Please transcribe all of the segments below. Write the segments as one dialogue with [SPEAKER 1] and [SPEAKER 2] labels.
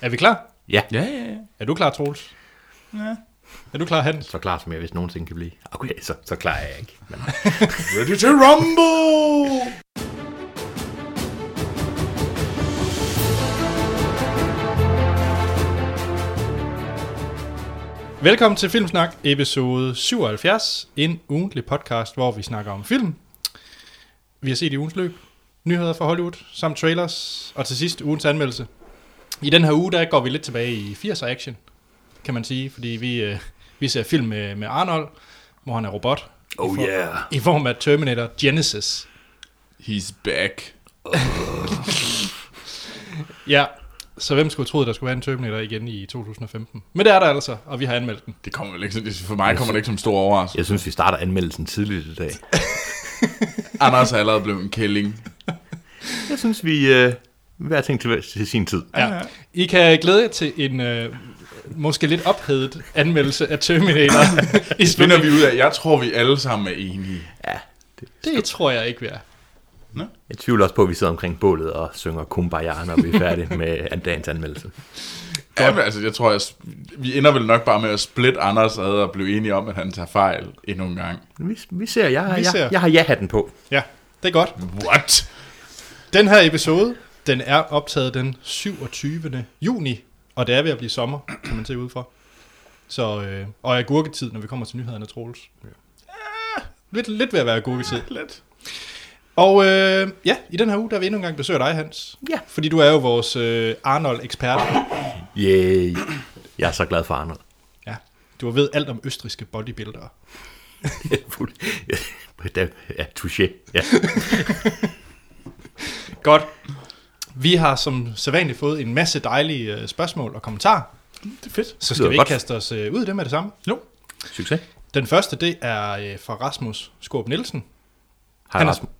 [SPEAKER 1] Er vi klar?
[SPEAKER 2] Ja,
[SPEAKER 3] Ja, ja, ja.
[SPEAKER 1] Er du klar, Troels?
[SPEAKER 3] Ja.
[SPEAKER 1] Er du klar, Hans?
[SPEAKER 2] så klar som jeg vist nogensinde kan blive. Okay, så, så klar er jeg ikke. Men
[SPEAKER 3] Ready to rumble!
[SPEAKER 1] Velkommen til Filmsnak, episode 77. En ugentlig podcast, hvor vi snakker om film. Vi har set i ugens løb, nyheder fra Hollywood, samt trailers, og til sidst ugens anmeldelse. I den her uge, der går vi lidt tilbage i 80'er action, kan man sige, fordi vi, øh, vi ser film med, med Arnold, hvor han er robot,
[SPEAKER 2] oh yeah.
[SPEAKER 1] i form af Terminator Genesis.
[SPEAKER 3] He's back.
[SPEAKER 1] Ja, så hvem skulle have troet, der skulle være en Terminator igen i 2015? Men det er der altså, og vi har anmeldt den.
[SPEAKER 3] Det kommer vel ikke, som- for mig kommer det ikke som stor overraskelse.
[SPEAKER 2] Jeg synes, vi starter anmeldelsen tidligt i dag.
[SPEAKER 3] Anders er allerede blevet en kælling.
[SPEAKER 2] Jeg synes, vi øh, hver ting til, til sin tid.
[SPEAKER 1] Ja. I kan glæde jer til en øh, måske lidt ophedet anmeldelse af Terminator. I
[SPEAKER 3] Finder
[SPEAKER 1] spænder
[SPEAKER 3] vi ud af, jeg tror, vi alle sammen er enige.
[SPEAKER 2] Ja, det,
[SPEAKER 1] Det tror jeg ikke, vi er.
[SPEAKER 2] jeg tvivler også på, at vi sidder omkring bålet og synger Kumbaya, når vi er færdige med dagens anmeldelse.
[SPEAKER 3] Ja, men, altså, jeg tror, jeg, vi ender vel nok bare med at splitte Anders ad og blive enige om, at han tager fejl endnu en gang.
[SPEAKER 2] Vi, vi ser, jeg,
[SPEAKER 1] Vi
[SPEAKER 2] jeg,
[SPEAKER 1] ser.
[SPEAKER 2] Jeg, jeg har ja-hatten på.
[SPEAKER 1] Ja, det er godt.
[SPEAKER 3] What?
[SPEAKER 1] Den her episode, den er optaget den 27. juni, og det er ved at blive sommer, kan man se ud fra. Så, øh, og agurketid, når vi kommer til nyhederne, Troels. Ja. Lidt, lidt ved at være agurketid.
[SPEAKER 3] Ah, Lidt.
[SPEAKER 1] Og øh, ja, i den her uge, der er vi endnu en gang besøger dig, Hans.
[SPEAKER 2] Ja.
[SPEAKER 1] Fordi du er jo vores øh, Arnold-ekspert.
[SPEAKER 2] Yay. Jeg er så glad for Arnold.
[SPEAKER 1] Ja. Du ved alt om østriske bodybuildere.
[SPEAKER 2] Fuld- Ja, ja, touché. Ja.
[SPEAKER 1] Godt. Vi har som sædvanligt fået en masse dejlige øh, spørgsmål og kommentarer.
[SPEAKER 3] Det er fedt.
[SPEAKER 1] Så
[SPEAKER 2] lyder
[SPEAKER 1] skal vi ikke
[SPEAKER 2] godt.
[SPEAKER 1] kaste os øh, ud i dem med det samme.
[SPEAKER 3] Jo.
[SPEAKER 2] Succes.
[SPEAKER 1] Den første, det er øh, fra Rasmus Skåb Nielsen.
[SPEAKER 2] Hej
[SPEAKER 1] Han er-
[SPEAKER 2] Rasmus.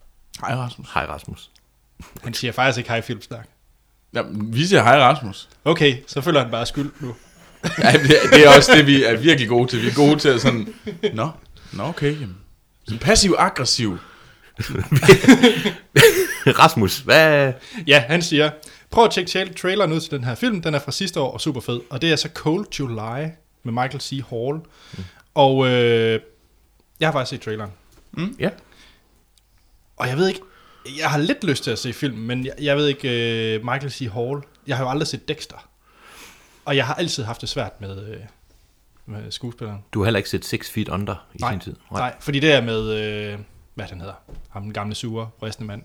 [SPEAKER 3] Hej, Rasmus.
[SPEAKER 2] Hej Rasmus.
[SPEAKER 1] Han siger faktisk ikke hej filmsnak.
[SPEAKER 3] Jamen, vi siger hej, Rasmus.
[SPEAKER 1] Okay, så føler han bare skyld nu.
[SPEAKER 3] Ja, det, er- det er også det, vi er virkelig gode til. Vi er gode til at sådan, nå, nå okay, jamen. Sådan passiv-aggressiv.
[SPEAKER 2] Rasmus, hvad...
[SPEAKER 1] Ja, han siger, prøv at tjekke tra- traileren ud til den her film. Den er fra sidste år og super fed. Og det er så Cold July med Michael C. Hall. Mm. Og øh, jeg har faktisk set traileren. Mm.
[SPEAKER 2] Ja.
[SPEAKER 1] Og jeg ved ikke, jeg har lidt lyst til at se filmen, men jeg, jeg ved ikke, øh, Michael C. Hall, jeg har jo aldrig set Dexter. Og jeg har altid haft det svært med, øh, med skuespilleren.
[SPEAKER 2] Du har heller ikke set Six Feet Under i
[SPEAKER 1] Nej,
[SPEAKER 2] sin tid.
[SPEAKER 1] nej. nej, fordi det er med, øh, hvad den hedder, ham den gamle sure, bristende mand.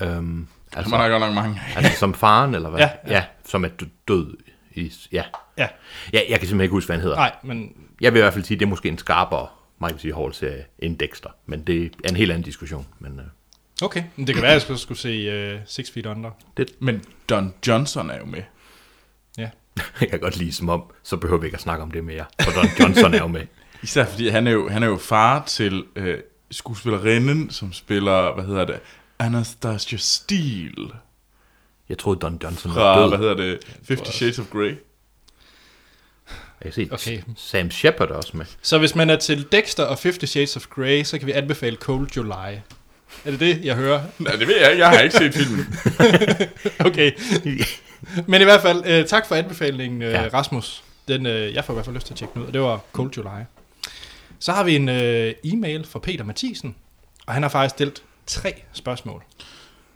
[SPEAKER 2] Øhm,
[SPEAKER 3] Der
[SPEAKER 2] altså,
[SPEAKER 3] må der godt nok mange af.
[SPEAKER 2] altså, som faren, eller hvad?
[SPEAKER 1] Ja, ja.
[SPEAKER 2] ja. ja som er d- død i... Ja.
[SPEAKER 1] Ja,
[SPEAKER 2] ja. Jeg kan simpelthen ikke huske, hvad han hedder.
[SPEAKER 1] nej, men
[SPEAKER 2] Jeg vil i hvert fald sige, at det er måske en skarpere Michael C. Hall-serie end Dexter. Men det er en helt anden diskussion. Men øh,
[SPEAKER 1] okay. Men det kan være, at jeg skulle, skulle se øh, Six Feet Under.
[SPEAKER 3] Men Don Johnson er jo med.
[SPEAKER 1] Ja.
[SPEAKER 2] jeg kan godt lide som om, så behøver vi ikke at snakke om det mere. For Don Johnson er jo med.
[SPEAKER 3] Især fordi han er jo, han er jo far til øh, skuespillerinden, som spiller, hvad hedder det, Anastasia Steele
[SPEAKER 2] Jeg troede, Don Johnson var
[SPEAKER 3] fra,
[SPEAKER 2] død.
[SPEAKER 3] hvad hedder det, Fifty Shades of Grey.
[SPEAKER 2] Jeg kan se,
[SPEAKER 1] Okay.
[SPEAKER 2] okay. Sam Shepard er også med.
[SPEAKER 1] Så hvis man er til Dexter og Fifty Shades of Grey, så kan vi anbefale Cold July. Er det det, jeg hører?
[SPEAKER 3] Nej, det ved jeg ikke. Jeg har ikke set filmen.
[SPEAKER 1] Okay. Men i hvert fald, øh, tak for anbefalingen, øh, ja.
[SPEAKER 2] Ja.
[SPEAKER 1] Rasmus. Den, øh, jeg får i hvert fald lyst til at tjekke den ud, og det var Cold July. Så har vi en øh, e-mail fra Peter Mathisen, og han har faktisk stillet tre spørgsmål.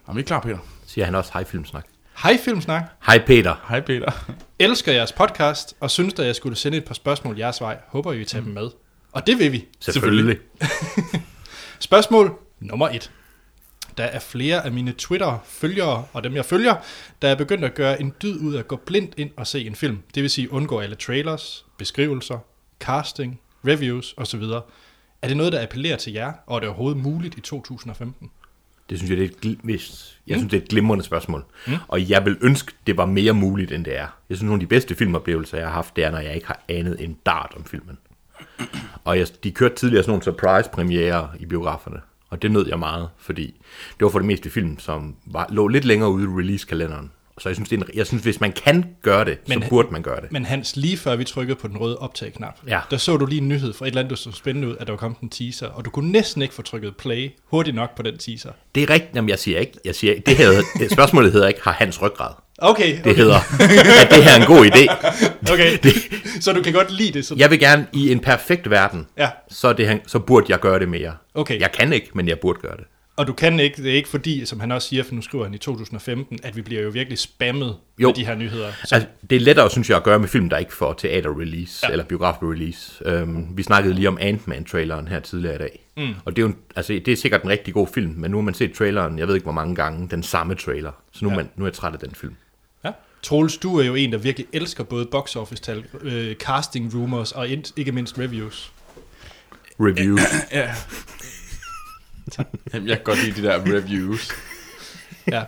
[SPEAKER 3] Er vi ikke klar, Peter?
[SPEAKER 2] Siger han også, hej Filmsnak.
[SPEAKER 1] Hej Filmsnak,
[SPEAKER 2] Hej Peter.
[SPEAKER 3] Hej, Peter.
[SPEAKER 1] elsker jeres podcast, og synes, at jeg skulle sende et par spørgsmål jeres vej. Håber, I vil tage dem med. Og det vil vi.
[SPEAKER 2] Selvfølgelig. Selvfølgelig.
[SPEAKER 1] Spørgsmål nummer et. Der er flere af mine Twitter-følgere og dem, jeg følger, der er begyndt at gøre en dyd ud af at gå blindt ind og se en film. Det vil sige undgå alle trailers, beskrivelser, casting, reviews osv. Er det noget, der appellerer til jer, og er det overhovedet muligt i 2015?
[SPEAKER 2] Det synes jeg, det er et, gl- hvis-
[SPEAKER 1] Mm.
[SPEAKER 2] jeg synes, det er et glimrende spørgsmål. Mm. Og jeg vil ønske, det var mere muligt, end det er. Jeg synes, nogle af de bedste filmoplevelser, jeg har haft, det er, når jeg ikke har anet en dart om filmen. Og jeg, de kørte tidligere sådan nogle surprise-premiere i biograferne. Og det nød jeg meget, fordi det var for det meste film, som var, lå lidt længere ude i release-kalenderen. Så jeg synes, det er en, jeg synes, hvis man kan gøre det,
[SPEAKER 1] Men-
[SPEAKER 2] så burde man gøre det.
[SPEAKER 1] Men Hans, lige før vi trykkede på den røde optag-knap,
[SPEAKER 2] Ja.
[SPEAKER 1] der så du lige en nyhed fra et eller andet, der så spændende ud, at der var kommet en teaser, og du kunne næsten ikke få trykket play hurtigt nok på den teaser.
[SPEAKER 2] Det er rigtigt, jamen jeg siger ikke, jeg siger ikke, det hedder, spørgsmålet hedder ikke, har hans ryggrad.
[SPEAKER 1] Okay,
[SPEAKER 2] det
[SPEAKER 1] okay,
[SPEAKER 2] hedder, at det her er en god idé.
[SPEAKER 1] okay.
[SPEAKER 2] Det,
[SPEAKER 1] Så du kan godt lide det? Så...
[SPEAKER 2] jeg vil gerne i en perfekt verden,
[SPEAKER 1] Ja.
[SPEAKER 2] så, er det, her- så burde jeg gøre det mere.
[SPEAKER 1] Okay.
[SPEAKER 2] Jeg kan ikke, men jeg burde gøre det.
[SPEAKER 1] Og du kan ikke, det er ikke fordi, som han også siger, for nu skriver han i 2015, at vi bliver jo virkelig spammet jo.
[SPEAKER 2] Jo.
[SPEAKER 1] med de her nyheder. Så,
[SPEAKER 2] Altså, det er lettere, synes jeg, at gøre med film, der ikke får teater-release ja. eller biograf-release. Øhm, vi snakkede lige om Ant-Man-traileren her tidligere i dag. Mm. Og det er, jo en, altså, det er sikkert en rigtig god film, men nu har man set traileren, jeg ved ikke hvor mange gange, den samme trailer. Så nu, ja. man, nu er jeg træt af den film.
[SPEAKER 1] ja. Troels, du er jo en, der virkelig elsker både box office-tal, øh, casting rumors og ind, ikke mindst reviews.
[SPEAKER 2] Review.
[SPEAKER 3] Ja. Jamen, jeg kan godt lide de der reviews.
[SPEAKER 1] Ja.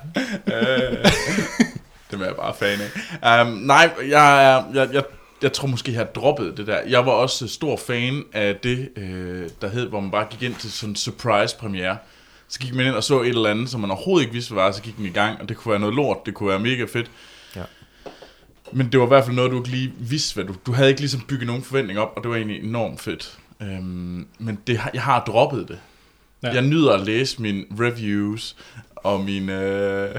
[SPEAKER 3] Dem er jeg bare fan af. Um, nej, jeg, er- jeg, jeg, jeg tror måske, jeg har droppet det der. Jeg var også stor fan af det, øh, der hed, hvor man bare gik ind til sådan en surprise-premiere. Så gik man ind og så et eller andet, som man overhovedet ikke vidste, hvad var, så gik man i gang, og det kunne være noget lort, det kunne være mega fedt.
[SPEAKER 2] Ja.
[SPEAKER 3] Men det var i hvert fald noget, du ikke lige vidste, hvad du... Du havde ikke ligesom bygget nogen forventning op, og det var egentlig enormt fedt. Øhm, men det, har- jeg har droppet det.
[SPEAKER 1] Ja.
[SPEAKER 3] Ja. Jeg nyder at læse mine reviews og mine... Øh,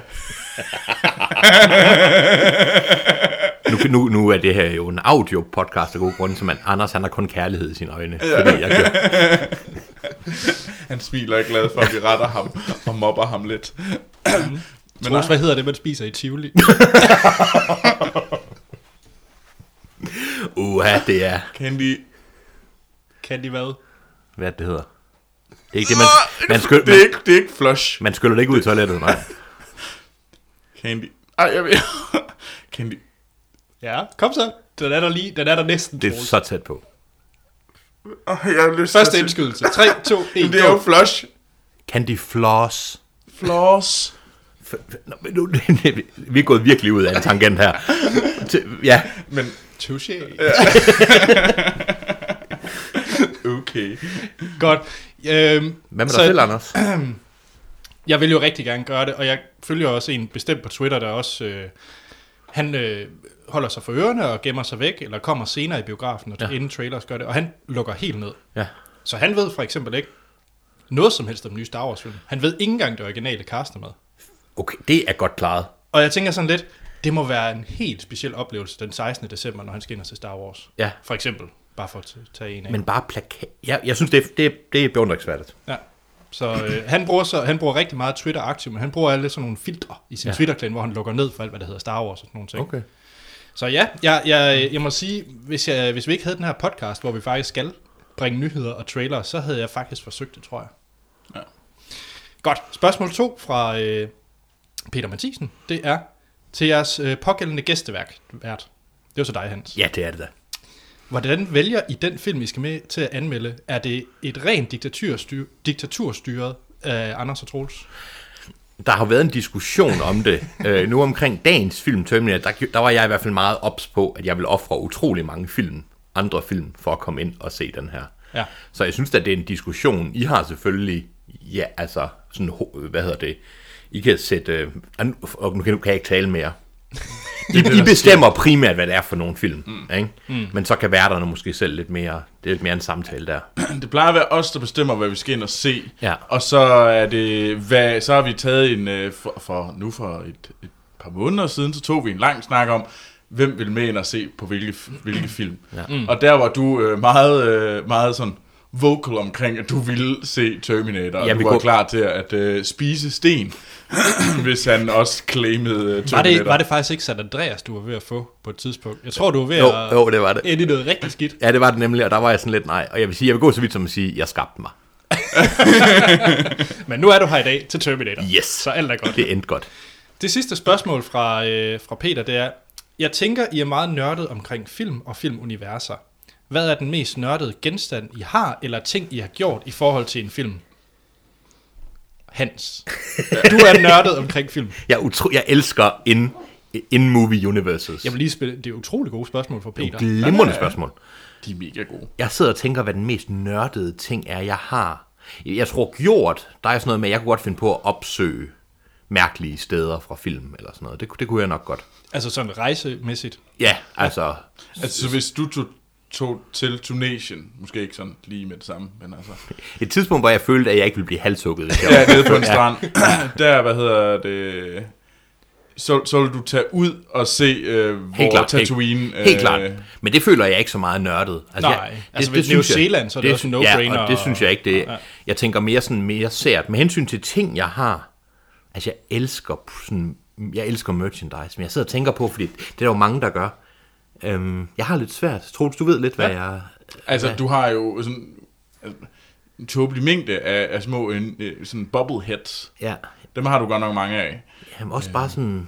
[SPEAKER 2] nu, nu, nu er det her jo en audio-podcast af gode grunde, så man, Anders han har kun kærlighed i sine øjne. Ja. Fordi jeg gør.
[SPEAKER 3] Han smiler og er glad for, at vi retter ham og mobber ham lidt. Men
[SPEAKER 1] Men Troels,
[SPEAKER 3] nej,
[SPEAKER 1] hvad hedder det, man spiser i Tivoli?
[SPEAKER 2] Uha, det er...
[SPEAKER 3] Candy...
[SPEAKER 1] kan de hvad?
[SPEAKER 2] Hvad er det, det hedder? Det er ikke det, man... Man, skyl,
[SPEAKER 3] Det er
[SPEAKER 2] man,
[SPEAKER 3] ikke, det er ikke flush.
[SPEAKER 2] man skyller det ikke ud i toilettet, nej.
[SPEAKER 3] Candy... Ej, jeg ved... Candy...
[SPEAKER 1] Ja, kom så. Den er der lige, den er der næsten,
[SPEAKER 2] Det er
[SPEAKER 1] Troels.
[SPEAKER 2] så tæt på.
[SPEAKER 3] Oh, jeg har lyst til at
[SPEAKER 1] Første
[SPEAKER 3] sige-
[SPEAKER 1] indskydelse. 3, 2, 1,
[SPEAKER 3] Jamen, Det er jo flush.
[SPEAKER 2] Candy floss.
[SPEAKER 3] Floss.
[SPEAKER 2] F- f- Nå, men nu, vi er gået virkelig ud af en tangent her. Til- Ja,
[SPEAKER 3] Men
[SPEAKER 1] Touché.
[SPEAKER 3] okay.
[SPEAKER 1] Godt. Øhm,
[SPEAKER 2] hvad med
[SPEAKER 1] så-
[SPEAKER 2] dig selv, Anders?
[SPEAKER 1] Jeg vil jo rigtig gerne gøre det, og jeg følger også en bestemt på Twitter, der også... Øh, han øh, holder sig for ørerne og gemmer sig væk, eller kommer senere i biografen, og ja.
[SPEAKER 2] Ja.
[SPEAKER 1] inden trailers gør det, og han lukker helt ned.
[SPEAKER 2] Ja.
[SPEAKER 1] Så han ved for eksempel ikke noget som helst om den nye Star Wars film. Han ved ikke engang det originale cast er med.
[SPEAKER 2] Okay, det er godt klaret.
[SPEAKER 1] Og jeg tænker sådan lidt, det må være en helt speciel oplevelse den 16. december, når han skal ind og se Star Wars.
[SPEAKER 2] Ja.
[SPEAKER 1] For eksempel, bare for at tage en af.
[SPEAKER 2] Men bare plakat. Ja, jeg synes, det er, det er, det er beundringsværdigt.
[SPEAKER 1] Ja. Så øh, han, bruger så, han bruger rigtig meget Twitter aktivt, men han bruger alle sådan nogle filtre i sin ja.
[SPEAKER 2] Ja.
[SPEAKER 1] Twitter-klan, hvor han lukker ned for alt, hvad der hedder Star Wars og sådan nogle ting.
[SPEAKER 2] Okay.
[SPEAKER 1] Så ja, jeg, jeg, jeg må sige, hvis, jeg, hvis vi ikke havde den her podcast, hvor vi faktisk skal bringe nyheder og trailer, så havde jeg faktisk forsøgt det, tror jeg.
[SPEAKER 3] Ja.
[SPEAKER 1] Godt. Spørgsmål 2 fra øh, Peter Mathisen, det er til jeres øh, pågældende gæsteværk. Vært. Det er jo så dig, Hans.
[SPEAKER 2] Ja, det er det da.
[SPEAKER 1] Hvordan vælger I den film, I skal med til at anmelde? Er det et rent diktaturstyr, diktaturstyret af Anders og Troels?
[SPEAKER 2] Der har været en diskussion om det. Øh, nu omkring dagens film, Terminator, der, der var jeg i hvert fald meget ops på, at jeg ville ofre utrolig mange film, andre film, for at komme ind og se den her.
[SPEAKER 1] Ja.
[SPEAKER 2] Så jeg synes, at det er en diskussion. I har selvfølgelig, ja, altså, sådan, ho- hvad hedder det, I kan sætte, øh, ah, nu- og nu kan, nu kan jeg ikke tale mere. I, I bestemmer primært, hvad det er for nogle film, mm. ikke? Mm. men så kan værterne måske selv lidt mere, det er lidt mere en samtale der.
[SPEAKER 3] Det plejer at være os, der bestemmer, hvad vi skal ind og se.
[SPEAKER 2] Ja.
[SPEAKER 3] Og så er det, hvad, så har vi taget en, øh, for, for nu for et, et par måneder siden, så tog vi en lang snak om, hvem vil med ind og se på hvilke, hvilke film. Ja. Mm. Og der var du øh, meget, øh, meget sådan vocal omkring, at du ville se Terminator, og
[SPEAKER 2] Ja,
[SPEAKER 3] du
[SPEAKER 2] vi
[SPEAKER 3] var
[SPEAKER 2] kunne-
[SPEAKER 3] klar til at øh, spise sten, hvis han også claimede øh, Terminator.
[SPEAKER 1] Var det, var det faktisk ikke San Andreas, du var ved at få på et tidspunkt? Jeg tror, du var ved
[SPEAKER 2] Jo,
[SPEAKER 1] at
[SPEAKER 2] jo, det var det.
[SPEAKER 1] ende i noget rigtig skidt.
[SPEAKER 2] Ja, det var det nemlig, og der var jeg sådan lidt nej. Og jeg vil sige, jeg vil gå så vidt som at sige, jeg skabte mig.
[SPEAKER 1] Men nu er du her i dag til Terminator.
[SPEAKER 2] Yes.
[SPEAKER 1] Så alt er godt.
[SPEAKER 2] Det endte godt.
[SPEAKER 1] Det sidste spørgsmål fra, øh, fra Peter, det er, jeg tænker, I er meget nørdet omkring film og filmuniverser. Hvad er den mest nørdede genstand, I har, eller ting, I har gjort i forhold til en film? Hans. Du er nørdet omkring film.
[SPEAKER 2] Jeg, er utro, jeg elsker in, in movie universes.
[SPEAKER 1] Jeg vil lige spille, det er utrolig gode spørgsmål fra Peter.
[SPEAKER 2] Glimrende spørgsmål.
[SPEAKER 3] De er mega gode.
[SPEAKER 2] Jeg sidder og tænker, hvad den mest nørdede ting er, jeg har. Jeg tror, gjort, der er sådan noget med, at jeg kunne godt finde på at opsøge mærkelige steder fra film eller sådan noget. Det, kunne- det kunne jeg nok godt.
[SPEAKER 1] Altså sådan rejsemæssigt.
[SPEAKER 2] Ja, altså,
[SPEAKER 3] Altså, så hvis du tog, tog til Tunesien, måske ikke sådan lige med det samme, men altså...
[SPEAKER 2] et tidspunkt, hvor jeg følte, at jeg ikke ville blive halshugget. Hvis jeg
[SPEAKER 3] Ja, nede på en strand. Der, hvad hedder det... så, så vil du tage ud og se, øh, hvor
[SPEAKER 2] klart, helt-
[SPEAKER 3] Tatooine... øh,
[SPEAKER 2] Helt klart. Men det føler jeg ikke så meget nørdet. Altså,
[SPEAKER 1] Nej,
[SPEAKER 2] jeg,
[SPEAKER 1] altså ved New
[SPEAKER 2] synes jeg-
[SPEAKER 1] Zealand, så er det også en no-brainer
[SPEAKER 2] Ja, og det synes jeg ikke. Det,
[SPEAKER 1] Ja.
[SPEAKER 2] Jeg tænker mere sådan mere sært. Med hensyn til ting, jeg har. Altså, jeg elsker sådan, jeg elsker merchandise, men jeg sidder og tænker på, fordi det er der jo mange, der gør. Øhm, jeg har lidt svært. Troels, du ved lidt, hvad ja. jeg...
[SPEAKER 3] Altså, du har jo sådan altså, en tåbelig mængde af, af små en, øh, sådan bobbleheads.
[SPEAKER 2] Ja,
[SPEAKER 3] Dem har du godt nok mange af.
[SPEAKER 2] jamen, også bare sådan...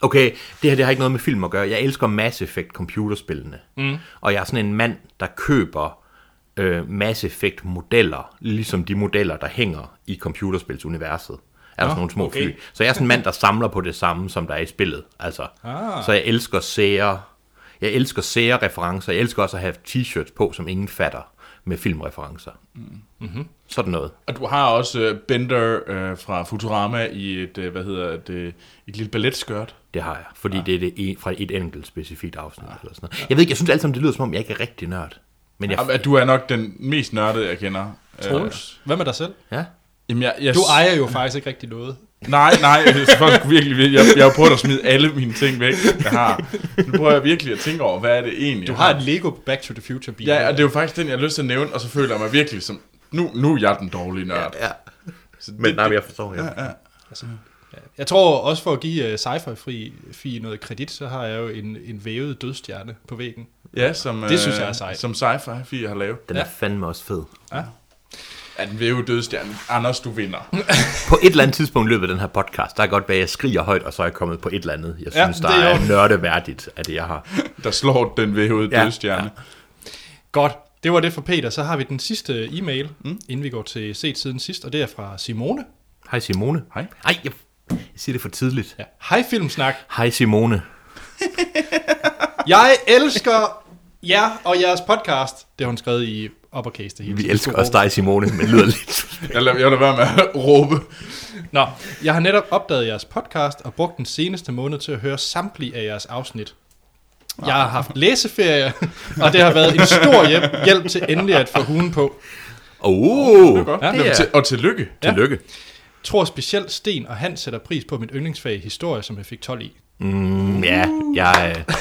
[SPEAKER 2] Okay, det her det har ikke noget med film at gøre. Jeg elsker Mass Effect computerspillene. Mm. Og jeg er sådan en mand, der køber øh, Mass Effect modeller, ligesom de modeller, der hænger i computerspilsuniverset. Er der sådan nogle små
[SPEAKER 1] okay.
[SPEAKER 2] okay. fly. Så jeg er sådan en mand, der samler på det samme, som der er i spillet. Altså.
[SPEAKER 1] Ah.
[SPEAKER 2] Så jeg elsker sære. Jeg elsker sære referencer. Jeg elsker også at have t-shirts på, som ingen fatter med filmreferencer. Mm. Mm-hmm. Sådan noget.
[SPEAKER 3] Og du har også øh, Bender øh, fra Futurama i et, øh, hvad hedder det, et lille balletskørt.
[SPEAKER 2] Det har jeg, fordi ja. det er det en, fra et enkelt specifikt afsnit. Ja. Eller sådan noget. Jeg ved ikke, jeg synes alt sammen, det lyder som om, jeg ikke er rigtig nørd. Men jeg,
[SPEAKER 3] Jamen, at Du er nok den mest nørdede, jeg kender.
[SPEAKER 1] Troels, hvad med dig selv?
[SPEAKER 2] ja,
[SPEAKER 3] Øh, jamen, jeg, jeg,
[SPEAKER 1] Du ejer jo faktisk ikke rigtig noget.
[SPEAKER 3] Nej, nej, jeg synes faktisk virkelig, virkelig- jeg, jeg har prøvet at smide alle mine ting væk, jeg har. Nu prøver jeg virkelig at tænke over, hvad er det egentlig,
[SPEAKER 1] Du
[SPEAKER 3] jeg
[SPEAKER 1] har en Lego Back to the Future bil.
[SPEAKER 3] Ja, og det er jo faktisk den, jeg har lyst til at nævne, og så føler jeg mig virkelig som, nu, nu er jeg den dårlige nørd.
[SPEAKER 2] ja.
[SPEAKER 3] Så
[SPEAKER 2] Men nej, men jeg forstår. Jeg. Ja, ja.
[SPEAKER 1] Altså, Jeg tror også for at give uh, sci-fi fri, fri noget kredit, så har jeg jo en, en vævet dødstjerne på væggen.
[SPEAKER 3] Ja, som, øh,
[SPEAKER 1] Det synes jeg er sejt.
[SPEAKER 3] Som sci-fi fi har lavet.
[SPEAKER 2] Den
[SPEAKER 1] Ja.
[SPEAKER 2] er fandme også fed.
[SPEAKER 3] Ja, den væve dødstjerne. Anders, du vinder.
[SPEAKER 2] På et eller andet tidspunkt i løbet af den her podcast, der er godt være, at jeg skriger højt, og så er jeg kommet på et eller andet, jeg
[SPEAKER 1] Ja,
[SPEAKER 2] synes, der
[SPEAKER 1] det er
[SPEAKER 2] er,
[SPEAKER 1] jo-
[SPEAKER 2] nørdeværdigt af det, jeg har.
[SPEAKER 3] Der slår den væve
[SPEAKER 2] Ja,
[SPEAKER 3] dødstjerne.
[SPEAKER 1] Godt, det var det fra Peter. Så har vi den sidste e-mail, mm. inden vi går til set siden sidst, og det er fra Simone.
[SPEAKER 2] Hej Simone.
[SPEAKER 3] Hej.
[SPEAKER 2] Ej, jeg, jeg siger det for tidligt. Ja.
[SPEAKER 1] Ja. Hej Filmsnak,
[SPEAKER 2] Hej Simone.
[SPEAKER 1] jeg elsker jer og jeres podcast. Det har hun skrevet i uppercase det hele.
[SPEAKER 2] Vi
[SPEAKER 1] tiden.
[SPEAKER 2] elsker
[SPEAKER 1] Store
[SPEAKER 2] også dig, Simone, men lyder lidt...
[SPEAKER 3] Jeg lader, jeg lader være med at råbe.
[SPEAKER 1] Nå, jeg har netop opdaget jeres podcast og brugt den seneste måned til at høre samtlige af jeres afsnit. Jeg har haft læseferie, og det har været en stor hjælp, hjælp til endelig at få hugen på.
[SPEAKER 2] Åh, oh,
[SPEAKER 3] Godt.
[SPEAKER 2] det
[SPEAKER 3] Jamen,
[SPEAKER 2] er...
[SPEAKER 3] til- Og tillykke.
[SPEAKER 1] Ja.
[SPEAKER 2] Tillykke.
[SPEAKER 1] Tror specielt Sten og han sætter pris på mit yndlingsfag historie, som jeg fik 12 i.
[SPEAKER 2] Mm, ja, jeg, øh,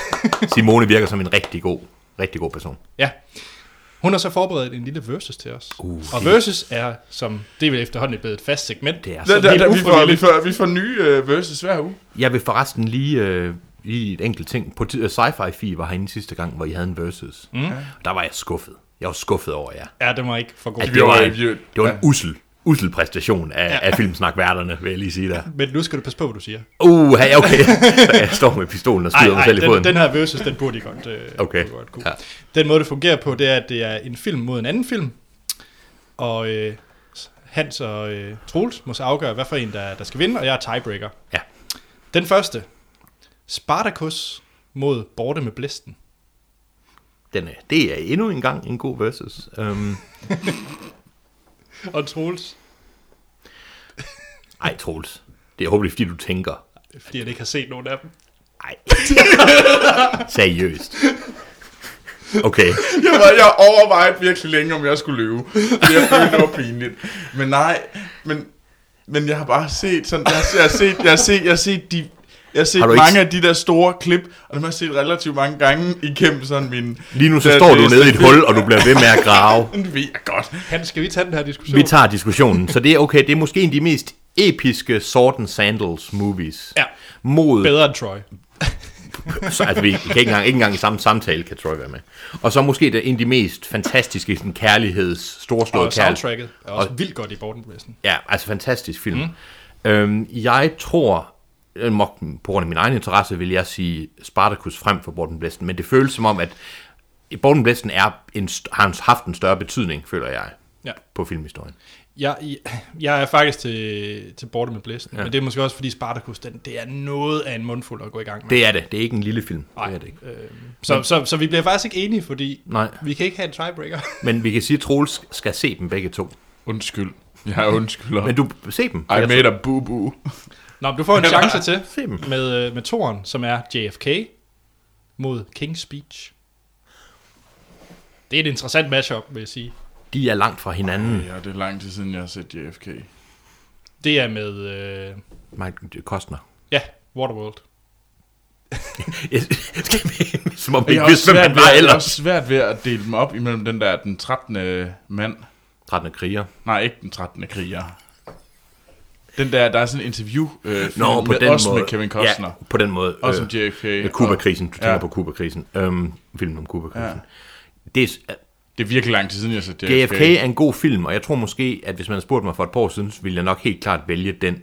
[SPEAKER 2] Simone virker som en rigtig god, rigtig god person.
[SPEAKER 1] Ja. Hun har så forberedt en lille versus til os.
[SPEAKER 2] Uh,
[SPEAKER 1] og
[SPEAKER 2] fint.
[SPEAKER 1] versus er, som det er vel efterhånden blevet et fast segment.
[SPEAKER 2] Det er
[SPEAKER 3] Da,
[SPEAKER 2] så.
[SPEAKER 3] da,
[SPEAKER 1] helt
[SPEAKER 3] da, vi, får, vi,
[SPEAKER 1] ufrivilligt.
[SPEAKER 3] får, vi får nye uh, verses hver uge.
[SPEAKER 2] Jeg vil forresten lige, øh, lige et enkelt ting. På t- Sci-Fi Fi var herinde sidste gang, hvor I havde en versus. Mm. Der var jeg skuffet. Jeg var skuffet over jer.
[SPEAKER 1] Ja, den var ikke for god.
[SPEAKER 2] At
[SPEAKER 3] Vi
[SPEAKER 2] det,
[SPEAKER 3] var-
[SPEAKER 2] var en,
[SPEAKER 3] vi-
[SPEAKER 2] det var en
[SPEAKER 3] ja.
[SPEAKER 2] usel, usel præstation af, ja. af filmsnakværterne, vil jeg lige sige der.
[SPEAKER 1] Men nu skal du passe på, hvad du siger.
[SPEAKER 2] Uh, hey, okay. Så jeg står med pistolen og
[SPEAKER 1] Ej,
[SPEAKER 2] skyder mig
[SPEAKER 1] ej,
[SPEAKER 2] selv i
[SPEAKER 1] den,
[SPEAKER 2] foden.
[SPEAKER 1] den her versus, den burde I godt, øh,
[SPEAKER 2] Okay,
[SPEAKER 1] burde I godt kunne. Ja.
[SPEAKER 2] ja.
[SPEAKER 1] Den måde, det fungerer på, det er, at det er en film mod en anden film. Og øh, Hans og øh, Troels må så afgøre, hvad for en, der, der skal vinde, og jeg er tiebreaker.
[SPEAKER 2] Ja.
[SPEAKER 1] Den første. Spartacus mod Borte med Blæsten.
[SPEAKER 2] Den, er- det er endnu en gang en god versus. Um,
[SPEAKER 1] Og Troels,
[SPEAKER 2] ej, Troels. Det er håbentlig, fordi du tænker.
[SPEAKER 1] fordi han ikke har set nogen af dem.
[SPEAKER 2] Ej. Seriøst. Okay.
[SPEAKER 3] Jeg, var, jeg overvejede virkelig længe, om jeg skulle løbe. fordi Jeg følte, det var pinligt. Men nej, men, men jeg har bare set sådan, jeg har, jeg har set, jeg har set, jeg har set de, jeg har set
[SPEAKER 2] Har du
[SPEAKER 3] mange
[SPEAKER 2] ikke
[SPEAKER 3] af de der store klip, og dem har jeg set relativt mange gange igennem sådan min...
[SPEAKER 2] Lige nu så
[SPEAKER 3] Ja,
[SPEAKER 2] står
[SPEAKER 3] det
[SPEAKER 2] du
[SPEAKER 3] er
[SPEAKER 2] nede i et
[SPEAKER 3] sådan-
[SPEAKER 2] hul, og du bliver ved med at grave.
[SPEAKER 3] Det ved jeg godt.
[SPEAKER 1] Hans, skal vi tage den her diskussion?
[SPEAKER 2] Vi tager diskussionen, så det er okay. Det er måske en af de mest episke Sword and Sandals movies.
[SPEAKER 1] Ja.
[SPEAKER 2] Mod,
[SPEAKER 1] Bedre end Troy.
[SPEAKER 2] så, altså vi kan ikke engang, ikke engang i samme samtale, kan Troy være med. Og så måske det er en af de mest fantastiske sådan, kærligheds, storslåede
[SPEAKER 1] Og
[SPEAKER 2] kærlighed.
[SPEAKER 1] soundtracket er også vildt godt i Borten med Blæsten.
[SPEAKER 2] Ja, altså fantastisk film. Mm. Øhm, jeg tror, øh, må- på grund af min egen interesse, vil jeg sige Spartacus frem for Borten Blæsten, men det føles som om, at Borten Blæsten er en, st- har haft en større betydning, føler jeg,
[SPEAKER 1] Ja.
[SPEAKER 2] på filmhistorien.
[SPEAKER 1] Jeg, jeg er faktisk til, til Borte med Blæsten, ja. men det er måske også, fordi Spartacus, den, det er noget af en mundfuld at gå i gang med.
[SPEAKER 2] Det er det. Det er ikke en lille film.
[SPEAKER 1] Nej.
[SPEAKER 2] Det er det ikke.
[SPEAKER 1] Så, så, så vi bliver faktisk ikke enige, fordi
[SPEAKER 2] Nej.
[SPEAKER 1] vi kan ikke have en tiebreaker.
[SPEAKER 2] Men vi kan sige, at Troels skal se dem begge to.
[SPEAKER 3] Undskyld. Jeg undskylder.
[SPEAKER 2] Men du, se dem.
[SPEAKER 3] I made a boo-boo.
[SPEAKER 1] Nå, men du får en chance til
[SPEAKER 2] Se dem.
[SPEAKER 1] med, øh, med toren, som er JFK mod King's Speech. Det er et interessant matchup, vil jeg sige.
[SPEAKER 2] De er langt fra hinanden.
[SPEAKER 3] Ja, det er lang tid siden, jeg har set JFK.
[SPEAKER 1] Det er med, øh,
[SPEAKER 2] Michael Costner.
[SPEAKER 1] ja, Waterworld.
[SPEAKER 2] Jeg- Skal vi- Som om vi
[SPEAKER 3] Jeg
[SPEAKER 2] ikke
[SPEAKER 3] har også
[SPEAKER 2] vidste, hvem
[SPEAKER 3] svært,
[SPEAKER 2] han
[SPEAKER 3] ved,
[SPEAKER 2] var
[SPEAKER 3] jeg har
[SPEAKER 2] ellers.
[SPEAKER 3] også svært ved at dele dem op imellem den der, den 13. mand.
[SPEAKER 2] 13. kriger.
[SPEAKER 3] Nej, ikke den 13. kriger. Den der, der er sådan en interview øh,
[SPEAKER 2] Nå, på
[SPEAKER 3] med,
[SPEAKER 2] den
[SPEAKER 3] også
[SPEAKER 2] måde.
[SPEAKER 3] med Kevin Costner.
[SPEAKER 2] Ja, på den måde.
[SPEAKER 3] Også
[SPEAKER 2] øh,
[SPEAKER 3] med JFK.
[SPEAKER 2] Med Cuba-krisen. Du tænker
[SPEAKER 3] Ja.
[SPEAKER 2] på Cuba-krisen. Øhm, filmen om Cuba-krisen. Det er, s-
[SPEAKER 3] Det er virkelig lang tid siden, jeg så JFK.
[SPEAKER 2] JFK er en god film, og jeg tror måske, at hvis man havde spurgt mig for et par år siden, så ville jeg nok helt klart vælge den.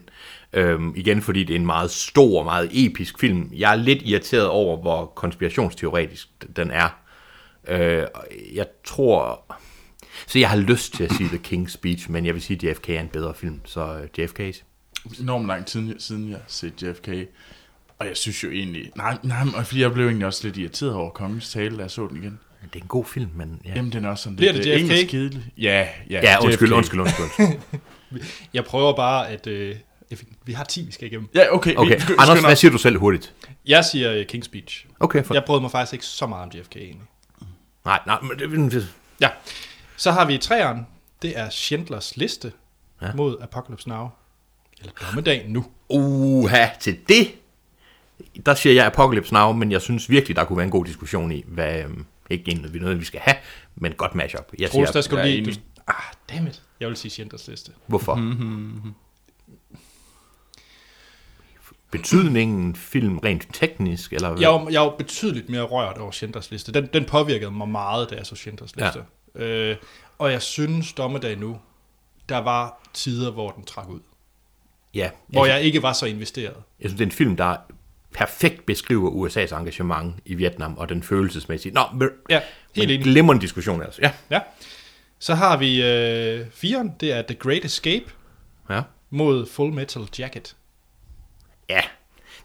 [SPEAKER 2] Øhm, igen, fordi det er en meget stor og meget episk film. Jeg er lidt irriteret over, hvor konspirationsteoretisk den er. Øh, og jeg tror... Så jeg har lyst til at sige The King's Speech, men jeg vil sige, at JFK er en bedre film, så øh, JFK's.
[SPEAKER 3] enormt lang tid siden, jeg har set JFK. Og jeg synes jo egentlig... Nej, nej, men fordi jeg blev egentlig også lidt irriteret over kongens tale, da jeg så den igen.
[SPEAKER 2] Det er en god film, men... Ja,
[SPEAKER 3] Jamen, den er også sådan
[SPEAKER 1] Bliver
[SPEAKER 3] lidt
[SPEAKER 1] det
[SPEAKER 3] øh,
[SPEAKER 1] JFK?
[SPEAKER 3] engelsk kedelig. Ja, ja,
[SPEAKER 2] ja undskyld,
[SPEAKER 3] JFK.
[SPEAKER 2] undskyld, undskyld, undskyld.
[SPEAKER 1] Jeg prøver bare at... Øh, eff- vi har 10, vi skal igennem.
[SPEAKER 3] Ja, okay.
[SPEAKER 2] Okay,
[SPEAKER 3] Vi, vi,
[SPEAKER 2] Anders, hvad siger du selv hurtigt?
[SPEAKER 1] Jeg siger øh, King's Speech.
[SPEAKER 2] Okay, for...
[SPEAKER 1] Jeg brød mig faktisk ikke så meget om JFK egentlig.
[SPEAKER 2] Nej, nej, men det...
[SPEAKER 1] Ja. Så har vi træeren. Det er Schindlers liste
[SPEAKER 2] Ja.
[SPEAKER 1] ja. mod Apocalypse Now. Eller
[SPEAKER 3] Ah,
[SPEAKER 1] Dommedag nu.
[SPEAKER 2] Uha, til det, der siger jeg Apocalypse Now, men jeg synes virkelig, der kunne være en god diskussion i, hvad øhm, ikke en noget, vi- noget, vi skal have, men godt matchup. Jeg
[SPEAKER 1] Troels, der
[SPEAKER 2] siger,
[SPEAKER 1] skulle
[SPEAKER 3] jeg er
[SPEAKER 1] lige... Du,
[SPEAKER 3] enig.
[SPEAKER 1] ah, dammit. Jeg vil sige Schindlers liste.
[SPEAKER 2] hvorfor?
[SPEAKER 1] Mhm,
[SPEAKER 2] Betydningen film rent teknisk, eller hvad?
[SPEAKER 1] Jeg var, jeg var betydeligt mere rørt over Schindlers liste. Den, den påvirkede mig meget, da jeg så Schindlers
[SPEAKER 2] Ja.
[SPEAKER 1] liste. Ja. Øh, og jeg synes, Dommedag nu, der var tider, hvor den trak ud.
[SPEAKER 2] ja,
[SPEAKER 1] Hvor
[SPEAKER 2] jeg,
[SPEAKER 1] jeg ikke var så investeret.
[SPEAKER 2] jeg synes, det er en film, der perfekt beskriver USA's engagement i Vietnam og den følelsesmæssige. Nå, men,
[SPEAKER 1] Ja, helt
[SPEAKER 2] men
[SPEAKER 1] enig.
[SPEAKER 2] glemmer en diskussion altså. Ja,
[SPEAKER 1] Ja. Så har vi øh, firen. Det er The Great Escape
[SPEAKER 2] ja.
[SPEAKER 1] mod Full Metal Jacket.
[SPEAKER 2] Ja,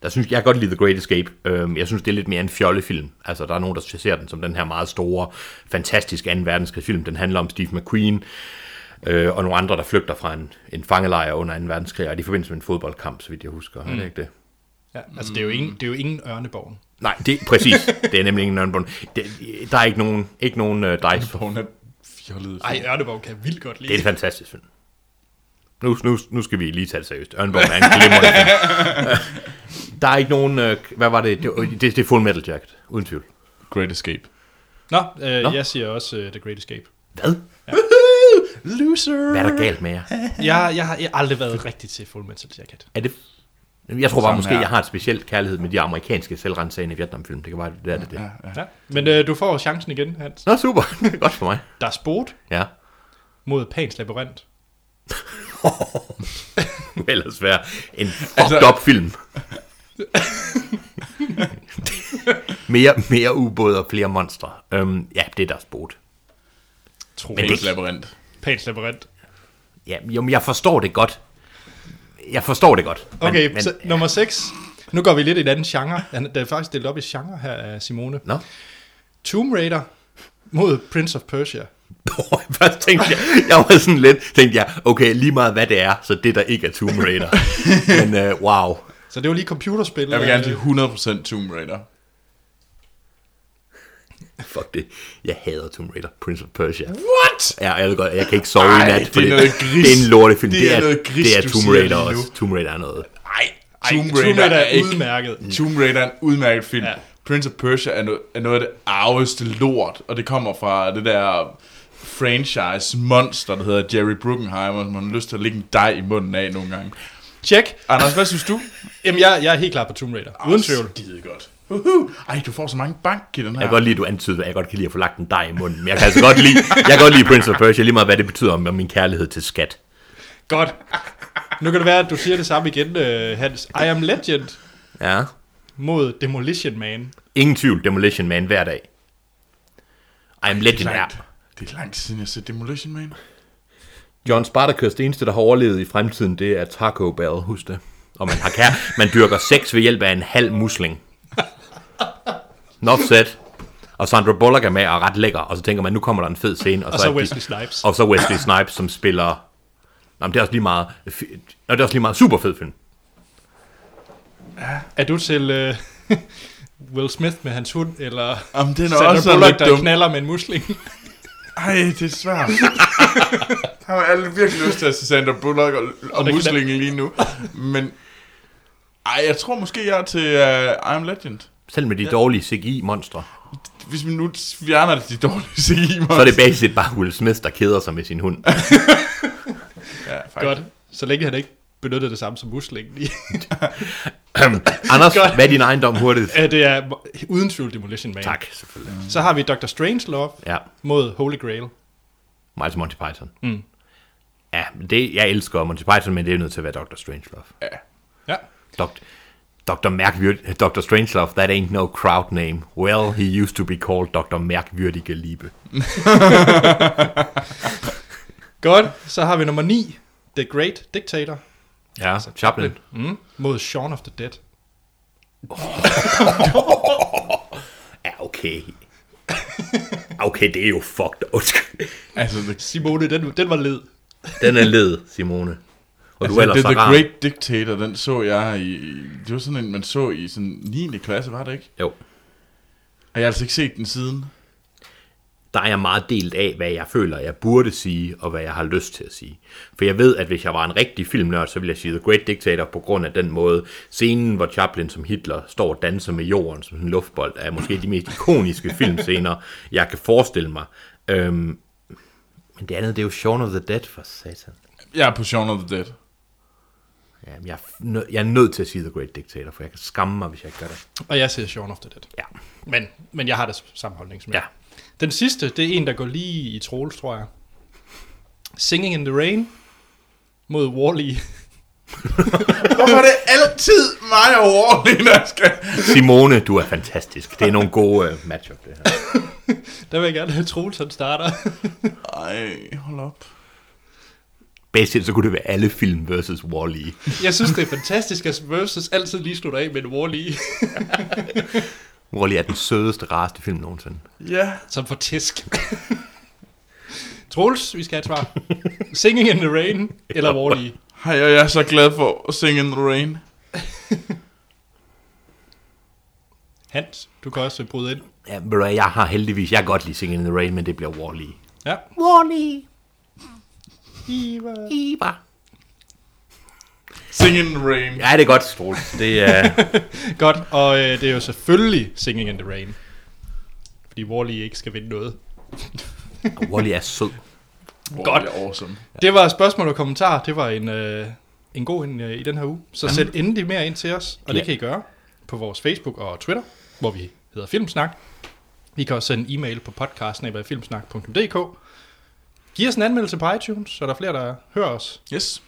[SPEAKER 2] der synes jeg kan godt lide The Great Escape. Øhm, Jeg synes, det er lidt mere en fjollefilm. Altså, der er nogen, der ser den som den her meget store, fantastiske 2. verdenskrigsfilm. Den handler om Steve McQueen øh, og nogle andre, der flygter fra en, en fangelejr under 2. verdenskrig, og det er i forbindelse med en fodboldkamp, så vidt jeg husker. Mm. Er det ikke det?
[SPEAKER 1] Ja, altså, det er jo ingen, det er jo ingen Ørneborgen.
[SPEAKER 2] Nej, det, præcis. det er nemlig ingen Nørnbund. Det, der er ikke nogen, ikke nogen uh, dice.
[SPEAKER 3] Hun er fjollet.
[SPEAKER 1] Ej, Ørneborg kan jeg vildt godt
[SPEAKER 2] Det er
[SPEAKER 1] lide.
[SPEAKER 2] en fantastisk film. Nu, nu, nu skal vi lige tage det seriøst. Ørnborg er en glimrende film. Øh, Der er ikke nogen... øh, Hvad var det? Det, det, det er Full Metal Jacket, uden tvivl.
[SPEAKER 3] Great Escape.
[SPEAKER 1] Nå, øh,
[SPEAKER 2] Nå.
[SPEAKER 1] jeg siger også øh, The Great Escape.
[SPEAKER 2] Hvad?
[SPEAKER 3] Loser!
[SPEAKER 2] Hvad er der galt med jer?
[SPEAKER 1] Jeg, jeg har jeg har aldrig været rigtig til Full Metal Jacket.
[SPEAKER 2] Er det... Jeg tror bare,
[SPEAKER 3] Samme
[SPEAKER 2] måske
[SPEAKER 3] her.
[SPEAKER 2] jeg har et specielt kærlighed med de amerikanske selvrensagende Vietnamfilm. Det kan være, det er det. det.
[SPEAKER 1] Ja. Men øh, du får chancen igen, Hans.
[SPEAKER 2] Nå, super. Godt for mig.
[SPEAKER 1] Der er sport
[SPEAKER 2] Ja.
[SPEAKER 1] mod Pans Labyrinth.
[SPEAKER 2] Det kunne ellers være en fucked altså... up film. mere, mere ubåde og flere monstre. Øhm, ja, det er deres bot.
[SPEAKER 1] Tro.
[SPEAKER 2] Men
[SPEAKER 3] Pænt
[SPEAKER 2] det-
[SPEAKER 3] labyrint.
[SPEAKER 1] Pans Labyrinth.
[SPEAKER 2] Ja, jo, men jeg forstår det godt. Jeg forstår det godt. Men,
[SPEAKER 1] Okay,
[SPEAKER 2] men,
[SPEAKER 1] men, så nummer 6. Nu går vi lidt i en anden genre. Han- Der er faktisk delt op i genre her af Simone.
[SPEAKER 2] Nå.
[SPEAKER 1] Tomb Raider mod Prince of Persia.
[SPEAKER 2] Først tænkte jeg, jeg var sådan lidt, tænkte jeg, okay, lige meget hvad det er, så det der ikke er Tomb Raider. Men øh, wow.
[SPEAKER 1] Så det var lige computerspil.
[SPEAKER 3] Jeg vil gerne
[SPEAKER 1] øh,
[SPEAKER 3] til 100% Tomb Raider.
[SPEAKER 2] Fuck det. Jeg hader Tomb Raider, Prince of Persia.
[SPEAKER 3] What?
[SPEAKER 2] Ja, jeg ved godt, jeg kan ikke sove i
[SPEAKER 3] Ej,
[SPEAKER 2] nat,
[SPEAKER 3] det er
[SPEAKER 2] for det,
[SPEAKER 3] noget gris.
[SPEAKER 2] det er en lortefilm.
[SPEAKER 3] Det er noget gris,
[SPEAKER 2] det er
[SPEAKER 3] du
[SPEAKER 2] Tomb
[SPEAKER 3] siger
[SPEAKER 2] Raider
[SPEAKER 3] lige nu.
[SPEAKER 2] også. Tomb Raider er noget.
[SPEAKER 3] Nej,
[SPEAKER 1] Ej, Tomb Raider, er udmærket.
[SPEAKER 3] Mm. Tomb Raider er en udmærket film.
[SPEAKER 1] Ja.
[SPEAKER 3] Ja. Prince of Persia er, no- er noget af det arveste lort, og det kommer fra det der franchise-monster, der hedder Jerry Bruckheimer, som man har lyst til at lægge en dej i munden af nogle gange.
[SPEAKER 1] Check.
[SPEAKER 3] Anders, hvad synes du?
[SPEAKER 1] Jamen, jeg, jeg er helt klar på Tomb Raider. Uden tvivl.
[SPEAKER 3] Skide godt. Uhuh. Ej, du får så mange bank i den her.
[SPEAKER 2] Jeg kan godt lide, at du antyder, at jeg godt kan lide at få lagt en dej i munden. Men jeg kan altså godt lide, jeg kan godt lide Prince of Persia, lige meget hvad det betyder om om min kærlighed til skat.
[SPEAKER 1] Godt. Nu kan det være, at du siger det samme igen, øh, Hans. I am legend
[SPEAKER 2] Ja.
[SPEAKER 1] mod Demolition Man.
[SPEAKER 2] Ingen tvivl, Demolition Man hver dag. I am legend er.
[SPEAKER 3] langt. Det er langt siden, jeg har set Demolition Man.
[SPEAKER 2] John Spartacus, det eneste, der har overlevet i fremtiden, det er Taco Bell, husk det. Og man, har kær, man dyrker sex ved hjælp af en halv musling. Not set. Og Sandra Bullock er med og er ret lækker, og så tænker man, nu kommer der en fed scene. Og,
[SPEAKER 1] Og så
[SPEAKER 2] er de-
[SPEAKER 1] Wesley Snipes.
[SPEAKER 2] Og så Wesley Snipes, som spiller... Nå, men det er også lige meget... fi- Nå, det er også lige meget super fed film.
[SPEAKER 1] Er du til øh, Will Smith med hans hund, eller
[SPEAKER 3] Jamen, den er
[SPEAKER 1] Sandra
[SPEAKER 3] også sådan
[SPEAKER 1] Bullock,
[SPEAKER 3] lidt
[SPEAKER 1] der
[SPEAKER 3] dum.
[SPEAKER 1] knaller med en musling?
[SPEAKER 3] Ej, det er svært. Har jeg alle virkelig lyst til at se Sandra Bullock og, og
[SPEAKER 1] det
[SPEAKER 3] muslingen lige nu. Men Ej, jeg tror måske, jeg er til uh, I Am Legend.
[SPEAKER 2] Selv med de dårlige CGI-monstre,
[SPEAKER 3] Hvis vi nu fjerner det, de dårlige CGI
[SPEAKER 2] så er det basisk set bare Will Smith, der keder sig med sin hund.
[SPEAKER 3] Ja, faktisk.
[SPEAKER 1] Godt. Så længe han ikke benyttede det samme som muslingen.
[SPEAKER 2] Anders, hvad er din ejendom hurtigt?
[SPEAKER 1] Ja, det er uden tvivl Demolition Man.
[SPEAKER 2] Tak, selvfølgelig.
[SPEAKER 1] Så har vi Dr. Strangelove
[SPEAKER 2] Ja,
[SPEAKER 1] mod Holy Grail.
[SPEAKER 2] mig til Monty Python.
[SPEAKER 1] Mm.
[SPEAKER 2] Ja, det, jeg elsker Monty Python, men det er nødt til at være Dr. Strangelove.
[SPEAKER 3] Ja.
[SPEAKER 1] Ja.
[SPEAKER 2] Dr. Dr. Mærkvyr- Dr. Strangelove, that ain't no crowd name. Well, he used to be called Dr. Mærkvyrdige Liebe.
[SPEAKER 1] Godt. Så har vi nummer 9, The Great Dictator
[SPEAKER 2] Ja, Altså, Chaplin.
[SPEAKER 1] mm. mod Shaun of the Dead.
[SPEAKER 2] Ja, okay. Okay, det er jo fucked. Undskyld.
[SPEAKER 3] Altså, the,
[SPEAKER 1] Simone, den, den var led.
[SPEAKER 2] Den er led, Simone. Og altså, du er
[SPEAKER 3] altså
[SPEAKER 2] ellers
[SPEAKER 3] det,
[SPEAKER 2] så
[SPEAKER 3] The
[SPEAKER 2] rar.
[SPEAKER 3] Great Dictator, den så jeg i... Det var sådan en, man så i sådan 9. klasse, var det ikke?
[SPEAKER 2] Jo.
[SPEAKER 3] Og jeg har altså ikke set den siden.
[SPEAKER 2] der er jeg meget delt af, hvad jeg føler, jeg burde sige, og hvad jeg har lyst til at sige. For jeg ved, at hvis jeg var en rigtig filmnørd, så ville jeg sige The Great Dictator på grund af den måde. Scenen, hvor Chaplin som Hitler står og danser med jorden som sådan en luftbold, er måske de mest ikoniske filmscener, jeg kan forestille mig. Øhm, men det andet, det er jo Shaun of the Dead for satan.
[SPEAKER 3] Jeg er på Shaun of the Dead.
[SPEAKER 2] Jamen, jeg, er f- nø- jeg er nødt til at sige The Great Dictator, for jeg kan skamme mig, hvis jeg ikke gør det.
[SPEAKER 1] Og jeg ser Shaun of the Dead.
[SPEAKER 2] Ja.
[SPEAKER 1] Men, men jeg har det samme holdning som
[SPEAKER 2] Ja.
[SPEAKER 1] jer. Den sidste, det er en, der går lige i Troels, tror jeg. Singing in the Rain mod Wall-E.
[SPEAKER 3] Hvorfor er det altid mig og Warley, der skal...
[SPEAKER 2] Simone, du er fantastisk. Det er nogle gode øh, matchup, det her.
[SPEAKER 1] Der vil jeg gerne have at Troels, han starter.
[SPEAKER 3] Ej, hold op.
[SPEAKER 2] Basically, så kunne det være alle film versus Wall-E.
[SPEAKER 1] Jeg synes, det er fantastisk, at Versus altid lige slutter af med en Wall-E,
[SPEAKER 2] Wall-E er den sødeste, rareste film nogensinde.
[SPEAKER 3] Ja.
[SPEAKER 1] som får tæsk. Troels, vi skal have et svar. Singing in the Rain eller Wall-E?
[SPEAKER 3] Hej, og jeg er så glad for at Sing in the Rain.
[SPEAKER 1] Hans, du kan også bryde ind.
[SPEAKER 2] Ja, ved du hvad, jeg har heldigvis, jeg kan godt lide Singing in the Rain, men det bliver Wall-E.
[SPEAKER 1] Ja.
[SPEAKER 2] Wall-E,
[SPEAKER 1] Iva.
[SPEAKER 2] Iba.
[SPEAKER 3] Sing in the Rain. Ja.
[SPEAKER 2] Ja, det er godt, Troels. Det er...
[SPEAKER 1] Godt, og øh, det er jo selvfølgelig Singing in the Rain. Fordi Wall-E ikke skal vinde noget.
[SPEAKER 2] Wall-E er sød.
[SPEAKER 3] Godt. Det er awesome.
[SPEAKER 1] Det var spørgsmål og kommentarer. Det var en, øh, en god en øh, i den her uge. Så Jamen. send endelig mere ind til os, og det
[SPEAKER 2] Ja.
[SPEAKER 1] kan I gøre på vores Facebook og Twitter, hvor vi hedder Filmsnak. I kan også sende en e-mail på podcasten filmsnak.dk. Giv os en anmeldelse på iTunes, så der er flere, der hører os.
[SPEAKER 3] Yes.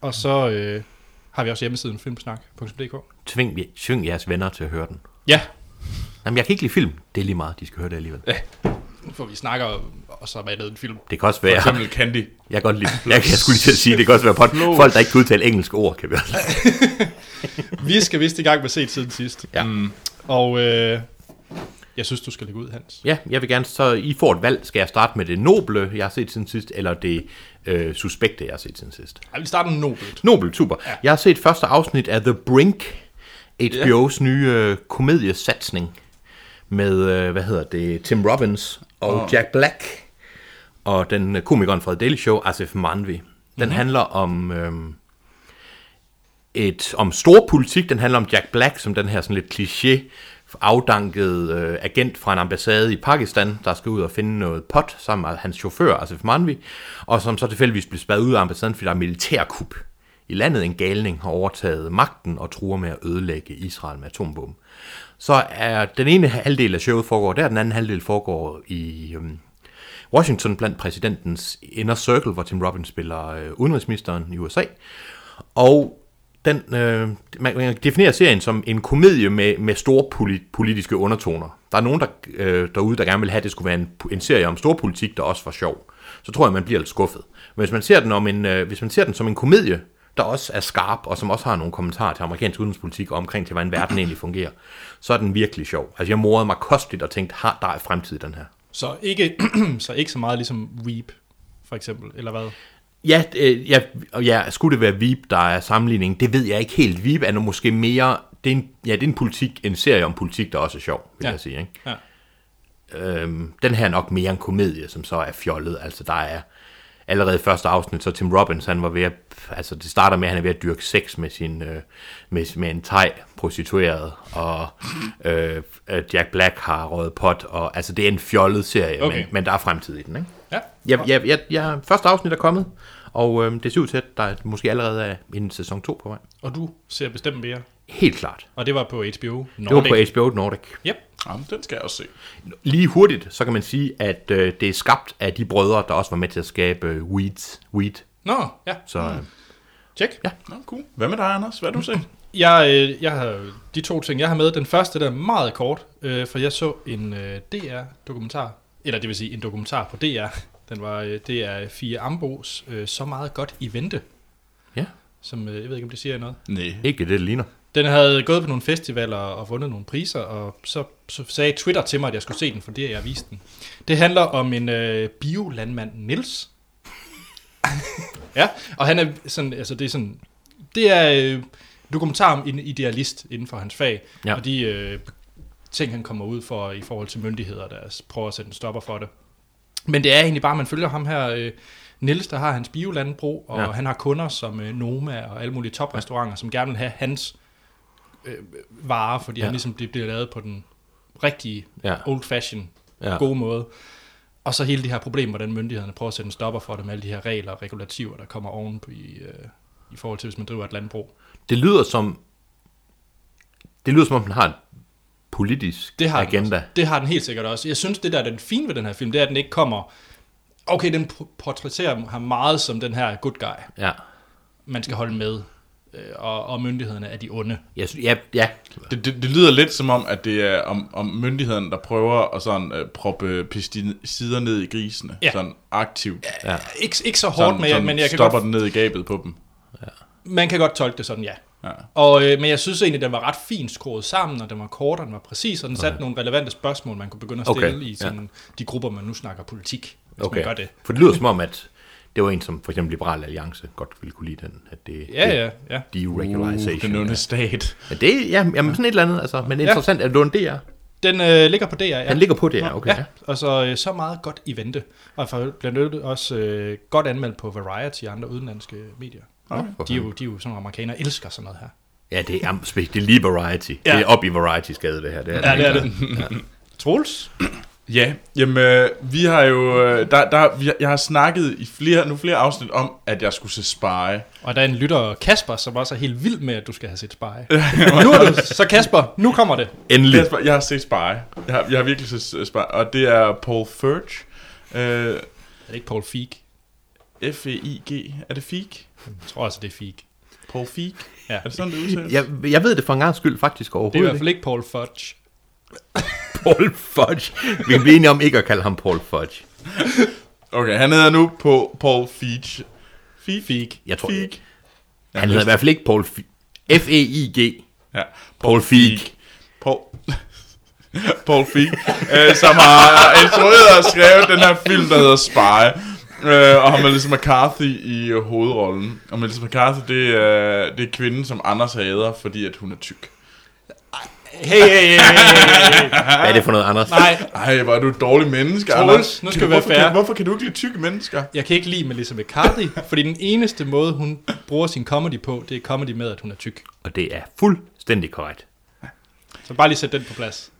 [SPEAKER 1] Og så øh, har vi også hjemmesiden filmsnak.dk.
[SPEAKER 2] Tving, tving jeres venner til at høre den.
[SPEAKER 1] Ja,
[SPEAKER 2] Jamen, jeg kan ikke lide film. Det er lige meget, de skal høre det alligevel.
[SPEAKER 1] for vi snakker også om andet end film.
[SPEAKER 2] Det kan også
[SPEAKER 3] For
[SPEAKER 2] være...
[SPEAKER 3] eksempel Candy.
[SPEAKER 2] Jeg kan godt lide... Jeg, jeg skulle lige til at sige, det kan også være pot.
[SPEAKER 3] Flows.
[SPEAKER 2] folk, der ikke kan udtale engelske ord, kan være.
[SPEAKER 1] Vi skal vist i gang med set siden sidst. Mm.
[SPEAKER 2] Ja.
[SPEAKER 1] Og øh, jeg synes, du skal lægge ud, Hans.
[SPEAKER 2] Ja, jeg vil gerne... Så I får et valg. Skal jeg starte med det noble, jeg har set siden sidst, eller det øh, suspekte, jeg har set siden sidst?
[SPEAKER 1] Ej, vi starter nobelt.
[SPEAKER 2] Nobel, super. Ja. Jeg har set første afsnit af The Brink, HBO's ja. nye øh, komediesatsning med, øh, hvad hedder det, Tim Robbins og oh. Jack Black og den øh, komikeren fra The Daily Show, Asif Manvi. Den mm-hmm. handler om... Øh, et, om stor politik. Den handler om Jack Black, som den her sådan lidt kliché afdanket øh, agent fra en ambassade i Pakistan, der skal ud og finde noget pot sammen med hans chauffør, Asif Manvi, og som så tilfældigvis bliver spadet ud af ambassaden, fordi der er militærkup i landet. En galning har overtaget magten og truer med at ødelægge Israel med atombomben. Så er den ene halvdel af showet foregår der, den anden halvdel foregår i øhm, Washington blandt præsidentens inner circle, hvor Tim Robbins spiller øh, udenrigsministeren i USA. Og den, øh, man, man definerer serien som en komedie med, med store polit, politiske undertoner. Der er nogen der, øh, derude, der gerne vil have, at det skulle være en, en serie om stor politik, der også var sjov. Så tror jeg, man bliver lidt skuffet. Men hvis man ser den, om en, øh, hvis man ser den som en komedie, der også er skarp, og som også har nogle kommentarer til amerikansk udenrigspolitik og omkring til, hvordan verden egentlig fungerer, så er den virkelig sjov. Altså, jeg morede mig kosteligt og tænkte, har der er fremtid i den her.
[SPEAKER 1] Så ikke, så ikke så meget ligesom Weep, for eksempel, eller hvad?
[SPEAKER 2] Ja, øh, ja, og ja, skulle det være Veep, der er sammenligning? Det ved jeg ikke helt. Veep er nu måske mere... Det er en, ja, det er en, politik, en serie om politik, der også er sjov, vil
[SPEAKER 1] Ja.
[SPEAKER 2] ja. jeg sige. Ikke?
[SPEAKER 1] Ja.
[SPEAKER 2] Øhm, den her er nok mere en komedie, som så er fjollet. Altså, der er, allerede i første afsnit, så Tim Robbins, han var ved at, altså det starter med, at han er ved at dyrke sex med sin, øh, med, med en thai prostitueret, og øh, øh, Jack Black har røget pot, og altså det er en fjollet serie, okay.
[SPEAKER 1] Okay.
[SPEAKER 2] men, men der er fremtid i den, ikke?
[SPEAKER 1] Ja.
[SPEAKER 2] Ja, ja, ja, ja, første afsnit er kommet, og øh, det ser ud til, at der er måske allerede er en sæson 2 på vej.
[SPEAKER 1] Og du ser bestemt mere.
[SPEAKER 2] Helt klart.
[SPEAKER 1] Og det var på HBO Nordic.
[SPEAKER 2] Det var på HBO Nordic.
[SPEAKER 1] Yep.
[SPEAKER 3] Jamen, den skal jeg også se.
[SPEAKER 2] Lige hurtigt, så kan man sige, at øh, det er skabt af de brødre, der også var med til at skabe øh, Weeds. Weed.
[SPEAKER 1] Nå, ja.
[SPEAKER 2] Så øh,
[SPEAKER 1] Tjek. Ja.
[SPEAKER 3] Nå, cool. Hvad med dig, Anders? Hvad har du set?
[SPEAKER 1] Jeg, øh, jeg har de to ting, jeg har med. Den første, der er meget kort, øh, for jeg så en øh, DR-dokumentar. Eller det vil sige en dokumentar på DR. Den var, øh, det er Fie Ambos øh, Så meget godt i vente.
[SPEAKER 2] Ja.
[SPEAKER 1] Som, øh, jeg ved ikke, om det siger jer noget.
[SPEAKER 3] Nej.
[SPEAKER 2] ikke det, det ligner.
[SPEAKER 1] Den havde gået på nogle festivaler og vundet nogle priser, og så, så sagde Twitter til mig, at jeg skulle se den, fordi jeg viste den. Det handler om en øh, biolandmand, Nils. ja, og han er sådan, altså det er sådan, det er øh, dokumentar om en idealist inden for hans fag,
[SPEAKER 2] Ja.
[SPEAKER 1] ja. og de øh, ting, han kommer ud for i forhold til myndigheder, der s- prøver at sætte en stopper for det. Men det er egentlig bare, at man følger ham her, øh, Niels, der har hans biolandbrug, og
[SPEAKER 2] Ja.
[SPEAKER 1] ja. han har kunder som øh, Noma og alle mulige toprestauranter, som gerne vil have hans øh, varer, fordi ja.
[SPEAKER 2] Ja.
[SPEAKER 1] han ligesom det bliver lavet på den rigtige,
[SPEAKER 2] Ja.
[SPEAKER 1] ja. old fashion,
[SPEAKER 2] Ja.
[SPEAKER 1] ja. gode måde. Og så hele det her problem, hvordan myndighederne prøver at sætte en stopper for det med alle de her regler og regulativer, der kommer oven på i, øh, i forhold til, hvis man driver et landbrug.
[SPEAKER 2] Det lyder som... Det lyder som om, den har en politisk
[SPEAKER 1] Det har Den,
[SPEAKER 2] agenda.
[SPEAKER 1] også. det har den helt sikkert også. Jeg synes, det der er den fine ved den her film, det er, at den ikke kommer... Okay, den p- portrætterer ham meget som den her good guy,
[SPEAKER 2] Ja.
[SPEAKER 1] man skal holde med, øh, og, og myndighederne er de onde.
[SPEAKER 2] Jeg sy- ja, ja.
[SPEAKER 3] Det, det, det lyder lidt som om, at det er om, om myndighederne, der prøver at sådan, øh, proppe pesticider ned i grisene.
[SPEAKER 1] Ja.
[SPEAKER 3] Sådan aktivt.
[SPEAKER 2] Ja.
[SPEAKER 1] Ikke, ikke så hårdt,
[SPEAKER 3] Sådan,
[SPEAKER 1] men, jeg, men jeg kan
[SPEAKER 3] stopper
[SPEAKER 1] godt,
[SPEAKER 3] den ned i gabet på dem.
[SPEAKER 1] man kan godt tolke det sådan, ja.
[SPEAKER 3] Ja.
[SPEAKER 1] Og, øh, men jeg synes egentlig, den var ret fint skruet sammen, og den var kort, og den var præcis, og den satte nogle relevante spørgsmål, man kunne begynde at stille
[SPEAKER 2] Okay,
[SPEAKER 1] okay. i sådan, de grupper, man nu snakker politik, hvis okay.
[SPEAKER 2] Okay.
[SPEAKER 1] man gør det.
[SPEAKER 2] For det lyder som om, at det var en, som for eksempel Liberal Alliance godt ville kunne lide den. At det, det-
[SPEAKER 1] Ja, ja, ja.
[SPEAKER 3] Uh, den
[SPEAKER 2] deregularization.
[SPEAKER 3] onde stat.
[SPEAKER 2] ja, det, ja, jamen sådan et eller andet, altså. Men interessant, at Lund DR,
[SPEAKER 1] Den øh, ligger på DR, ja.
[SPEAKER 2] han ligger på DR, okay.
[SPEAKER 1] Ja, og så, øh, så meget godt i vente. Og for blandt andet også øh, godt anmeldt på Variety og andre udenlandske medier.
[SPEAKER 2] for
[SPEAKER 1] De er
[SPEAKER 2] fanden.
[SPEAKER 1] jo, de er jo som amerikanere elsker sådan noget her.
[SPEAKER 2] Ja, det er, jamen, spe- det er lige Variety. Ja.
[SPEAKER 1] Ja.
[SPEAKER 2] Det er op i Variety-skade, det her. Det er helt klart.
[SPEAKER 1] Troels?
[SPEAKER 3] Ja, jamen øh, vi har jo, øh, der, der, vi, har- jeg har snakket i flere, nu flere afsnit om, at jeg skulle se Spy.
[SPEAKER 1] Og der er en lytter, Kasper, som også er helt vild med, at du skal have set Spy. nu er du, så Kasper, nu kommer det.
[SPEAKER 2] Endelig.
[SPEAKER 3] Kasper, jeg har set Spy. Jeg har, jeg har virkelig set øh, Spy, og det er Paul Furch. Øh,
[SPEAKER 1] Er det ikke Paul Feig?
[SPEAKER 3] F-E-I-G. Er det Feig?
[SPEAKER 1] Jeg tror også, det er Feig.
[SPEAKER 3] Paul Feig?
[SPEAKER 1] Ja.
[SPEAKER 3] Er det sådan, det udtales?
[SPEAKER 2] Jeg, jeg ved det for en gang skyld faktisk
[SPEAKER 1] Det er i
[SPEAKER 2] overhovedet
[SPEAKER 1] hvert fald ikke Paul Fudge.
[SPEAKER 2] ikke. Paul Fudge. Vi kan blive enige om ikke at kalde ham Paul Fudge.
[SPEAKER 3] Okay, han hedder nu på Paul Feig. Feig? Feig.
[SPEAKER 2] Jeg tror-
[SPEAKER 3] Feig.
[SPEAKER 2] Han hedder i hvert fald ikke Paul F- F-E-I-G.
[SPEAKER 3] Ja.
[SPEAKER 2] Paul Feig.
[SPEAKER 3] Paul, Paul Feig, øh, som har instrueret og skrevet den her film, der hedder Spy. Øh, og har Melissa McCarthy i øh, hovedrollen. Og Melissa McCarthy, det er, det er kvinden, som Anders hader, fordi at hun er tyk.
[SPEAKER 1] Hey, hey, hey, hey, hey.
[SPEAKER 2] Hvad er det for noget, Anders?
[SPEAKER 1] Nej,
[SPEAKER 3] Ej, hvor er du et dårligt menneske,
[SPEAKER 1] Troels,
[SPEAKER 3] Anders.
[SPEAKER 1] nu
[SPEAKER 3] Kan
[SPEAKER 1] skal
[SPEAKER 3] du-
[SPEAKER 1] vi være
[SPEAKER 3] hvorfor, kan,
[SPEAKER 1] fair.
[SPEAKER 3] hvorfor kan du ikke lide tykke mennesker?
[SPEAKER 1] jeg kan ikke lide Melissa McCarthy, fordi den eneste måde, hun bruger sin comedy på, det er comedy med, at hun er tyk.
[SPEAKER 2] Og det er fuldstændig korrekt.
[SPEAKER 1] Så bare lige sæt den på plads.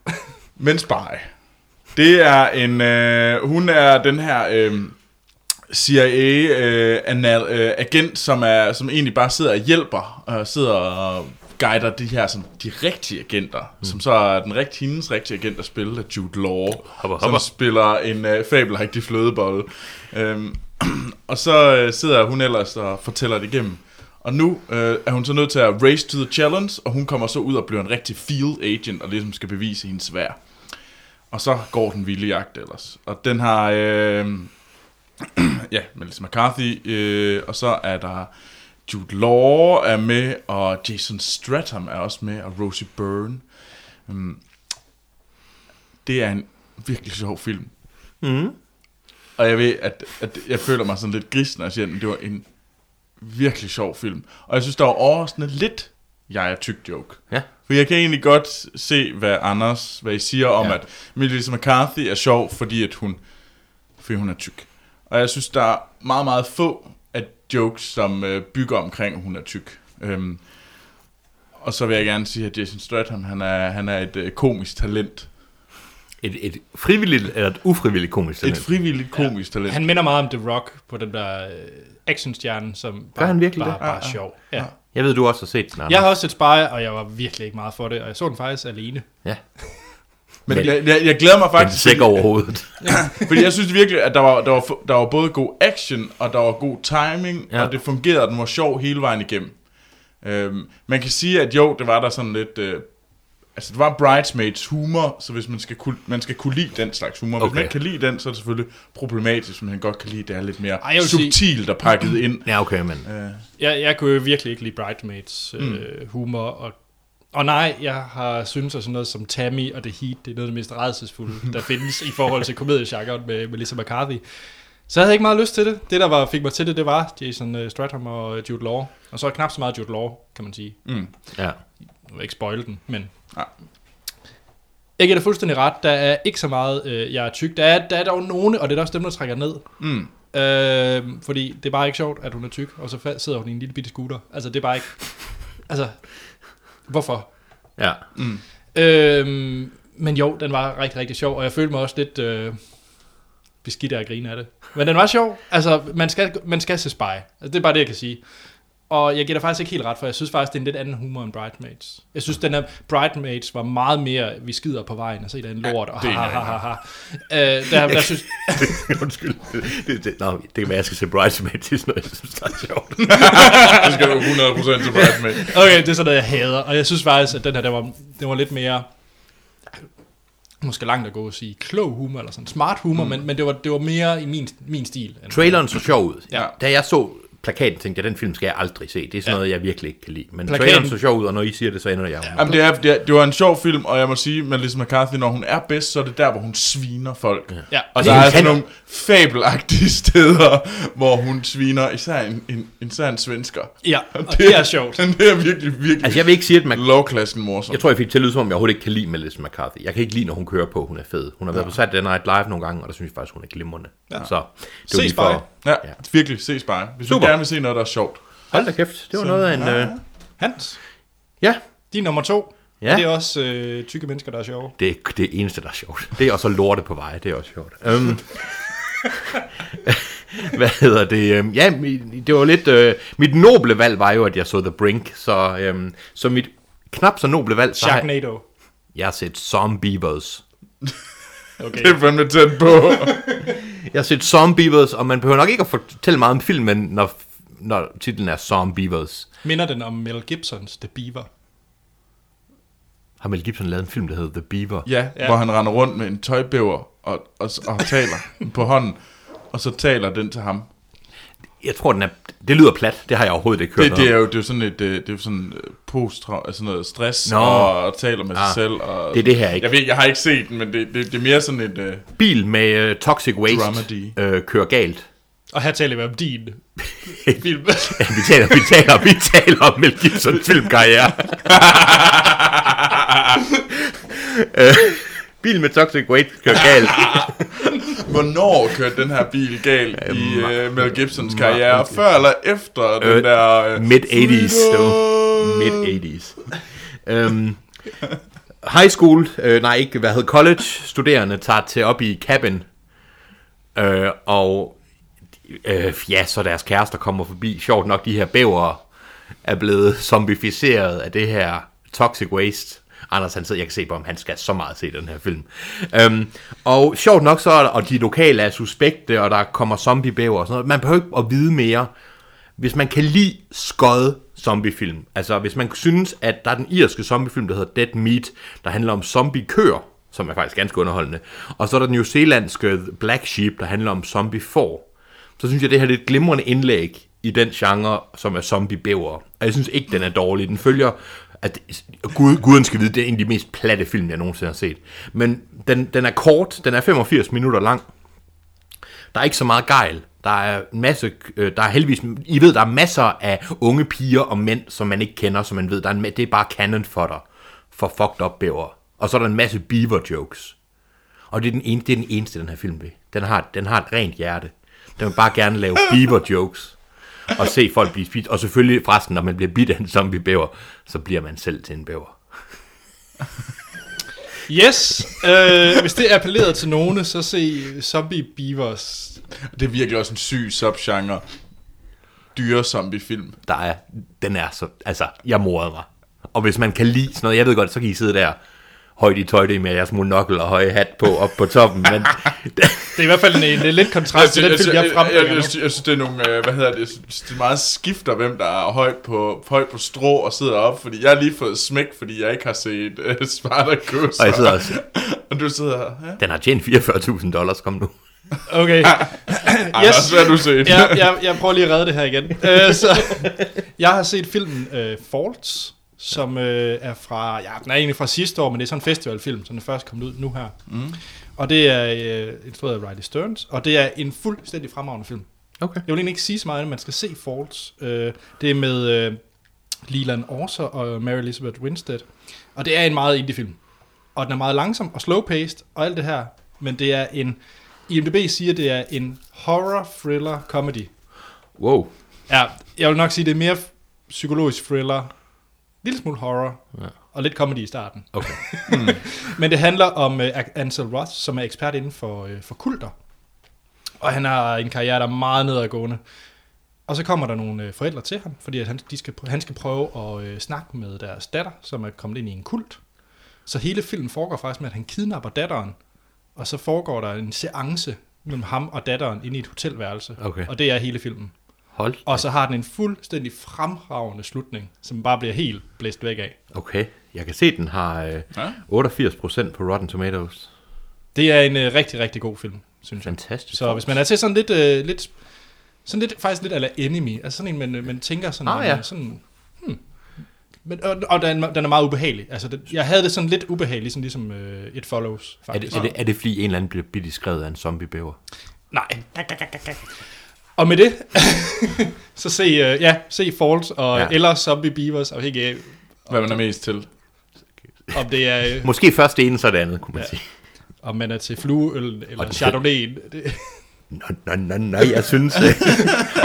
[SPEAKER 3] Men Spy. Det er en... Øh, hun er den her... Øh, CIA-agent, øh, anal- øh, agent, som, er, som egentlig bare sidder og hjælper, og sidder og guider de her sådan, de rigtige agenter, mm. som så er den rigtige, hendes rigtige agent at spille, er Jude Law,
[SPEAKER 2] Hopper,
[SPEAKER 3] som
[SPEAKER 2] hopper.
[SPEAKER 3] spiller en øh, fabelagtig flødebolle. Øhm, og så øh, sidder hun ellers og fortæller det igennem. Og nu øh, er hun så nødt til at race to the challenge, og hun kommer så ud og bliver en rigtig field agent, og ligesom skal bevise hendes værd. Og så går den vilde jagt ellers. Og den har... Øh, ja, Melissa McCarthy, øh, og så er der Jude Law er med, og Jason Stratham er også med, og Rosie Byrne. Mm. Det er en virkelig sjov film. Mm. Og jeg ved, at, at jeg føler mig sådan lidt grisen, når jeg siger den. Det var en virkelig sjov film. Og jeg synes, der var overraskende lidt jeg er tyk joke.
[SPEAKER 2] Ja.
[SPEAKER 3] For jeg kan egentlig godt se, hvad Anders, hvad I siger om,
[SPEAKER 2] Ja.
[SPEAKER 3] ja. at Melissa McCarthy er sjov, fordi at hun, fordi hun er tyk. Og jeg synes, der er meget, meget få af jokes, som øh, bygger omkring, at hun er tyk. Øhm, og så vil jeg gerne sige, at Jason Statham, han er, han er et øh, komisk talent.
[SPEAKER 2] Et, et frivilligt eller et ufrivilligt komisk
[SPEAKER 3] Et
[SPEAKER 2] talent.
[SPEAKER 3] frivilligt komisk ja. talent.
[SPEAKER 1] Han minder meget om The Rock på den der øh, actionstjerne, som bare,
[SPEAKER 2] han virkelig
[SPEAKER 1] bare,
[SPEAKER 2] det? Ah,
[SPEAKER 1] bare sjov. Ja.
[SPEAKER 2] Jeg ved, du også har set den, Anders.
[SPEAKER 1] Jeg har også set Spy, og jeg var virkelig ikke meget for det, og jeg så den faktisk alene.
[SPEAKER 2] Ja,
[SPEAKER 3] Men
[SPEAKER 2] Men-
[SPEAKER 3] jeg, jeg, jeg glæder mig
[SPEAKER 2] den
[SPEAKER 3] faktisk,
[SPEAKER 2] sækker over hovedet.
[SPEAKER 3] fordi jeg synes virkelig, at der var, der, var, fu- der var både god action, og der var god timing, ja.
[SPEAKER 2] Ja.
[SPEAKER 3] og det fungerede, og den var sjov hele vejen igennem. Øhm, man kan sige, at jo, det var der sådan lidt... Øh, altså, det var Bridesmaids humor, så hvis man skal kunne, man skal kunne lide den slags humor. Okay. Hvis
[SPEAKER 2] Okay.
[SPEAKER 3] man ikke kan lide den, så er det selvfølgelig problematisk, men man godt kan lide, at det er lidt mere
[SPEAKER 1] Ej, jeg vil sige-
[SPEAKER 3] subtilt og pakket ind. Øh,
[SPEAKER 2] Ja, okay, men...
[SPEAKER 1] Jeg, jeg kunne jo virkelig ikke lide Bridesmaids øh, humor, og, og nej, jeg har synes at sådan noget som Tammy og The Heat, det er noget af det mest redselsfulde, der findes i forhold til komediegenren med Melissa McCarthy. Så jeg havde ikke meget lyst til det. Det, der var, fik mig til det, det var Jason øh, Stratham og Jude Law. Og så knap så meget Jude Law, kan man sige.
[SPEAKER 3] Mm.
[SPEAKER 2] Ja.
[SPEAKER 1] Nu vil jeg ikke spoil den, men...
[SPEAKER 3] Nej.
[SPEAKER 1] Jeg giver dig fuldstændig ret. Der er ikke så meget, øh, jeg er tyk. Der er, der er dog nogen, og det er da også dem, der trækker ned.
[SPEAKER 3] Mm.
[SPEAKER 1] Øh, fordi det er bare ikke sjovt, at hun er tyk, og så fa- sidder hun i en lille bitte scooter. Altså, det er bare ikke... Altså, hvorfor?
[SPEAKER 2] Ja.
[SPEAKER 3] mm.
[SPEAKER 1] Øh, men jo, den var rigtig, rigtig sjov, og jeg følte mig også lidt øh, beskidt af at grine af det. Men den var sjov. Altså, man skal, man skal se spy. Altså, det er bare det, jeg kan sige. Og jeg giver dig faktisk ikke helt ret, for jeg synes faktisk, det er en lidt anden humor end Bridesmaids. Jeg synes, den her Bridesmaids var meget mere, vi skider på vejen, og så er der en lort, og
[SPEAKER 3] det
[SPEAKER 1] ha,
[SPEAKER 3] er
[SPEAKER 1] ha,
[SPEAKER 3] en
[SPEAKER 1] ha, ha, ha. Øh, der, der synes,
[SPEAKER 2] Undskyld. Det, det, nå, det kan være, jeg skal se Bridesmaids. Det er sådan noget, jeg synes, der er sjovt.
[SPEAKER 3] Det skal du 100% til Bridesmaids.
[SPEAKER 1] Okay, det er sådan noget, jeg hader. Og jeg synes faktisk, at den her, der var, den var lidt mere... Måske langt at gå og sige klog humor, eller sådan smart humor, mm. men, men det, var, det var mere i min, min stil. end-
[SPEAKER 2] Traileren så sjov ud.
[SPEAKER 3] Ja.
[SPEAKER 2] Da jeg så plakaten, tænkte jeg, den film skal jeg aldrig se. Det er sådan
[SPEAKER 1] Ja.
[SPEAKER 2] noget, jeg virkelig ikke kan lide.
[SPEAKER 1] Plakaten-
[SPEAKER 2] Men plakaten... traileren så sjov ud, og når I siger det, så ender jeg ja.
[SPEAKER 3] Jamen, det, er, det, er, det var en sjov film, og jeg må sige, at Melissa McCarthy, når hun er bedst, så er det der, hvor hun sviner folk.
[SPEAKER 1] Ja.
[SPEAKER 3] Og
[SPEAKER 2] Det
[SPEAKER 3] der
[SPEAKER 2] er
[SPEAKER 3] er
[SPEAKER 2] en
[SPEAKER 3] sådan
[SPEAKER 2] kanon.
[SPEAKER 3] nogle fabelagtige steder, hvor hun sviner, især en, en, især en svensker.
[SPEAKER 1] Ja, og det er sjovt.
[SPEAKER 3] Men det er virkelig, virkelig
[SPEAKER 2] Altså, jeg vil ikke sige, at man...
[SPEAKER 3] lovklassen morsom.
[SPEAKER 2] Jeg tror, jeg fik til at lyde, som om jeg overhovedet ikke kan lide Melissa McCarthy. Jeg kan ikke lide, når hun kører på. Hun er fed. Hun har været på Saturday Night Live nogle gange, og der synes jeg faktisk, hun er glimrende. Ja. Så det var
[SPEAKER 1] Ses
[SPEAKER 2] lige for...
[SPEAKER 3] Ja,
[SPEAKER 2] Ja.
[SPEAKER 3] virkelig, ses bare. Hvis du
[SPEAKER 2] Super.
[SPEAKER 3] gerne vil se noget, der er sjovt.
[SPEAKER 2] Hold da kæft. Det var
[SPEAKER 3] Så-
[SPEAKER 2] noget af en... Øh...
[SPEAKER 1] Hans,
[SPEAKER 2] Ja.
[SPEAKER 1] din nummer to.
[SPEAKER 2] Ja.
[SPEAKER 1] Ja. Det er også øh, tykke mennesker, der er sjove.
[SPEAKER 2] Det er det er eneste, der er sjovt. Det er også at lorte på vej, det er også sjovt. Um, hvad hedder det? Øhm, Ja, mi- det var lidt... Øh, mit noble valg var jo, at jeg så The Brink, så, øhm, så mit knap så noble valg... Så har jeg,
[SPEAKER 1] Sharknado.
[SPEAKER 2] jeg har set Zombievers.
[SPEAKER 1] Okay.
[SPEAKER 3] Det er fandme tæt på.
[SPEAKER 2] Jeg har set Zombievers, og man behøver nok ikke at fortælle meget om filmen, når, når titlen er Zombievers.
[SPEAKER 1] Minder den om Mel Gibsons The Beaver?
[SPEAKER 2] Har Mel Gibson lavet en film, der hedder The Beaver?
[SPEAKER 3] ja,
[SPEAKER 1] Ja.
[SPEAKER 3] hvor han render rundt med en tøjbæver og, og, og taler på hånden. Og så taler den til ham.
[SPEAKER 2] Jeg tror, den er... Det lyder plat, det har jeg overhovedet ikke hørt
[SPEAKER 3] Det, det, er
[SPEAKER 2] noget om.
[SPEAKER 3] jo, det er jo sådan et øh, det er jo sådan øh, postra, altså noget stress
[SPEAKER 2] Nå.
[SPEAKER 3] og, og taler med sig
[SPEAKER 2] Ah,
[SPEAKER 3] selv. Og,
[SPEAKER 2] det er det her, ikke?
[SPEAKER 3] Jeg, ved, jeg har ikke set den, men det, det, det er mere sådan et... Øh,
[SPEAKER 2] Bil med uh, toxic waste
[SPEAKER 3] Dramedy.
[SPEAKER 2] uh, kører galt.
[SPEAKER 1] Og her taler vi om din film.
[SPEAKER 2] Ja, vi taler, vi taler, vi taler om Mel Gibsons filmkarriere. Øh, Bil med toxic weight kører galt.
[SPEAKER 3] Hvornår kørte den her bil galt i uh, Mel Gibsons karriere? Før eller efter øh, den
[SPEAKER 2] Øh,
[SPEAKER 3] der... Uh,
[SPEAKER 2] Mid-80s, det var Midt 80's. Um, high school, øh, nej ikke, hvad hed college, studerende tager til op i cabin. Øh, og øh, ja, så deres kærester kommer forbi. Sjovt nok, de her bæver er blevet zombificeret af det her toxic waste. Anders, han sidder, jeg kan se på ham, han skal så meget se den her film. Øhm, og sjovt nok så, er der- og de lokale er suspekte, og der kommer zombiebæver og sådan noget. Man behøver ikke at vide mere. Hvis man kan lide skød zombiefilm, altså hvis man synes, at der er den irske zombiefilm, der hedder Dead Meat, der handler om zombiekøer, som er faktisk ganske underholdende, og så er der den newzealandske Black Sheep, der handler om zombiefår, så synes jeg, det her er et glimrende indlæg i den genre, som er zombiebæver. Og jeg synes ikke, den er dårlig. Den følger, at Gud, guden skal vide, det er en af de mest platte film, jeg nogensinde har set. Men den, den er kort, den er 85 minutter lang. Der er ikke så meget gejl. Der er en masse, øh, der er heldigvis, I ved, der er masser af unge piger og mænd, som man ikke kender, som man ved, der er en, ma- det er bare canon for dig, for fucked up bæver. Og så er der en masse beaver jokes. Og det er den, ene, det er den eneste, den her film vil. Den har, den har et rent hjerte. Den vil bare gerne lave Bieber-jokes. Og se folk blive spist. Og selvfølgelig, forresten, når man bliver bidt af en zombie-bæver, så bliver man selv til en bæver.
[SPEAKER 1] Yes, øh, hvis det appellerede til nogen, så se Zombie Beavers.
[SPEAKER 3] Det er virkelig også en syg subgenre. Dyre zombiefilm.
[SPEAKER 2] Der er, den er så, altså, jeg morede mig. Og hvis man kan lide sådan noget, jeg ved godt, så kan I sidde der højt i tøjde med jeres monokkel og høje hat på op på toppen, men
[SPEAKER 1] Det er i hvert fald en, en, en lidt kontrast til den film, jeg
[SPEAKER 3] Altså, jeg,
[SPEAKER 1] frembringer
[SPEAKER 3] jeg,
[SPEAKER 1] nu.
[SPEAKER 3] synes- jeg synes, det er nogle, øh, hvad hedder det, jeg synes, det er meget skifter, hvem der er højt på, højt på strå og sidder op, fordi jeg har lige fået smæk, fordi jeg ikke har set uh, Spartacus.
[SPEAKER 2] Og jeg sidder også-
[SPEAKER 3] og du sidder her, ja.
[SPEAKER 2] den har tjent 44.000 dollars, kom nu.
[SPEAKER 1] Okay,
[SPEAKER 3] Ej, yes. Anders, hvad har du set?
[SPEAKER 1] jeg, jeg, jeg prøver lige at redde det her igen. Øh, så, jeg har set filmen øh, Faults, som øh, er fra, ja, den er egentlig fra sidste år, men det er sådan en festivalfilm, så den er først kommet ud nu her. Mm. Og det er øh, instrueret af Riley Stearns, og det er en fuldstændig fremragende film.
[SPEAKER 2] Okay.
[SPEAKER 1] Jeg vil egentlig ikke sige så meget, men man skal se Faults. Øh, det er med øh, Leland Orser og Mary Elizabeth Winstead. Og det er en meget indie-film. Og den er meget langsom og slow-paced og alt det her. Men det er en... IMDb siger, det er en horror-thriller-comedy.
[SPEAKER 2] Wow.
[SPEAKER 1] Ja, jeg vil nok sige, det er mere psykologisk thriller, en lille smule horror,
[SPEAKER 2] Ja.
[SPEAKER 1] ja. og lidt comedy i starten.
[SPEAKER 2] Okay.
[SPEAKER 1] Men det handler om uh, Ansel Roth, som er ekspert inden for, uh, for kulter. Og han har en karriere, der er meget nedadgående. Og så kommer der nogle øh, forældre til ham, fordi at han, de skal, pr- han skal prøve at øh, snakke med deres datter, som er kommet ind i en kult. Så hele filmen foregår faktisk med, at han kidnapper datteren, og så foregår der en seance mellem ham og datteren inde i et hotelværelse.
[SPEAKER 2] Okay.
[SPEAKER 1] Og det er hele filmen.
[SPEAKER 2] Hold.
[SPEAKER 1] Og så har den en fuldstændig fremragende slutning, som bare bliver helt blæst væk af.
[SPEAKER 2] Okay. Jeg kan se, den har øh,
[SPEAKER 3] Ja.
[SPEAKER 2] 88% på Rotten Tomatoes.
[SPEAKER 1] Det er en øh, rigtig, rigtig god film, synes jeg.
[SPEAKER 2] Fantastisk.
[SPEAKER 1] Så hvis man er til sådan lidt, øh, lidt sådan lidt, faktisk lidt ala enemy, altså sådan en, man, man tænker sådan,
[SPEAKER 2] Ah,
[SPEAKER 1] man,
[SPEAKER 2] ja.
[SPEAKER 1] sådan hmm. Men, og, og den, den er meget ubehagelig. Altså, den, jeg havde det sådan lidt ubehageligt, sådan ligesom øh, It Follows,
[SPEAKER 2] er
[SPEAKER 1] faktisk.
[SPEAKER 2] det, er, det, er det fordi en eller anden bliver bidt i skrevet af en zombiebæver?
[SPEAKER 1] Nej. Og med det, så se, øh, ja, se Falls, og,
[SPEAKER 2] Ja.
[SPEAKER 1] ja. eller Zombie Beavers, og ikke af,
[SPEAKER 3] Hvad man er mest til.
[SPEAKER 1] om det er... Øh,
[SPEAKER 2] Måske først det ene, så det andet, kunne man ja.
[SPEAKER 1] Ja.
[SPEAKER 2] sige.
[SPEAKER 1] om man er til flueøl eller
[SPEAKER 2] Og det-
[SPEAKER 1] chardonnay. Det,
[SPEAKER 2] Nå, nå, nå, nej, jeg synes ikke.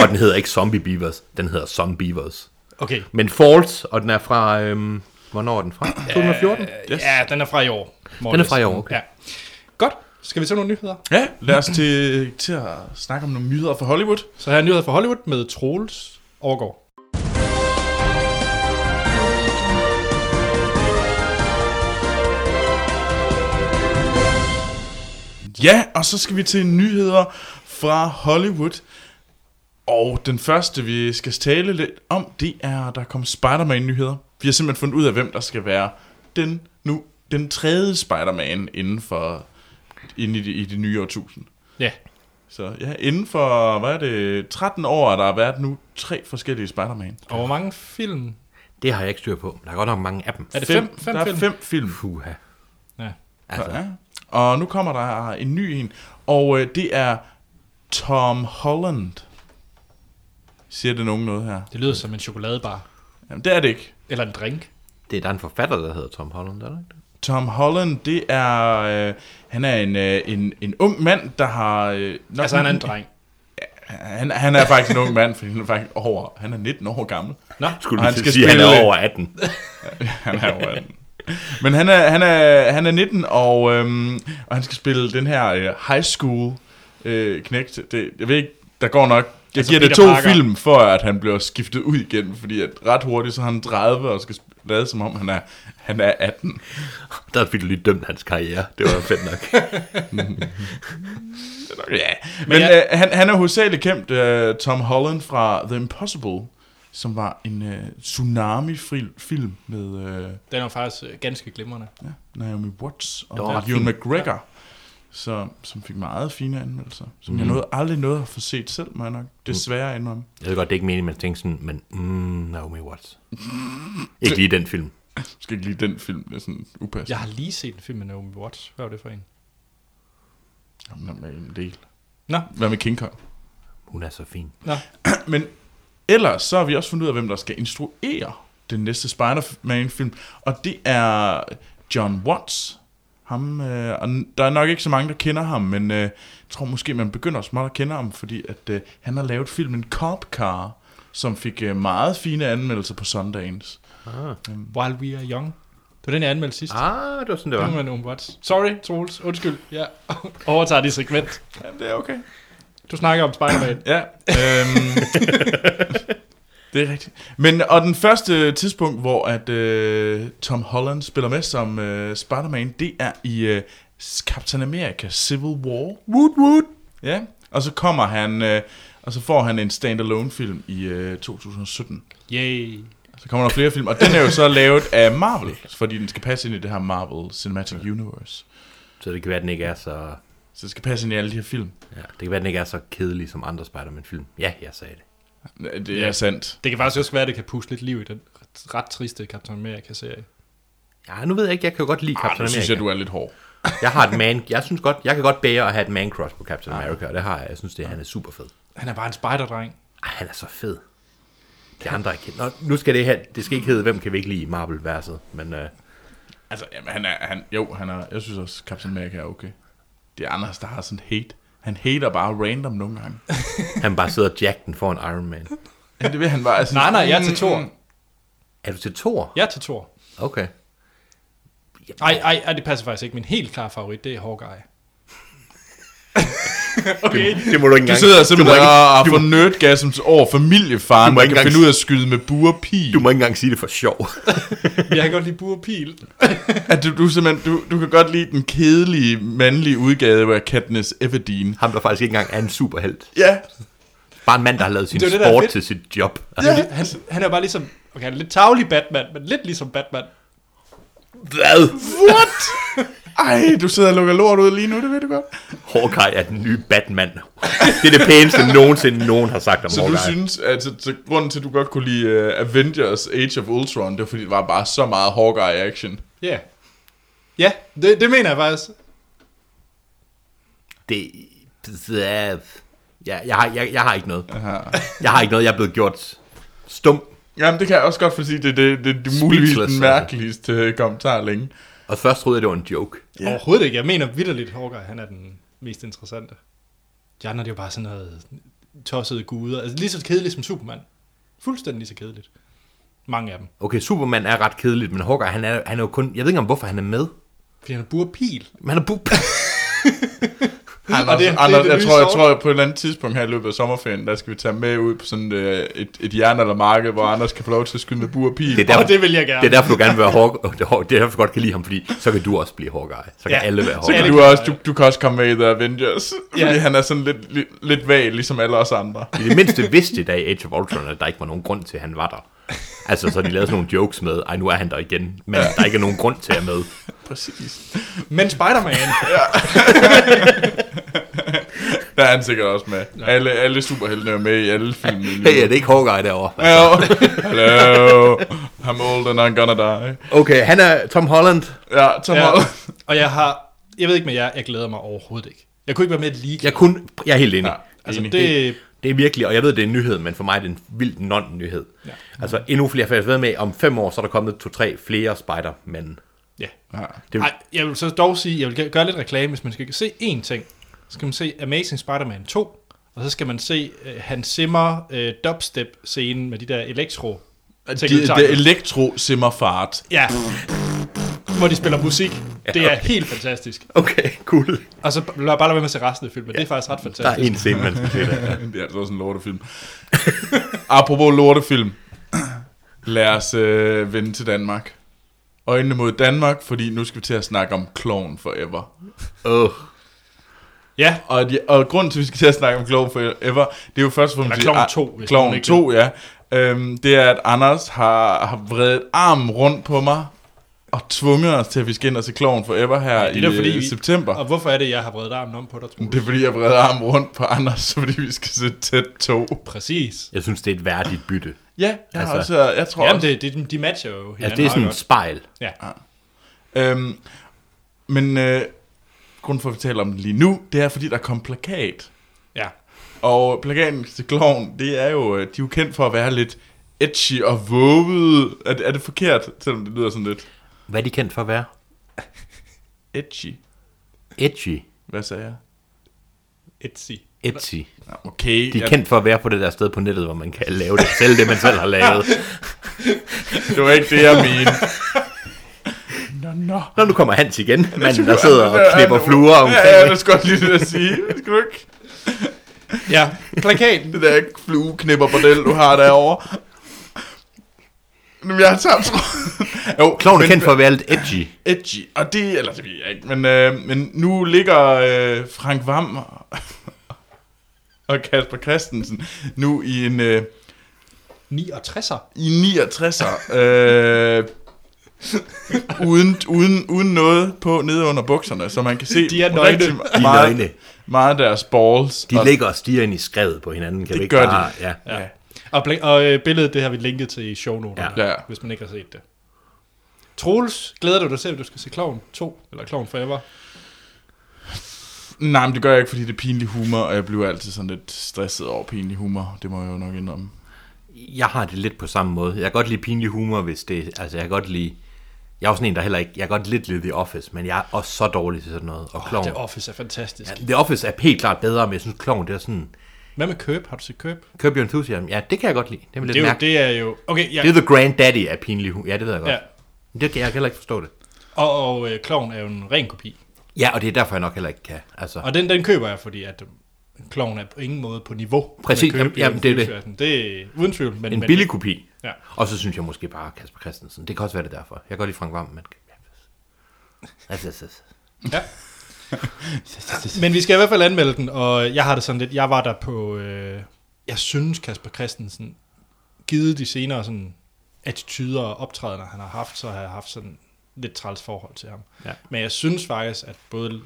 [SPEAKER 2] og den hedder ikke Zombie Beavers, den hedder Zombievers.
[SPEAKER 1] okay.
[SPEAKER 2] Men Falls, og den er fra, øhm, hvornår er den fra? 2014?
[SPEAKER 1] Yes. Ja, den er fra i år. more
[SPEAKER 2] Den er
[SPEAKER 1] or
[SPEAKER 2] fra i
[SPEAKER 1] less.
[SPEAKER 2] år, okay.
[SPEAKER 1] Ja. Godt. Skal vi til nogle nyheder?
[SPEAKER 3] Ja, lad os til, til at snakke om nogle nyheder fra Hollywood.
[SPEAKER 1] Så her er nyheder fra Hollywood med Troels Overgaard.
[SPEAKER 3] Ja, og så skal vi til nyheder fra Hollywood. Og den første, vi skal tale lidt om, det er, der kom Spider-Man-nyheder. Vi har simpelthen fundet ud af, hvem der skal være den nu den tredje Spider-Man inden for inde i, det, i det nye årtusind.
[SPEAKER 1] Ja.
[SPEAKER 3] Så ja, inden for, hvad er det, 13 år, har der har været nu tre forskellige Spider-Man.
[SPEAKER 1] Og hvor mange film?
[SPEAKER 2] Det har jeg ikke styr på. Der er godt nok mange af dem.
[SPEAKER 1] Er det fem, fem
[SPEAKER 3] der
[SPEAKER 1] film?
[SPEAKER 3] er fem film.
[SPEAKER 2] Puha.
[SPEAKER 1] Ja.
[SPEAKER 2] Altså,
[SPEAKER 3] Ja. Og nu kommer der en ny en, og øh, det er Tom Holland. Siger det nogen noget her?
[SPEAKER 1] Det lyder som en chokoladebar.
[SPEAKER 3] Jamen, det er det ikke.
[SPEAKER 1] Eller en drink.
[SPEAKER 2] det er der er en forfatter, der hedder Tom Holland, er der ikke det?
[SPEAKER 3] Tom Holland, det er... Øh, han er en, øh, en, en ung mand, der har... Øh, nok,
[SPEAKER 1] Altså, han er en dreng.
[SPEAKER 3] Han, han er faktisk en ung mand, fordi han er faktisk over... Han er 19 år gammel.
[SPEAKER 1] Nå,
[SPEAKER 2] Skulle
[SPEAKER 3] Og
[SPEAKER 2] han
[SPEAKER 3] han
[SPEAKER 2] skal
[SPEAKER 3] skal
[SPEAKER 2] sige, han
[SPEAKER 3] spille-
[SPEAKER 2] er over 18.
[SPEAKER 3] Han er over 18. Men han er, han er, han er 19, og, øhm, og han skal spille den her øh, high school øh, knægt. Det, jeg ved ikke, der går nok...
[SPEAKER 1] Altså
[SPEAKER 3] Jeg altså giver det
[SPEAKER 1] Peter
[SPEAKER 3] to
[SPEAKER 1] Parker.
[SPEAKER 3] Parker. film, for at han bliver skiftet ud igen, fordi at ret hurtigt, så er han 30 og skal sp- lade som om, han er, han er 18.
[SPEAKER 2] Der fik du lige dømt hans karriere. Det var fedt nok.
[SPEAKER 3] Ja, men
[SPEAKER 1] jeg-
[SPEAKER 3] øh, han, han er hovedsageligt kendt, øh, Tom Holland, fra The Impossible, som var en øh, tsunami-film med øh,
[SPEAKER 1] den er faktisk øh, ganske glimrende.
[SPEAKER 3] ja, Naomi Watts
[SPEAKER 2] Det var
[SPEAKER 3] og
[SPEAKER 2] ret fint.
[SPEAKER 3] Ewan McGregor, så, som fik meget fine anmeldelser, som mm. jeg nåede, aldrig nåede at få set selv, må jeg nok desværre indrømme.
[SPEAKER 2] Jeg ved godt, det er ikke meningen, man tænker sådan, men mm, Naomi Watts. Ikke lige den film.
[SPEAKER 3] Jeg skal ikke lige den film, det er sådan upassende.
[SPEAKER 1] Jeg har lige set en film med Naomi Watts. Hvad var det for en?
[SPEAKER 3] Jamen, der er en del.
[SPEAKER 1] Nå.
[SPEAKER 3] Hvad med King Kong?
[SPEAKER 2] Hun er så fin.
[SPEAKER 1] Nå.
[SPEAKER 3] Men ellers så har vi også fundet ud af, hvem der skal instruere den næste Spider-Man-film, og det er John Watts. Ham, øh, og n- der er nok ikke så mange, der kender ham, men øh, jeg tror måske, man begynder småt at kende ham, fordi at, øh, han har lavet filmen Cop Car, som fik øh, meget fine anmeldelser på Sundance.
[SPEAKER 2] Ah.
[SPEAKER 1] While We Are Young. Det var den, jeg anmeldte sidst. Ah.
[SPEAKER 2] ah, det var sådan, det var.
[SPEAKER 1] Det var en ombuds. Sorry, Troels. Undskyld. Jeg overtager det segment.
[SPEAKER 3] Ja, det er okay.
[SPEAKER 1] Du snakker om Spider-Man.
[SPEAKER 3] Ja. Øhm, det er rigtigt. Men, og den første tidspunkt, hvor at øh, Tom Holland spiller med som øh, Spider-Man, det er i øh, Captain America Civil War.
[SPEAKER 2] Woot, woot.
[SPEAKER 3] Ja, og så kommer han, øh, og så får han en standalone film i øh, 2017.
[SPEAKER 1] Yay.
[SPEAKER 3] Så kommer der flere film, og den er jo så lavet af Marvel, fordi den skal passe ind i det her Marvel Cinematic Universe.
[SPEAKER 2] Så det kan være, at den ikke er så...
[SPEAKER 3] Så den skal passe ind i alle de her film.
[SPEAKER 2] Ja, det kan være, at den ikke er så kedelig som andre Spider-Man-film. Ja, jeg sagde det.
[SPEAKER 3] Det er sandt.
[SPEAKER 1] Det kan faktisk også være, at det kan puste lidt liv i den ret- ret triste Captain America-serie.
[SPEAKER 2] Ja, nu ved jeg ikke, Ah, jeg kan jo godt lide
[SPEAKER 3] Arh,
[SPEAKER 2] Captain
[SPEAKER 3] Ah, nu
[SPEAKER 2] America.
[SPEAKER 3] synes jeg, du er lidt hård.
[SPEAKER 2] Jeg har et man... Jeg synes godt, jeg kan godt bære at have et man-crush på Captain America, og det har jeg. Jeg synes, det, han er super fed.
[SPEAKER 1] Han er bare en spejderdreng.
[SPEAKER 2] Ej, han er så fed. De andre er kendt. Nå, nu skal det her... Det skal ikke hedde, hvem kan vi ikke lide i Marvel-verset, men... Øh,
[SPEAKER 3] Altså, jamen, han er, han, jo, han er, jeg synes også, Captain America er okay. Det er Anders, der har sådan hate. Han hater bare random nogle gange.
[SPEAKER 2] han bare sidder og jack den for en Iron Man.
[SPEAKER 3] Ja, det vil han bare. Altså,
[SPEAKER 1] Nej, nej, jeg er til Thor.
[SPEAKER 2] Er du til Thor?
[SPEAKER 1] Jeg er til Thor.
[SPEAKER 2] Okay.
[SPEAKER 1] Ej, ej, ej, det passer faktisk ikke. Min helt klare favorit, det er Hawkeye. okay.
[SPEAKER 2] Det må du ikke
[SPEAKER 3] Du
[SPEAKER 2] engang...
[SPEAKER 3] sidder
[SPEAKER 2] du må
[SPEAKER 3] simpelthen
[SPEAKER 2] ikke,
[SPEAKER 3] og får nerdgasm over familiefaren,
[SPEAKER 2] Du må
[SPEAKER 3] der
[SPEAKER 2] ikke
[SPEAKER 3] kan
[SPEAKER 2] engang-
[SPEAKER 3] finde ud af at skyde med buerpil.
[SPEAKER 2] du må ikke engang sige det for sjov.
[SPEAKER 1] Jeg kan godt lide bur og pil.
[SPEAKER 3] At du, du, simpelthen, du, du kan godt lide den kedelige, mandlige udgave af Katniss Everdeen.
[SPEAKER 2] Ham, der faktisk ikke engang er en superhelt.
[SPEAKER 3] Ja,
[SPEAKER 2] Bare en mand, der har lavet sin
[SPEAKER 1] Det er jo det, der er
[SPEAKER 2] sport
[SPEAKER 1] fedt.
[SPEAKER 2] til sit job. Altså,
[SPEAKER 1] Han, er li- han, han er bare ligesom... Okay, han er lidt tavlig Batman, men lidt ligesom Batman.
[SPEAKER 2] Hvad?
[SPEAKER 3] what? Ej, du sidder og lukker lort ud lige nu, det ved du godt.
[SPEAKER 2] Hawkeye er den nye Batman. Det er det pæneste, nogensinde nogen har sagt om
[SPEAKER 3] Så du
[SPEAKER 2] Hawkeye.
[SPEAKER 3] synes, at så, så grunden til, at du godt kunne lide uh, Avengers Age of Ultron, det var fordi, det var bare så meget Hawkeye-action.
[SPEAKER 1] Ja. Yeah. Ja, det, det mener jeg faktisk.
[SPEAKER 2] Det... Ja, jeg, har, jeg, jeg har ikke noget. Jeg har ikke noget, jeg er blevet gjort stum.
[SPEAKER 3] Jamen, det kan jeg også godt fordi det, det, det, det er muligvis den
[SPEAKER 2] altså.
[SPEAKER 3] mærkeligste øh, kommentar længe.
[SPEAKER 2] Og først troede jeg, det var en joke.
[SPEAKER 1] Yeah. Overhovedet ikke. Jeg mener vidderligt, Hawkeye, han er den mest interessante. De andre, det er jo bare sådan noget tossede guder. Altså lige så kedeligt som Superman. Fuldstændig lige så kedeligt. Mange af dem.
[SPEAKER 2] Okay, Superman er ret kedeligt, men Hawkeye, han er, han er jo kun... Jeg ved ikke om, hvorfor han er med.
[SPEAKER 1] Fordi han er bur og pil.
[SPEAKER 2] Men han er bu...
[SPEAKER 3] Anders,
[SPEAKER 1] Og
[SPEAKER 3] det,
[SPEAKER 1] det- det er
[SPEAKER 3] Anders,
[SPEAKER 1] det
[SPEAKER 3] jeg,
[SPEAKER 1] nye
[SPEAKER 3] tror, jeg
[SPEAKER 1] sort.
[SPEAKER 3] tror, at på et eller andet tidspunkt her i løbet af sommerferien, der skal vi tage med ud på sådan øh, et, et jern eller marked, hvor Anders kan få lov til at skyde med bur og pil.
[SPEAKER 2] Det
[SPEAKER 1] Ja.
[SPEAKER 2] er
[SPEAKER 1] Og
[SPEAKER 2] derfor,
[SPEAKER 1] det vil jeg gerne.
[SPEAKER 2] det er derfor, du gerne vil være Hawkeye. Det er derfor, du godt kan lide ham, fordi så kan du også blive Hawkeye. Så kan
[SPEAKER 1] Ja.
[SPEAKER 2] alle være
[SPEAKER 3] Så
[SPEAKER 2] Hawkeye.
[SPEAKER 1] Ja,
[SPEAKER 3] kan
[SPEAKER 1] det
[SPEAKER 3] du,
[SPEAKER 1] kan
[SPEAKER 3] også,
[SPEAKER 1] jeg.
[SPEAKER 3] du, du kan også komme med i The Avengers, fordi
[SPEAKER 1] Ja.
[SPEAKER 3] han er sådan lidt, lidt, lidt vag, ligesom alle os andre.
[SPEAKER 2] I det mindste vidste de da i Age of Ultron, at der ikke var nogen grund til, at han var der. Altså, så de lavede sådan nogle jokes med, ej, nu er han der igen, men der ikke er nogen grund til at med.
[SPEAKER 3] Præcis.
[SPEAKER 1] Men Spider-Man.
[SPEAKER 3] Der er han sikkert også med. Alle, alle superheltene er med i alle filmene.
[SPEAKER 2] Hey, er det ikke Hawkeye derovre?
[SPEAKER 3] Hello. Hello. I'm old and I'm gonna die.
[SPEAKER 2] Okay, han er Tom Holland.
[SPEAKER 3] Ja, Tom
[SPEAKER 1] Ja.
[SPEAKER 3] ja.
[SPEAKER 1] Og jeg har... Jeg ved ikke med jer, jeg glæder mig overhovedet ikke. Jeg kunne ikke være med lige.
[SPEAKER 2] Jeg, kun, jeg er helt enig.
[SPEAKER 3] Ja,
[SPEAKER 1] altså,
[SPEAKER 3] enig.
[SPEAKER 1] det,
[SPEAKER 2] Det er virkelig, og jeg ved, det er en nyhed, men for mig er det en vild non-nyhed. Ja. Altså, endnu flere, for jeg ved med, om fem år, så er der kommet to-tre flere Spider-Man.
[SPEAKER 1] ja.
[SPEAKER 3] Ja.
[SPEAKER 2] Det-
[SPEAKER 1] Ej, jeg vil så dog sige, jeg vil gø- gøre lidt reklame, hvis man skal se én ting. Så skal man se Amazing Spider-Man 2, og så skal man se uh, Hans Zimmer uh, dubstep-scenen med de der elektro
[SPEAKER 3] Det, det er elektro simmerfart.
[SPEAKER 1] Ja, hvor de spiller musik. Det er
[SPEAKER 2] okay.
[SPEAKER 1] helt fantastisk.
[SPEAKER 2] Okay, cool.
[SPEAKER 1] Og så lad bare lade være med at se resten af filmen. Det er faktisk ret
[SPEAKER 2] Der er
[SPEAKER 1] fantastisk.
[SPEAKER 2] en scene, man skal se der.
[SPEAKER 3] det er altså også en lortefilm. Apropos lortefilm. Lad os øh, vende til Danmark. Øjnene mod Danmark, fordi nu skal vi til at snakke om Clown Forever.
[SPEAKER 2] Åh,
[SPEAKER 1] Ja,
[SPEAKER 3] Og, de, og grunden til, at vi skal til at snakke om Clown Forever, det er jo først og fremmest...
[SPEAKER 1] Eller Klovn
[SPEAKER 3] at-
[SPEAKER 1] 2, hvis man
[SPEAKER 3] Klovn
[SPEAKER 1] ikke
[SPEAKER 3] 2, ja. Øhm, det er, at Anders har, har vredet armen rundt på mig og tvunget os til, at vi skal ind og se Clown Forever her
[SPEAKER 1] det er
[SPEAKER 3] i
[SPEAKER 1] da fordi...
[SPEAKER 3] fordi, september.
[SPEAKER 1] Og hvorfor er det, jeg har vredet armen om på dig, Troels?
[SPEAKER 3] Det er fordi, jeg vreder armen rundt på Anders, fordi vi skal se tæt 2.
[SPEAKER 1] Præcis.
[SPEAKER 2] jeg synes, det er et værdigt bytte.
[SPEAKER 3] Ja, jeg, altså,
[SPEAKER 2] Altså-
[SPEAKER 3] også, jeg tror
[SPEAKER 1] Jamen,
[SPEAKER 3] også...
[SPEAKER 1] det, det, de matcher jo hinanden
[SPEAKER 2] Altså, det er sådan
[SPEAKER 1] meget
[SPEAKER 2] et spejl.
[SPEAKER 1] Ja.
[SPEAKER 3] Øhm, men øh, grunden for, at vi taler om det lige nu, det er, fordi der kom plakat.
[SPEAKER 1] ja.
[SPEAKER 3] Og plakaten til Kloven, det er jo, øh, de er jo kendt for at være lidt edgy og våget. Er, det- er det forkert, selvom det lyder sådan lidt?
[SPEAKER 2] Hvad er de kendt for at være?
[SPEAKER 3] Edgy.
[SPEAKER 2] Edgy.
[SPEAKER 3] Hvad sagde jeg?
[SPEAKER 1] Etsy.
[SPEAKER 2] Etsy.
[SPEAKER 3] Nå, Okay.
[SPEAKER 2] De er
[SPEAKER 3] jeg-
[SPEAKER 2] kendt for at være på det der sted på nettet, hvor man kan lave det selv, det man selv har lavet.
[SPEAKER 3] Det var ikke det, jeg mente. nå, nå.
[SPEAKER 2] Nå, nu kommer Hans igen, manden der sidder og knipper fluer omkring.
[SPEAKER 3] Ja, ja, det skal jeg lige til at sige. Skal du ikke?
[SPEAKER 1] Ja, plakaten.
[SPEAKER 3] Det der flueknipper bordel, du har derovre. Jamen, jeg tager tråden. jo,
[SPEAKER 2] Kloven er
[SPEAKER 3] men-
[SPEAKER 2] kendt for at være lidt edgy.
[SPEAKER 3] edgy, og det, eller det ved jeg ikke, men, øh, men nu ligger øh, Frank Vam og Kasper Christensen nu i en øh,
[SPEAKER 1] 69'er.
[SPEAKER 3] i 69'er, øh, uden, uden, uden noget på nede under bukserne, så man kan se
[SPEAKER 1] De er nøgne.
[SPEAKER 3] rigtig
[SPEAKER 1] De
[SPEAKER 2] De er nøgne.
[SPEAKER 3] meget, meget af deres balls.
[SPEAKER 2] De ligger og stiger ind i skrevet på hinanden. Kan
[SPEAKER 3] Det
[SPEAKER 2] vi ikke
[SPEAKER 3] gør
[SPEAKER 2] bare,
[SPEAKER 3] de.
[SPEAKER 2] Ja.
[SPEAKER 3] Ja.
[SPEAKER 1] Og, bl- og øh, billedet, det har vi linket til i shownoterne,
[SPEAKER 3] Ja.
[SPEAKER 1] ja.
[SPEAKER 3] Ja.
[SPEAKER 1] hvis man ikke har set det. Troels, glæder du dig til, at du skal se Kloven 2, eller Kloven Forever?
[SPEAKER 3] Nej, men det gør jeg ikke, fordi det er pinlig humor, og jeg bliver altid sådan lidt stresset over pinlig humor. Det må jeg jo nok indrømme.
[SPEAKER 2] Jeg har det lidt på samme måde. Jeg kan godt lide pinlig humor, hvis det... Altså, jeg kan godt lide... Jeg er også sådan en, der heller ikke... Jeg kan godt lidt lide The Office, men jeg er også så dårlig til sådan noget. Og
[SPEAKER 1] Oh,
[SPEAKER 2] kloven...
[SPEAKER 1] det Office er fantastisk. Ja.
[SPEAKER 2] The Office er helt klart bedre, men jeg synes, kloven det er sådan...
[SPEAKER 1] Hvad med Køb? Har du set Køb?
[SPEAKER 2] Curb Your Enthusiasm. Ja, det kan jeg godt lide. Det er, lidt
[SPEAKER 1] Det er, jo,
[SPEAKER 2] mærkeligt.
[SPEAKER 1] det er jo... Okay, ja.
[SPEAKER 2] Det... det er The Granddaddy af pinlig humor. Ja, det ved jeg godt.
[SPEAKER 1] ja.
[SPEAKER 2] Ja. Det kan jeg heller ikke forstå det.
[SPEAKER 1] Og, og øh, Kloven er jo en ren kopi.
[SPEAKER 2] Ja, og det er derfor, jeg nok heller ikke kan. Altså,
[SPEAKER 1] Og den, den køber jeg, fordi at øh, Kloven er på ingen måde på niveau.
[SPEAKER 2] Præcis,
[SPEAKER 1] med Køb,
[SPEAKER 2] jamen, det er det.
[SPEAKER 1] det. Det er uden tvivl. Men,
[SPEAKER 2] en
[SPEAKER 1] men,
[SPEAKER 2] billig kopi.
[SPEAKER 1] Ja.
[SPEAKER 2] Og så synes jeg måske bare Kasper Christensen. Det kan også være det er derfor. Jeg kan godt lide Frank Vam, men... Altså, altså, altså.
[SPEAKER 1] Ja. Men vi skal i hvert fald anmelde den, og jeg har det sådan lidt, jeg var der på, øh, jeg synes Kasper Christensen, givet de senere sådan attityder og optrædener, han har haft, så har jeg haft sådan lidt træls forhold til ham.
[SPEAKER 2] Ja.
[SPEAKER 1] Men jeg synes faktisk, at både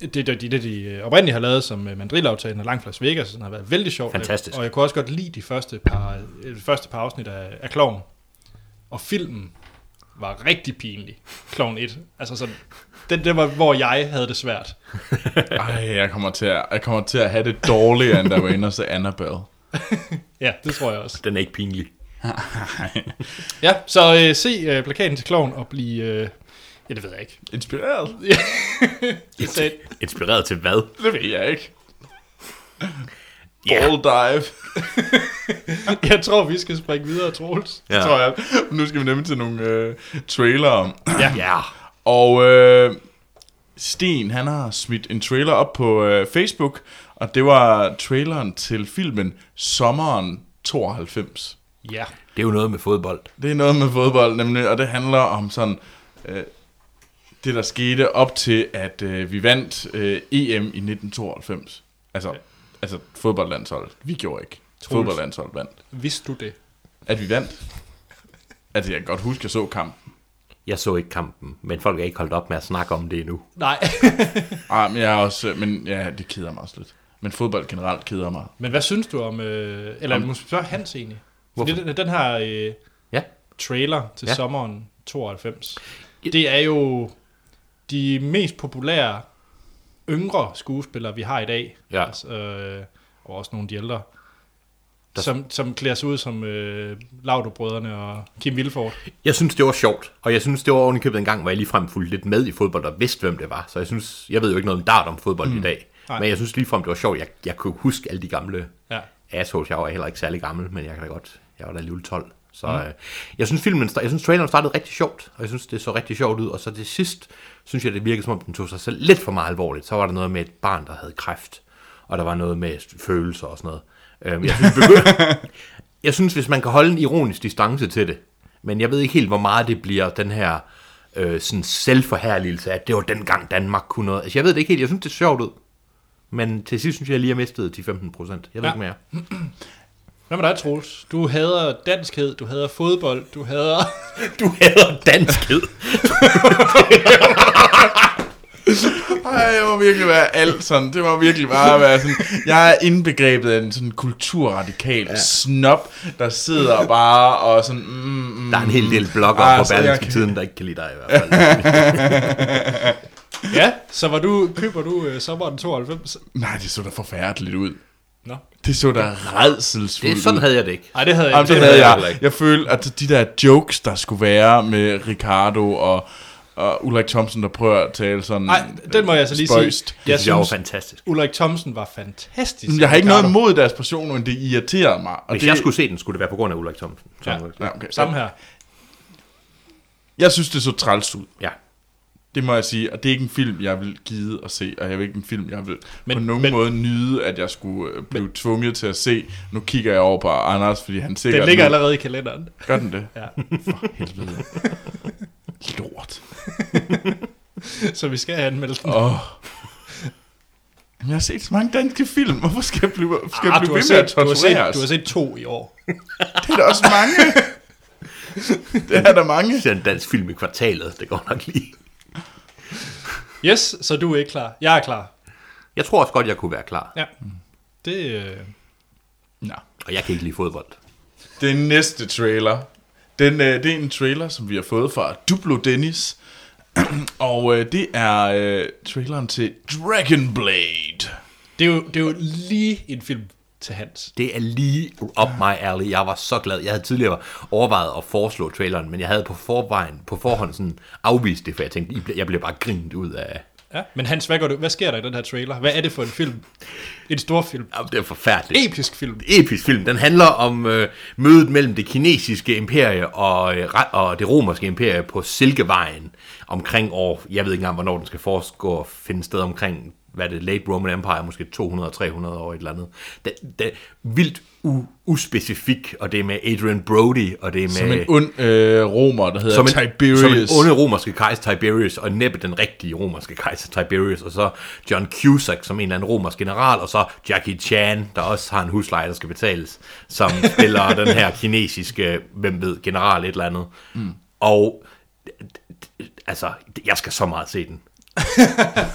[SPEAKER 1] det, det, det, det de øh, oprindeligt har lavet som øh, mandrilaftalen og Langt Las Vegas, sådan har været vældig sjovt.
[SPEAKER 2] Fantastisk.
[SPEAKER 1] Og jeg kunne også godt lide de første par, øh, de første par afsnit af, af Kloven. Og filmen var rigtig pinlig. Kloven 1. Altså sådan, den, den var, hvor jeg havde det svært.
[SPEAKER 3] Ej, jeg kommer til at, jeg kommer til at have det dårligere, end da jeg var inde og se Annabelle.
[SPEAKER 1] Ja, det tror jeg også.
[SPEAKER 2] Den er ikke pinlig.
[SPEAKER 1] Ja, så øh, se øh, plakaten til Kloven og blive... Øh, ja, det ved jeg ikke.
[SPEAKER 3] Inspireret?
[SPEAKER 1] Det,
[SPEAKER 2] Inspireret til hvad?
[SPEAKER 3] Det ved jeg ikke. Ball dive,
[SPEAKER 1] jeg tror, vi skal springe videre, Troels.
[SPEAKER 2] Ja.
[SPEAKER 3] tror jeg. Nu skal vi nemlig til nogle øh, trailere.
[SPEAKER 2] Ja.
[SPEAKER 3] Og øh, Sten, han har smidt en trailer op på øh, Facebook, og det var traileren til filmen Sommeren 92.
[SPEAKER 1] Ja.
[SPEAKER 2] Det er jo noget med fodbold.
[SPEAKER 3] Det er noget med fodbold, nemlig, og det handler om sådan øh, det, der skete op til, at øh, vi vandt øh, EM i 1992. Altså, ja. altså fodboldlandsholdet. Vi gjorde ikke.
[SPEAKER 1] Troels.
[SPEAKER 3] Fodboldlandsholdet vandt.
[SPEAKER 1] Vidste du det?
[SPEAKER 3] At vi vandt. Altså, jeg kan godt huske, jeg så kampen.
[SPEAKER 2] Jeg så ikke kampen, men folk er ikke holdt op med at snakke om det endnu.
[SPEAKER 1] Nej.
[SPEAKER 3] Ah, men jeg er også, øh, men ja, det keder mig også lidt. Men fodbold generelt keder mig.
[SPEAKER 1] Men hvad synes du om... Øh, eller om, måske spørge Hans egentlig. Fordi
[SPEAKER 2] Hvorfor?
[SPEAKER 1] den, den her øh,
[SPEAKER 2] Ja.
[SPEAKER 1] trailer til ja.
[SPEAKER 2] Ja.
[SPEAKER 1] sommeren 92, det er jo de mest populære yngre skuespillere, vi har i dag.
[SPEAKER 2] Ja.
[SPEAKER 1] Altså, øh, og også nogle af de ældre.
[SPEAKER 2] Der-
[SPEAKER 1] Som, som klæder sig ud som øh, Laudrup-brødrene og Kim Vilfort.
[SPEAKER 2] Jeg synes, det var sjovt, og jeg synes, det var ovenikøbet en gang, hvor jeg ligefrem fulgte lidt med i fodbold og vidste, hvem det var. Så jeg synes, jeg ved jo ikke noget om dart om fodbold mm. i dag.
[SPEAKER 1] Nej.
[SPEAKER 2] Nej. Men jeg synes ligefrem, det var sjovt. Jeg, jeg kunne huske alle de gamle
[SPEAKER 1] Ja.
[SPEAKER 2] assholes. Jeg var heller ikke særlig gammel, men jeg kan da godt. Jeg var da alligevel 12. Så mm. øh, jeg synes, filmen, sta- jeg synes, traileren startede rigtig sjovt, og jeg synes, det så rigtig sjovt ud. Og så det sidst, synes jeg, det virkede, som om den tog sig selv lidt for meget alvorligt. Så var der noget med et barn, der havde kræft, og der var noget med følelser og sådan noget. Øhm, jeg, synes, begy- jeg synes, hvis man kan holde en ironisk distance til det, men jeg ved ikke helt, hvor meget det bliver den her øh, sådan selvforherligelse af, at det var dengang Danmark kunne noget. Altså, jeg ved det ikke helt. Jeg synes, det er sjovt ud. Men til sidst synes jeg, jeg lige har mistet de 15 procent. Jeg ved
[SPEAKER 1] Ja.
[SPEAKER 2] ja. ikke mere.
[SPEAKER 1] Hvad med dig, Troels? Du hader danskhed, du hader fodbold, du hader...
[SPEAKER 2] Du hader danskhed.
[SPEAKER 3] Ej, det må virkelig være alt sådan. Det må virkelig bare være sådan. Jeg er indbegrebet af en sådan kulturradikal ja. snop, der sidder bare og sådan... Mm, mm,
[SPEAKER 2] Der er en hel del blogger
[SPEAKER 3] Ah,
[SPEAKER 2] ah, på
[SPEAKER 3] så jeg
[SPEAKER 2] Berlingske
[SPEAKER 3] kan-
[SPEAKER 2] Tiden, der ikke kan lide dig i hvert fald.
[SPEAKER 1] Ja, så var du, køber du øh, sommeren 92?
[SPEAKER 3] Nej, det så da forfærdeligt ud.
[SPEAKER 1] Nå.
[SPEAKER 3] Det så da
[SPEAKER 2] Det,
[SPEAKER 3] redselsfuldt
[SPEAKER 2] er- sådan
[SPEAKER 3] ud.
[SPEAKER 2] havde jeg det ikke.
[SPEAKER 1] Ej, det havde jeg
[SPEAKER 3] Jamen,
[SPEAKER 1] ikke.
[SPEAKER 3] sådan
[SPEAKER 1] Det
[SPEAKER 3] havde
[SPEAKER 2] jeg
[SPEAKER 3] jeg.
[SPEAKER 2] heller ikke.
[SPEAKER 3] Jeg følte, at de der jokes, der skulle være med Ricardo og og Ulrik Thomsen, der prøver at tale sådan...
[SPEAKER 1] Nej, den må jeg altså lige
[SPEAKER 3] Mm. spøjst.
[SPEAKER 1] sige.
[SPEAKER 2] Det
[SPEAKER 1] Jeg
[SPEAKER 2] synes jeg var
[SPEAKER 1] synes,
[SPEAKER 2] fantastisk.
[SPEAKER 1] Ulrik Thomsen var fantastisk.
[SPEAKER 3] Mm, Jeg har ikke noget
[SPEAKER 1] Ricardo.
[SPEAKER 3] imod deres person, men det irriterer mig. Og
[SPEAKER 2] Hvis
[SPEAKER 3] det,
[SPEAKER 2] jeg skulle se den, skulle det være på grund af Ulrik Thomsen.
[SPEAKER 1] Ja.
[SPEAKER 2] Sådan-
[SPEAKER 3] Ja, okay.
[SPEAKER 1] Samme her.
[SPEAKER 3] Jeg synes, det så træls ud.
[SPEAKER 2] ja.
[SPEAKER 3] Det må jeg sige, og det er ikke en film, jeg vil give at se, og jeg vil ikke en film, jeg vil men,
[SPEAKER 1] Men-
[SPEAKER 3] på nogen
[SPEAKER 1] men-
[SPEAKER 3] måde nyde, at jeg skulle øh, blive men, tvunget til at se. Nu kigger jeg over på Anders, fordi han sikkert...
[SPEAKER 1] Den ligger
[SPEAKER 3] nu-
[SPEAKER 1] allerede i kalenderen.
[SPEAKER 3] Gør den det?
[SPEAKER 1] Ja.
[SPEAKER 3] For helvede. Lort.
[SPEAKER 1] Så vi skal anmelde den.
[SPEAKER 3] Åh. Oh. Jeg har set så mange danske film. Hvorfor skal jeg blive, skal jeg
[SPEAKER 1] Ah,
[SPEAKER 3] blive
[SPEAKER 1] du, har
[SPEAKER 3] ved med at
[SPEAKER 1] set, du, har
[SPEAKER 3] tortureres?
[SPEAKER 1] set, du har set to i år.
[SPEAKER 3] Det er da også mange. det er der mange.
[SPEAKER 2] Det er en dansk film i kvartalet, det går nok lige.
[SPEAKER 1] Yes, så du er ikke klar. Jeg er klar.
[SPEAKER 2] Jeg tror også godt, jeg kunne være klar.
[SPEAKER 1] Ja. Det, øh,
[SPEAKER 3] Nå.
[SPEAKER 2] Og jeg kan ikke lide fodbold.
[SPEAKER 3] Den næste trailer. Den, øh, det er en trailer, som vi har fået fra Duplo Dennis. Og øh, det er øh, traileren til Dragon Blade.
[SPEAKER 1] det, er jo, det er jo lige en film til Hans.
[SPEAKER 2] Det er lige up my alley. Jeg var så glad. Jeg havde tidligere overvejet at foreslå traileren, men jeg havde på, forvejen, på forhånd sådan afvist det, for jeg tænkte, I bliver- jeg bliver bare grinet ud af...
[SPEAKER 1] Ja. Men Hans, hvad, gør du? hvad sker der i den her trailer? Hvad er det for en film? En stor film.
[SPEAKER 2] Jamen, Det er forfærdeligt.
[SPEAKER 1] Episk film.
[SPEAKER 2] episk film. Den handler om øh, mødet mellem det kinesiske imperie og, øh, re- og det romerske imperie på Silkevejen omkring år, jeg ved ikke engang, hvornår den skal foregå og finde sted omkring, hvad er det, late Roman Empire, måske 200-300 år et eller andet. Det, det, vildt u, uspecifik, og det er med Adrian Brody, og det er med...
[SPEAKER 3] Som en ond øh, romer, der hedder som en, Tiberius.
[SPEAKER 2] Som en onde romerske kejser Tiberius, og næppe den rigtige romerske kejser Tiberius, og så John Cusack som en eller anden romersk general, og så Jackie Chan, der også har en husleje, der skal betales, som spiller den her kinesiske, hvem ved, general et eller andet. Mm. Og altså, jeg skal så meget se den.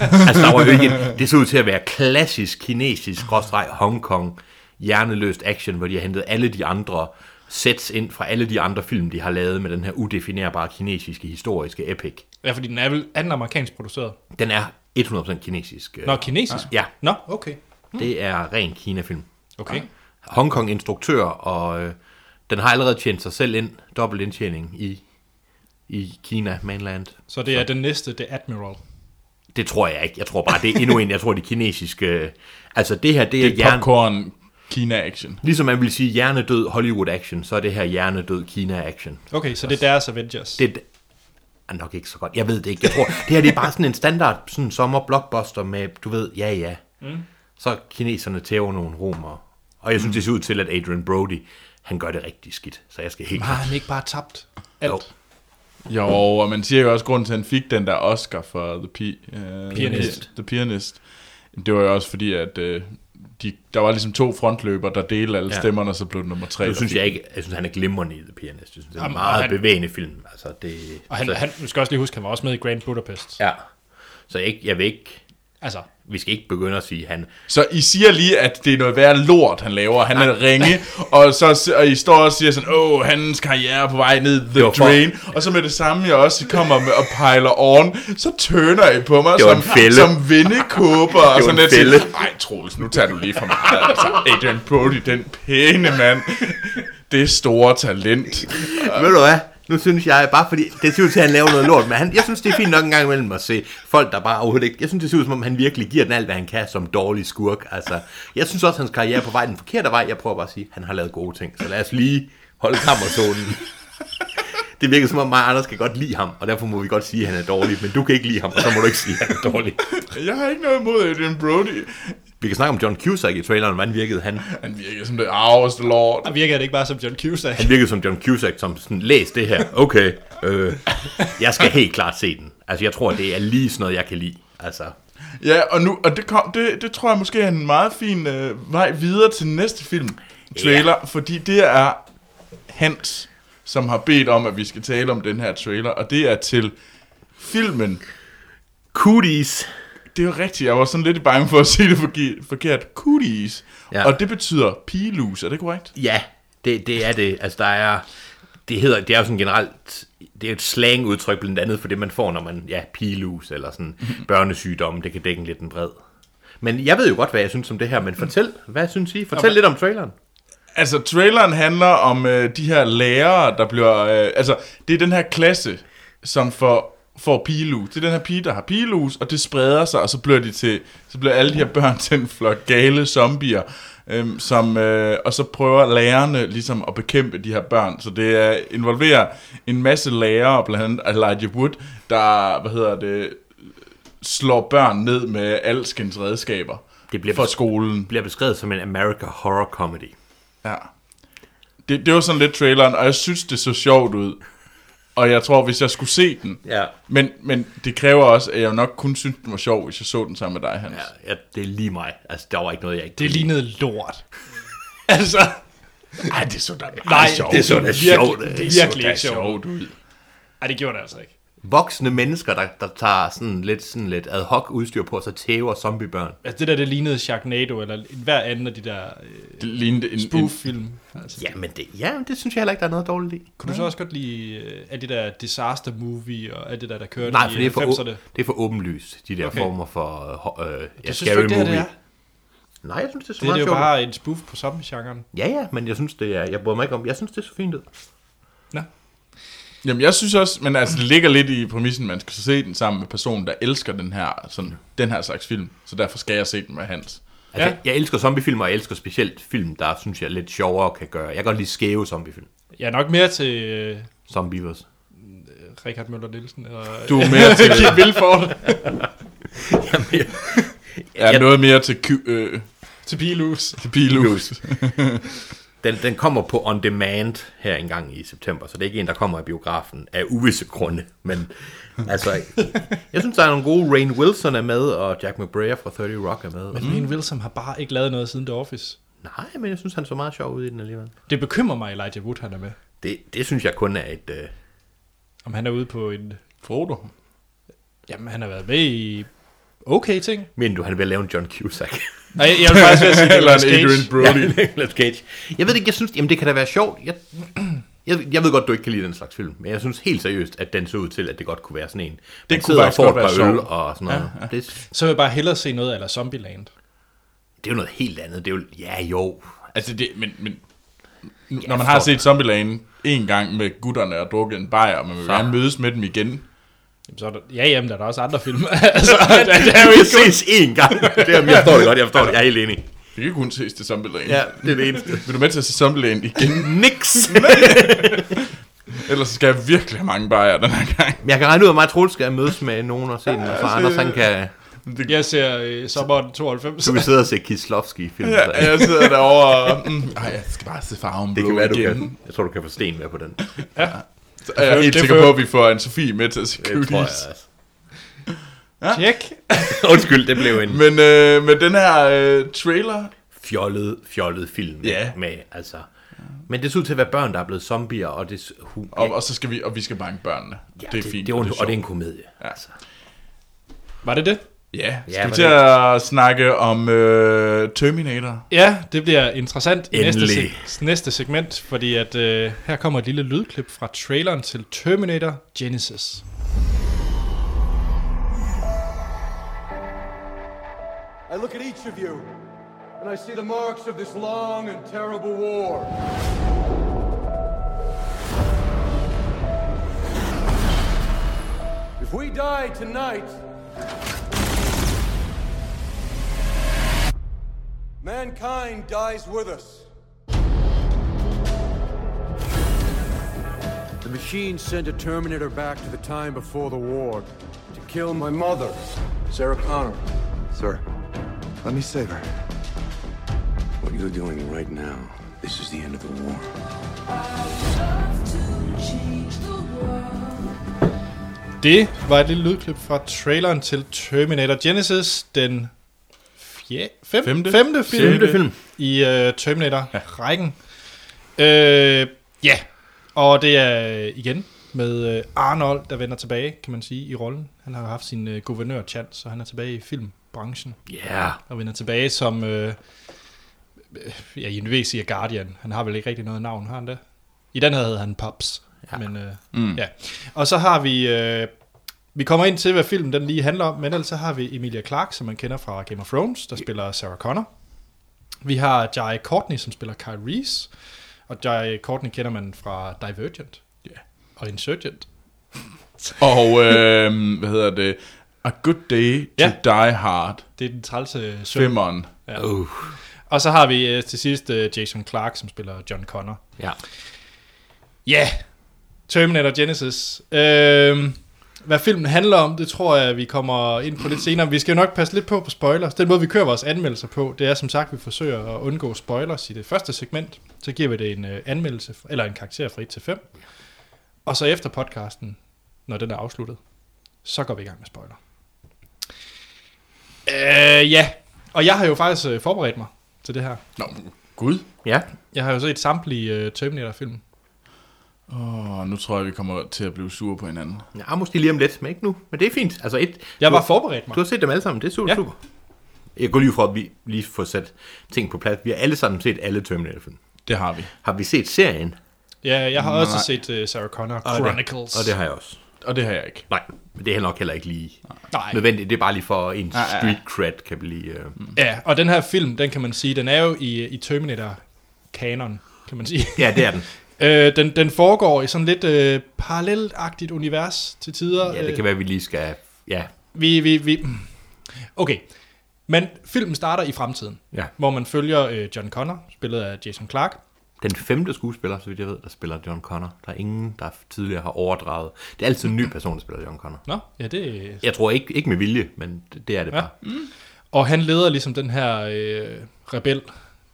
[SPEAKER 2] altså, der var jo ikke en, det så ud til at være klassisk kinesisk, skråstreg Hongkong, hjerneløst action, hvor de har hentet alle de andre sets ind fra alle de andre film, de har lavet med den her udefinerbare kinesiske historiske epic.
[SPEAKER 1] Ja, fordi den er vel anden amerikansk produceret.
[SPEAKER 2] Den er 100% kinesisk. øh,
[SPEAKER 1] Nå, kinesisk?
[SPEAKER 2] Ja,
[SPEAKER 1] Nå, okay.
[SPEAKER 2] det er ren Kina-film.
[SPEAKER 1] Okay.
[SPEAKER 2] Hongkong-instruktør, og øh, den har allerede tjent sig selv ind, dobbelt indtjening i, i Kina, mainland.
[SPEAKER 1] Så det er den næste, The Admiral.
[SPEAKER 2] Det tror jeg ikke. Jeg tror bare, det er endnu en. Jeg tror, de kinesiske... Altså, det her, det er,
[SPEAKER 3] Det er popcorn Kina-action.
[SPEAKER 2] Ligesom man vil sige hjernedød Hollywood-action, så er det her hjernedød Kina-action.
[SPEAKER 1] Okay, så det er deres Avengers.
[SPEAKER 2] Det er nok ikke så godt. Jeg ved det ikke. Jeg tror, det her det er bare sådan en standard sådan sommer-blockbuster med, du ved, ja ja. Mm. Så er kineserne tæver nogle romere. Og jeg synes, mm. det ser ud til, at Adrian Brody, han gør det rigtig skidt. Så jeg skal helt...
[SPEAKER 1] Har han ikke bare tabt alt?
[SPEAKER 2] Jo.
[SPEAKER 3] Jo, og man siger jo også, grunden til, at han fik den der Oscar for The, Pi- øh,
[SPEAKER 1] Pianist.
[SPEAKER 3] The Pianist, det var jo også fordi, at øh, de, der var ligesom to frontløber, der delte alle ja.
[SPEAKER 2] Ja.
[SPEAKER 3] stemmerne, og så blev det nummer tre.
[SPEAKER 2] Nu
[SPEAKER 3] der
[SPEAKER 2] synes
[SPEAKER 3] fik-
[SPEAKER 2] jeg ikke, jeg synes, han er glimrende i The Pianist. Jeg synes, det er en
[SPEAKER 1] Jamen,
[SPEAKER 2] meget
[SPEAKER 1] og han-
[SPEAKER 2] bevægende film. Altså, det,
[SPEAKER 1] Og han,
[SPEAKER 2] så,
[SPEAKER 1] han, du skal også lige huske, han var også med i Grand Budapest. Ja.
[SPEAKER 2] Ja. Så jeg, ikke- jeg vil ikke...
[SPEAKER 1] Altså,
[SPEAKER 2] Vi skal ikke begynde at sige, at han
[SPEAKER 3] Så I siger lige, at det er noget værre lort, han laver. Han er ringe, og, så, og I står og siger sådan, åh, hans karriere er på vej ned the
[SPEAKER 2] var for-
[SPEAKER 3] drain. Og så med det samme, jeg også kommer med og pejler on, så tøner I på mig
[SPEAKER 2] Det var en
[SPEAKER 3] som,
[SPEAKER 2] fælde.
[SPEAKER 3] som vindekåber.
[SPEAKER 2] var
[SPEAKER 3] og sådan
[SPEAKER 2] en
[SPEAKER 3] lidt
[SPEAKER 2] fælde.
[SPEAKER 3] til, Ej, Troels, nu tager du lige for meget. Altså, Adrian Brody, den pæne mand. Det store talent.
[SPEAKER 2] Ved du hvad? Nu synes jeg, bare fordi det ser ud til, at han laver noget lort, men han, jeg synes, det er fint nok en gang imellem at se folk, der bare overhovedet ikke... Jeg synes, det ser ud som om, han virkelig giver den alt, hvad han kan som dårlig skurk. Altså, jeg synes også, hans karriere er på vej den forkerte vej. Jeg prøver bare at sige, at han har lavet gode ting, så lad os lige holde kammerzonen. Det virker som om mig og Anders kan godt lide ham, og derfor må vi godt sige, at han er dårlig, men du kan ikke lide ham, og så må du ikke sige, at han er dårlig.
[SPEAKER 3] Jeg har ikke noget imod Adrian Brody.
[SPEAKER 2] Vi kan snakke om John Cusack i traileren, hvordan virkede han?
[SPEAKER 3] Han virker som det arveste lord.
[SPEAKER 1] der virker det ikke bare som John Cusack.
[SPEAKER 2] Han virkede som John Cusack, som sådan, læs det her. Okay, øh, jeg skal helt klart se den. Altså, jeg tror, det er lige sådan noget, jeg kan lide. Altså,
[SPEAKER 3] Ja, og, nu, og det, kom, det, det tror jeg måske er en meget fin øh, vej videre til næste film, trailer, ja. fordi det er Hans, som har bedt om, at vi skal tale om den her trailer, og det er til filmen.
[SPEAKER 2] cooties.
[SPEAKER 3] Det er jo rigtigt, jeg var sådan lidt bange for at sige det forki- forkert. Cooties. Ja.
[SPEAKER 2] Ja.
[SPEAKER 3] Og det betyder pigelus, er det korrekt?
[SPEAKER 2] Ja, det, det er det. Altså, der er... Det, hedder, det er jo sådan generelt, det er et slangudtryk blandt andet for det, man får, når man, ja, pilus eller sådan børnesygdomme, det kan dække lidt en bred. Men jeg ved jo godt, hvad jeg synes om det her, men fortæl, hvad synes I? Fortæl lidt om traileren.
[SPEAKER 3] Altså, traileren handler om øh, de her lærere, der bliver... Øh, altså, det er den her klasse, som får får pigelus. Det er den her pige, der har pigelus, og det spreder sig, og så bliver, de til, så bliver alle de her børn til en flok gale zombier. Øhm, som, øh, og så prøver lærerne ligesom at bekæmpe de her børn. Så det er, involverer en masse lærere, blandt andet Elijah Wood, der hvad hedder det, slår børn ned med alskens redskaber
[SPEAKER 2] Det bliver-
[SPEAKER 3] for skolen.
[SPEAKER 2] bliver beskrevet som en America Horror Comedy.
[SPEAKER 3] Ja. Det, det var sådan lidt traileren, og jeg synes, det så sjovt ud. Og jeg tror, hvis jeg skulle se den...
[SPEAKER 2] Ja.
[SPEAKER 3] Men, men det kræver også, at jeg nok kun synes, den var sjov, hvis jeg så den sammen med dig, Hans. Ja.
[SPEAKER 2] Ja, ja, det er lige mig. Altså, der var ikke noget, jeg ikke
[SPEAKER 1] Det
[SPEAKER 2] kunne
[SPEAKER 1] lignede lort.
[SPEAKER 3] Altså... Ej, det så da meget
[SPEAKER 1] Nej,
[SPEAKER 3] sjovt.
[SPEAKER 2] det så da
[SPEAKER 3] ud.
[SPEAKER 2] sjovt ud.
[SPEAKER 1] Det,
[SPEAKER 3] Det
[SPEAKER 1] det
[SPEAKER 3] så da
[SPEAKER 1] virkelig ikke sjovt.
[SPEAKER 3] sjovt ud.
[SPEAKER 1] Ej, det gjorde det altså ikke.
[SPEAKER 2] lide. Voksne mennesker, der, der tager sådan lidt, sådan lidt ad hoc udstyr på, så tæver zombiebørn.
[SPEAKER 1] Altså det der, det lignede Sharknado, eller hver anden af de der øh,
[SPEAKER 3] Det lignede en... en
[SPEAKER 1] spoof-film. Altså,
[SPEAKER 2] Ja, men det, ja, det synes jeg heller ikke, der er noget dårligt i.
[SPEAKER 1] Kunne du så også godt lide øh, alle de der disaster movie og alt det der, der kørte
[SPEAKER 2] Nej, for
[SPEAKER 1] i
[SPEAKER 2] det er for, å-
[SPEAKER 1] 90'erne?
[SPEAKER 2] det er for åbenlyst, de
[SPEAKER 1] Okay.
[SPEAKER 2] der okay. former for øh, ho- øh, ja,
[SPEAKER 1] Jeg
[SPEAKER 2] scary
[SPEAKER 1] synes du ikke, det her
[SPEAKER 2] movie.
[SPEAKER 1] det er?
[SPEAKER 2] Nej, jeg synes, det er
[SPEAKER 1] Det,
[SPEAKER 2] så
[SPEAKER 1] her,
[SPEAKER 2] meget
[SPEAKER 1] det er jo
[SPEAKER 2] sjovt.
[SPEAKER 1] bare en spoof på zombie-genren.
[SPEAKER 2] Ja, ja, men jeg synes, det er, jeg bryder mig ikke om, jeg synes, det er så fint ud.
[SPEAKER 1] Nå.
[SPEAKER 3] Jamen, jeg synes også, men altså, det ligger lidt i præmissen, man skal se den sammen med personen, der elsker den her, sådan, den her slags film. Så derfor skal jeg se den med Hans.
[SPEAKER 2] Altså,
[SPEAKER 1] Ja.
[SPEAKER 2] ja. Jeg elsker zombiefilm, og jeg elsker specielt film, der synes jeg er lidt sjovere kan gøre. Jeg kan godt lide skæve zombiefilm.
[SPEAKER 1] Jeg er nok mere til øh,
[SPEAKER 2] Zombievers.
[SPEAKER 1] Richard Møller Nielsen. Eller,
[SPEAKER 3] Du er mere til...
[SPEAKER 1] Kim Vilford.
[SPEAKER 3] Jeg er noget mere til... Ky- øh,
[SPEAKER 1] til Pilus.
[SPEAKER 3] til Pilus.
[SPEAKER 2] Den, den kommer på on demand her engang i september, så det er ikke en, der kommer i biografen af uvisse grunde. Men altså, jeg synes, der er nogle gode. Rain Wilson er med, og Jack McBrayer fra 30 Rock er med. Og,
[SPEAKER 1] Men mm. Wilson har bare ikke lavet noget siden The Office.
[SPEAKER 2] nej, men jeg synes, han så meget sjov ud i den alligevel.
[SPEAKER 1] Det bekymrer mig, Elijah Wood han er med.
[SPEAKER 2] Det, det synes jeg kun er et... Øh,
[SPEAKER 1] Om han er ude på en...
[SPEAKER 3] Frodo.
[SPEAKER 1] Jamen, han har været med i okay ting.
[SPEAKER 2] men du, han vil lave en John Cusack.
[SPEAKER 1] Nej, jeg vil faktisk være sige, det
[SPEAKER 3] Eller
[SPEAKER 1] er
[SPEAKER 3] en Adrian
[SPEAKER 1] Cage.
[SPEAKER 3] Brody.
[SPEAKER 2] Ja, Nicolas Cage. Jeg ved det ikke, jeg synes, jamen det kan da være sjovt. Jeg, jeg, jeg ved godt, du ikke kan lide den slags film, men jeg synes helt seriøst, at den så ud til, at det godt kunne være sådan en. Den
[SPEAKER 3] kunne faktisk godt være
[SPEAKER 2] øl
[SPEAKER 3] sjov.
[SPEAKER 2] og sådan noget. Ja, ja. Det,
[SPEAKER 1] Så vil jeg bare hellere se noget af Zombieland.
[SPEAKER 2] det er jo noget helt andet. Det er jo, ja jo.
[SPEAKER 3] Altså, det, men, men
[SPEAKER 2] Ja,
[SPEAKER 3] når man har
[SPEAKER 2] for-
[SPEAKER 3] set Zombieland en gang med gutterne og drukket en bajer, og man vil
[SPEAKER 2] Så-
[SPEAKER 3] gerne mødes med dem igen.
[SPEAKER 1] Jamen, så er der, ja, jamen, der er der også andre film. altså, der,
[SPEAKER 2] Det
[SPEAKER 1] der
[SPEAKER 2] er
[SPEAKER 1] er jo
[SPEAKER 2] jo
[SPEAKER 1] ikke kun...
[SPEAKER 2] ses én gang. Det er, jeg forstår det godt, jeg forstår det. Jeg er helt enig.
[SPEAKER 3] Vi kan kun ses til Zombieland.
[SPEAKER 2] Ja, det er det eneste.
[SPEAKER 3] Vil du med til at se Zombieland igen?
[SPEAKER 2] Niks.
[SPEAKER 3] Ellers skal jeg virkelig have mange bajer den her gang.
[SPEAKER 2] Men jeg kan regne ud, at mig og Troels skal mødes med nogen og se den, og så Anders, han kan...
[SPEAKER 1] Jeg ser øh, sommeren 92.
[SPEAKER 2] Du kan sidde og se Kislovski i filmen. så-
[SPEAKER 3] Ja, jeg sidder derovre og... Mm, ej, jeg skal bare se farven
[SPEAKER 2] Det
[SPEAKER 3] blå
[SPEAKER 2] kan være, du
[SPEAKER 3] igen.
[SPEAKER 2] kan. Jeg tror, du kan få sten med på den.
[SPEAKER 3] Så er jeg helt
[SPEAKER 1] Det
[SPEAKER 3] sikker
[SPEAKER 1] får-
[SPEAKER 3] på, at vi får en Sofie med til at se
[SPEAKER 2] Det tror jeg,
[SPEAKER 3] Cooties.
[SPEAKER 2] altså.
[SPEAKER 1] Tjek.
[SPEAKER 2] Undskyld, det blev en...
[SPEAKER 3] Men øh, med den her øh, trailer...
[SPEAKER 2] fjollet, fjollet film.
[SPEAKER 3] Ja.
[SPEAKER 2] ikke? Med, altså. Men det ser ud til at være børn, der er blevet zombier, og det, s- hu,
[SPEAKER 3] Og, og, så skal vi, og vi skal banke børnene. Ja, det er fint.
[SPEAKER 2] Det, det,
[SPEAKER 3] og
[SPEAKER 2] det,
[SPEAKER 3] det er
[SPEAKER 2] og det er
[SPEAKER 3] sjovt.
[SPEAKER 2] en komedie. Ja. Altså.
[SPEAKER 1] Var det det?
[SPEAKER 3] Ja, skal
[SPEAKER 2] Ja,
[SPEAKER 3] vi
[SPEAKER 2] var
[SPEAKER 3] til at snakke om øh, Terminator?
[SPEAKER 1] Ja, det bliver interessant i næste,
[SPEAKER 2] Endelig.
[SPEAKER 1] se- næste segment, fordi at øh, her kommer et lille lydklip fra traileren til Terminator Genesis.
[SPEAKER 4] I look at each of you, and I see the marks of this long and terrible war. If we die tonight, mankind dies with us. The machine sent a Terminator back to the time before the war to kill my mother, Sarah Connor.
[SPEAKER 5] Sir, let me save her. What you're doing right now, this is the end of the war.
[SPEAKER 1] Det var et lille lydklip fra traileren til Terminator Genesis, den fje, fem,
[SPEAKER 3] Femte.
[SPEAKER 1] femte. femte film,
[SPEAKER 2] Femte film.
[SPEAKER 1] i øh, Terminator-rækken. Ja. Øh, ja, og det er øh, igen med øh, Arnold, der vender tilbage, kan man sige, i rollen. Han har jo haft sin øh, guvernør-chance, så han er tilbage i filmbranchen.
[SPEAKER 2] Ja, yeah.
[SPEAKER 1] og vender tilbage som, øh, øh, ja, i en siger Guardian. Han har vel ikke rigtig noget navn, har han det? I den her hedder han Pops. Ja. Men, øh, mm. ja. Og så har vi, øh, vi kommer ind til, hvad filmen den lige handler om, men ellers så har vi Emilia Clarke, som man kender fra Game of Thrones, der spiller Sarah Connor. Vi har Jai Courtney, som spiller Kyle Reese. Og Jai Courtney kender man fra Divergent
[SPEAKER 3] Ja.
[SPEAKER 1] og Insurgent.
[SPEAKER 3] Og, øh, hvad hedder det? A Good Day to
[SPEAKER 1] Ja.
[SPEAKER 3] ja. Die Hard.
[SPEAKER 1] Det er den trælse søn.
[SPEAKER 3] Femmeren.
[SPEAKER 2] Uh,
[SPEAKER 1] Og så har vi øh, til sidst øh, Jason Clark, som spiller John Connor.
[SPEAKER 2] Ja.
[SPEAKER 1] Ja, yeah. Terminator Genesis. Øhm, hvad filmen handler om, det tror jeg, vi kommer ind på lidt senere. Vi skal jo nok passe lidt på på spoilers. Den måde, vi kører vores anmeldelser på, det er som sagt, vi forsøger at undgå spoilers i det første segment. Så giver vi det en øh, anmeldelse, eller en karakter fra 1 til 5. Og så efter podcasten, når den er afsluttet, så går vi i gang med spoiler. Øh, ja, og jeg har jo faktisk øh, forberedt mig til det her.
[SPEAKER 3] Nå, gud.
[SPEAKER 2] Ja.
[SPEAKER 1] Jeg har jo set samtlige øh, Terminator-film.
[SPEAKER 3] Åh, nu tror jeg, vi kommer til at blive sure på hinanden.
[SPEAKER 2] ja, måske lige om lidt, men ikke nu. Men det er fint. Altså et,
[SPEAKER 1] Jeg
[SPEAKER 2] du-
[SPEAKER 1] var forberedt mig.
[SPEAKER 2] Du har set dem alle sammen, det er super,
[SPEAKER 1] Ja.
[SPEAKER 2] ja. super. Jeg går lige ud fra, at vi lige får sat ting på plads. Vi har alle sammen set alle Terminator-film.
[SPEAKER 3] Det har vi.
[SPEAKER 2] Har vi set serien?
[SPEAKER 1] Ja, jeg har Nej. også
[SPEAKER 3] Nej.
[SPEAKER 1] set uh, Sarah Connor
[SPEAKER 2] Og det-
[SPEAKER 1] Chronicles.
[SPEAKER 2] Og det har jeg også.
[SPEAKER 3] Og det har jeg ikke.
[SPEAKER 2] Nej, men det er nok heller ikke lige
[SPEAKER 1] Nej.
[SPEAKER 2] nødvendigt. Det er bare lige for en
[SPEAKER 3] ja, ja.
[SPEAKER 2] street cred, kan vi lige... Øh...
[SPEAKER 1] Ja, og den her film, den kan man sige, den er jo i, i Terminator-kanon, kan man sige.
[SPEAKER 2] Ja, det er den.
[SPEAKER 1] øh, den, den foregår i sådan lidt øh, parallelagtigt univers til tider. Øh,
[SPEAKER 2] Ja, det kan være, at vi lige skal... Ja,
[SPEAKER 1] Vi, vi, vi... Okay, men filmen starter i fremtiden,
[SPEAKER 2] Ja.
[SPEAKER 1] hvor man følger øh, John Connor, spillet af Jason Clark.
[SPEAKER 2] den femte skuespiller, så vidt jeg ved, der spiller John Connor. Der er ingen, der tidligere har overdraget. Det er altid en ny person, der spiller John Connor.
[SPEAKER 1] Nå, ja, det...
[SPEAKER 2] Jeg tror ikke, ikke med vilje, men det, det er det
[SPEAKER 1] Ja.
[SPEAKER 2] bare.
[SPEAKER 1] Og han leder ligesom den her øh, rebel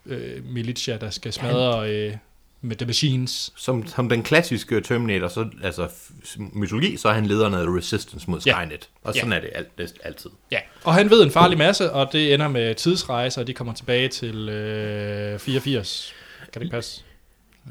[SPEAKER 1] øh, militia, der skal smadre øh, med The Machines.
[SPEAKER 2] Som, som den klassiske Terminator, så, altså f- mytologi, så er han lederen af Resistance mod
[SPEAKER 1] Ja.
[SPEAKER 2] Skynet. Og
[SPEAKER 1] Ja.
[SPEAKER 2] sådan er det alt, næsten altid.
[SPEAKER 1] Ja, og han ved en farlig masse, og det ender med tidsrejser, og de kommer tilbage til øh, 84. Kan det ikke passe?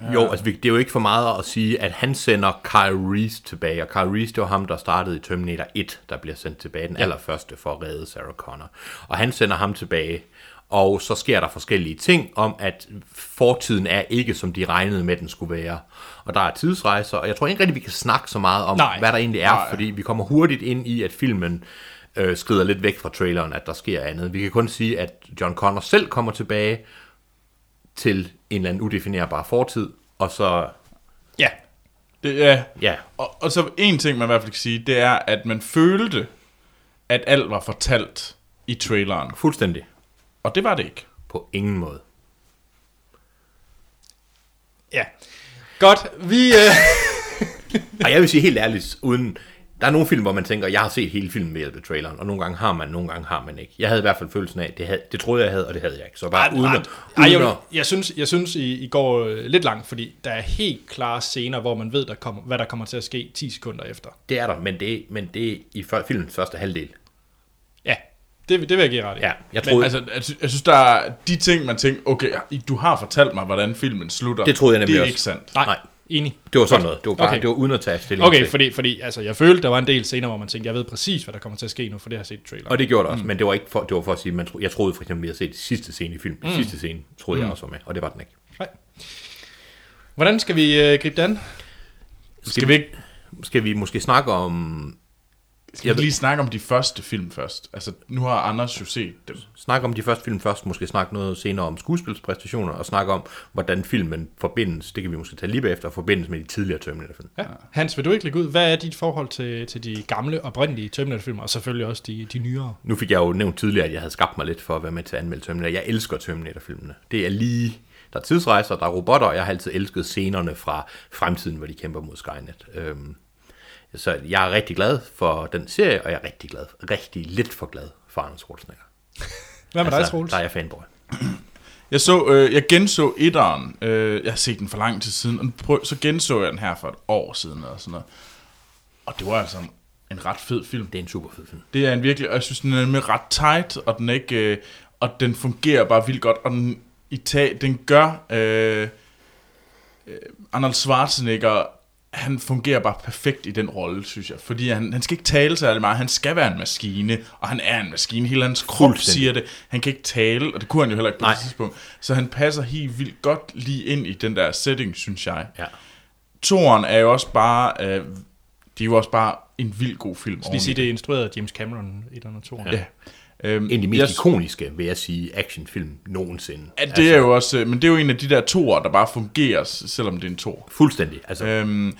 [SPEAKER 2] Ja. Jo, altså vi- det er jo ikke for meget at sige, at han sender Kyle Reese tilbage, og Kyle Reese, det var ham, der startede i Terminator 1, der bliver sendt tilbage, den ja. allerførste for at redde Sarah Connor. Og han sender ham tilbage, og så sker der forskellige ting om, at fortiden er ikke, som de regnede med, den skulle være. Og der er tidsrejser, og jeg tror ikke rigtig, vi kan snakke så meget om,
[SPEAKER 1] Nej.
[SPEAKER 2] Nej. hvad der egentlig er, Nej. fordi vi kommer hurtigt ind i, at filmen øh, skrider lidt væk fra traileren, at der sker andet. Vi kan kun sige, at John Connor selv kommer tilbage, til en eller anden udefinerbar fortid, og så,
[SPEAKER 1] Ja.
[SPEAKER 3] Det, ja.
[SPEAKER 2] ja,
[SPEAKER 3] Og, og så en ting, man i hvert fald kan sige, det er, at man følte, at alt var fortalt i traileren.
[SPEAKER 2] fuldstændig
[SPEAKER 3] Og det var det ikke.
[SPEAKER 2] på ingen måde.
[SPEAKER 1] Ja. Godt, vi... Øh,
[SPEAKER 2] Og jeg vil sige helt ærligt, uden, der er nogle film, hvor man tænker, jeg har set hele filmen ved hjælp af traileren, og nogle gange har man, nogle gange har man ikke. Jeg havde i hvert fald følelsen af, at det, havde, det troede jeg havde, og det havde jeg ikke. Så bare uden
[SPEAKER 1] ej,
[SPEAKER 2] at,
[SPEAKER 1] ej,
[SPEAKER 2] uden
[SPEAKER 1] jeg,
[SPEAKER 2] at,
[SPEAKER 1] jeg, synes, jeg synes, I, I går øh, lidt langt, fordi der er helt klare scener, hvor man ved, der kommer, hvad der kommer til at ske 10 sekunder efter.
[SPEAKER 2] det er der, men det, men det er i før, filmens første halvdel.
[SPEAKER 1] Ja, det, det vil jeg give ret i.
[SPEAKER 2] Ja, jeg
[SPEAKER 1] Men
[SPEAKER 2] troede,
[SPEAKER 3] Altså, jeg, sy- jeg synes, der er de ting, man tænker, okay, du har fortalt mig, hvordan filmen slutter.
[SPEAKER 2] Det troede jeg nemlig
[SPEAKER 3] Det er
[SPEAKER 2] også.
[SPEAKER 3] ikke sandt.
[SPEAKER 1] Nej, nej,
[SPEAKER 2] nej.
[SPEAKER 1] enig.
[SPEAKER 2] det var sådan noget. Det var bare,
[SPEAKER 1] Okay.
[SPEAKER 2] okay. det var uden at tage stilling
[SPEAKER 1] Okay,
[SPEAKER 2] til.
[SPEAKER 1] fordi, fordi altså, jeg følte, der var en del scener, hvor man tænkte, jeg ved præcis, hvad der kommer til at ske nu, for det har jeg set i traileren.
[SPEAKER 2] Og det gjorde det også, mm. men det var ikke for, det var for at sige, man tro, jeg troede for eksempel, vi havde set sidste scene i filmen. Mm. Sidste scene troede mm. jeg også var med, og det var den ikke.
[SPEAKER 1] Nej. Hvordan skal vi øh, gribe det an?
[SPEAKER 2] Skal vi, ikke- skal vi måske snakke om
[SPEAKER 3] Skal vi lige snakke om de første film først? Altså, nu har Anders jo set dem.
[SPEAKER 2] snakke om de første film først, måske snakke noget senere om skuespilspræstationer, og snakke om, hvordan filmen forbindes, det kan vi måske tage lige bagefter, og forbindes med de tidligere Terminator-film.
[SPEAKER 1] Ja. Hans, vil du ikke lægge ud, hvad er dit forhold til, til de gamle, oprindelige Terminator-film, og selvfølgelig også de, de nyere?
[SPEAKER 2] Nu fik jeg jo nævnt tidligere, at jeg havde skabt mig lidt for at være med til at anmelde Terminator. Jeg elsker Terminator-filmene. Det er lige... Der er tidsrejser, der er robotter, og jeg har altid elsket scenerne fra fremtiden, hvor de kæmper mod Skynet. Øhm, så jeg er rigtig glad for den serie, og jeg er rigtig glad, rigtig lidt for glad for Arnold Schwarzenegger.
[SPEAKER 1] Hvad med altså, dig, Troels?
[SPEAKER 2] der er jeg fanboy.
[SPEAKER 3] Jeg så, øh, jeg genså etteren. Øh, jeg har set den for lang tid siden, og nu prøv, så genså jeg den her for et år siden eller sådan noget. Og det var altså en ret fed film.
[SPEAKER 2] Det er en super fed film.
[SPEAKER 3] Det er en virkelig, og jeg synes, den er nemlig ret tight, og den er ikke, øh, og den fungerer bare vildt godt, og den, i tag, den gør øh, øh, Arnold Schwarzenegger, han fungerer bare perfekt i den rolle, synes jeg, fordi han, han skal ikke tale særlig meget, han skal være en maskine, og han er en maskine, hele hans krop
[SPEAKER 2] Fuldstændig.
[SPEAKER 3] siger det, han kan ikke tale, og det kunne han jo heller ikke på
[SPEAKER 2] Nej.
[SPEAKER 3] det tidspunkt, så han passer helt vildt godt lige ind i den der setting, synes jeg.
[SPEAKER 2] Ja.
[SPEAKER 3] Toren er jo også bare, øh, det er jo også bare en vild god film.
[SPEAKER 1] Lige sige, det er instrueret af James Cameron, et eller andet to.
[SPEAKER 3] Ja. Øhm,
[SPEAKER 2] En af de mest
[SPEAKER 3] jeg-
[SPEAKER 2] ikoniske, Altså- vil jeg sige, actionfilm nogensinde.
[SPEAKER 3] Ja, det er jo også, øh, men det er jo en af de der toer, der bare fungerer, s- selvom det er en tor.
[SPEAKER 2] Fuldstændig. Altså,
[SPEAKER 3] Øhm,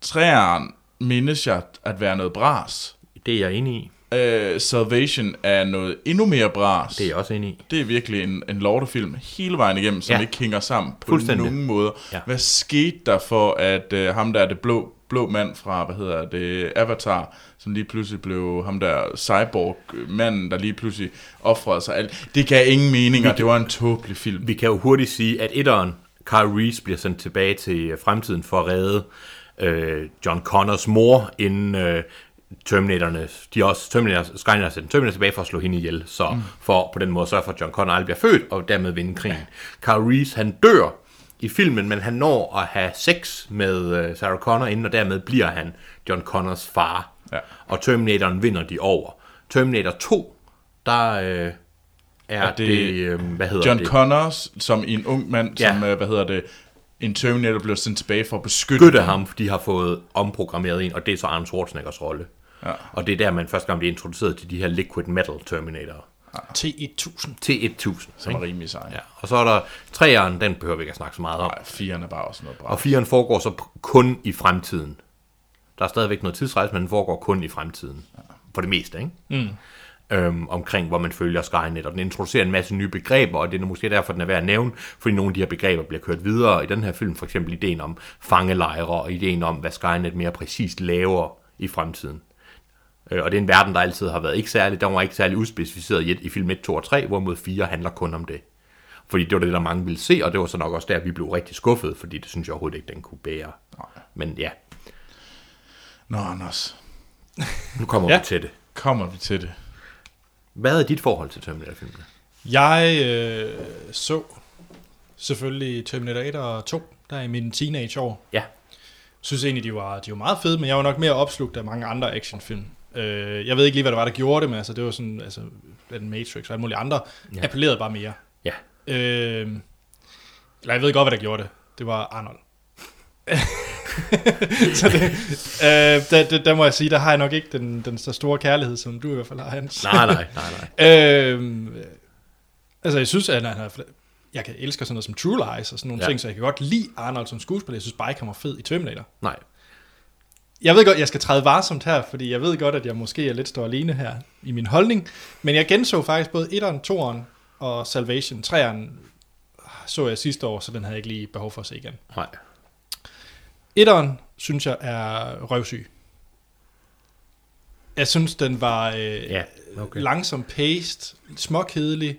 [SPEAKER 3] træeren mindes jeg at være noget bras.
[SPEAKER 2] Det er jeg enig i.
[SPEAKER 3] Øh, Salvation er noget endnu mere bras.
[SPEAKER 2] Det er jeg også enig i.
[SPEAKER 3] Det er virkelig en, en lortefilm hele vejen igennem, som ja.
[SPEAKER 2] Ja.
[SPEAKER 3] ikke hænger sammen på
[SPEAKER 2] Fuldstændig.
[SPEAKER 3] nogen måde. Ja.
[SPEAKER 2] Ja.
[SPEAKER 3] Hvad skete der for, at øh, ham der er det blå, blå mand fra, hvad hedder det, Avatar, som lige pludselig blev ham der cyborg-manden, der lige pludselig offrede sig alt. Det gav ingen mening, og det var en tåbelig film.
[SPEAKER 2] Vi kan jo hurtigt sige, at etteren, Kyle Reese, bliver sendt tilbage til øh, fremtiden for at redde øh, John Connors mor, inden øh, Terminatorne, de er også Terminator, Skynet har sendt Terminator tilbage for at slå hende ihjel, så mm. for på den måde at sørge for, at John Connor aldrig bliver født, og dermed vinde krigen. Kyle Reese, han dør i filmen, men han når at have sex med øh, Sarah Connor inden, og dermed bliver han John Connors far.
[SPEAKER 3] Ja.
[SPEAKER 2] Og Terminatoren vinder de over. Terminator 2, der øh, er,
[SPEAKER 3] det
[SPEAKER 2] det, det øh, hvad hedder
[SPEAKER 3] John
[SPEAKER 2] det?
[SPEAKER 3] Connors, som en ung mand, ja.
[SPEAKER 2] Ja.
[SPEAKER 3] som, øh, hvad hedder det, en Terminator blev sendt tilbage for at beskytte,
[SPEAKER 2] beskytte ham, fordi de har fået omprogrammeret en, og det er så Arnold Schwarzeneggers rolle. Ja. Og det er der, man første gang bliver introduceret til de her liquid metal Terminator
[SPEAKER 1] T1000.
[SPEAKER 2] T1000.
[SPEAKER 3] som er
[SPEAKER 2] ikke?
[SPEAKER 3] rimelig sej.
[SPEAKER 2] Ja. Og så er der træeren, den behøver vi ikke at snakke så meget om.
[SPEAKER 3] Ej, firen er bare også noget bra.
[SPEAKER 2] Og firen foregår så p- kun i fremtiden. Der er stadigvæk noget tidsrejse, men den foregår kun i fremtiden. For det meste, ikke? Mm. Øhm, omkring, hvor man følger Skynet, og den introducerer en masse nye begreber, og det er måske derfor, den er værd at nævne, fordi nogle af de her begreber bliver kørt videre i den her film, for eksempel ideen om fangelejre, og ideen om, hvad Skynet mere præcist laver i fremtiden. Øh, og det er en verden, der altid har været ikke særlig, der var ikke særlig udspecificeret i, et- i film 1, 2 og 3, hvorimod 4 handler kun om det. Fordi det var det, der mange ville se, og det var så nok også der, vi blev rigtig skuffet, fordi det synes jeg overhovedet ikke, den kunne bære. Men ja,
[SPEAKER 3] Nå, Anders,
[SPEAKER 2] nu kommer
[SPEAKER 1] Ja.
[SPEAKER 2] ja. vi til det.
[SPEAKER 3] kommer vi til det.
[SPEAKER 2] Hvad er dit forhold til Terminator-filmene?
[SPEAKER 1] Jeg øh, så selvfølgelig Terminator 2, der i mine teenageår.
[SPEAKER 2] Ja,
[SPEAKER 1] synes egentlig, de var, de var meget fede, men jeg var nok mere opslugt af mange andre actionfilm. Øh, jeg ved ikke lige, hvad det var, der gjorde det, men altså, det var sådan, altså, den Matrix og alle mulige andre, ja.
[SPEAKER 2] Ja.
[SPEAKER 1] appellerede bare mere.
[SPEAKER 2] ja.
[SPEAKER 1] Øh, eller jeg ved godt, hvad der gjorde det. Det var Arnold. så det, øh, der, der, der må jeg sige, der har jeg nok ikke den, den så store kærlighed, som du i hvert fald har, Hans.
[SPEAKER 2] Nej, nej, nej, nej.
[SPEAKER 1] Øhm, altså, jeg synes, at han er... Jeg kan elsker sådan noget som True Lies og sådan nogle ja.
[SPEAKER 2] Ja.
[SPEAKER 1] ting, så jeg kan godt lide Arnold som skuespiller. Jeg synes bare ikke, han var fed i Terminator.
[SPEAKER 2] nej.
[SPEAKER 1] Jeg ved godt, jeg skal træde varsomt her, fordi jeg ved godt, at jeg måske er lidt står alene her i min holdning. Men jeg genså faktisk både 1'eren, 2'eren og Salvation. 3'eren så jeg sidste år, så den havde jeg ikke lige behov for at se igen.
[SPEAKER 2] nej.
[SPEAKER 1] 1'eren synes jeg er røvsyg. Jeg synes, den var... Øh,
[SPEAKER 2] Ja,
[SPEAKER 1] okay.
[SPEAKER 2] okay.
[SPEAKER 1] langsom paced, småkedelig,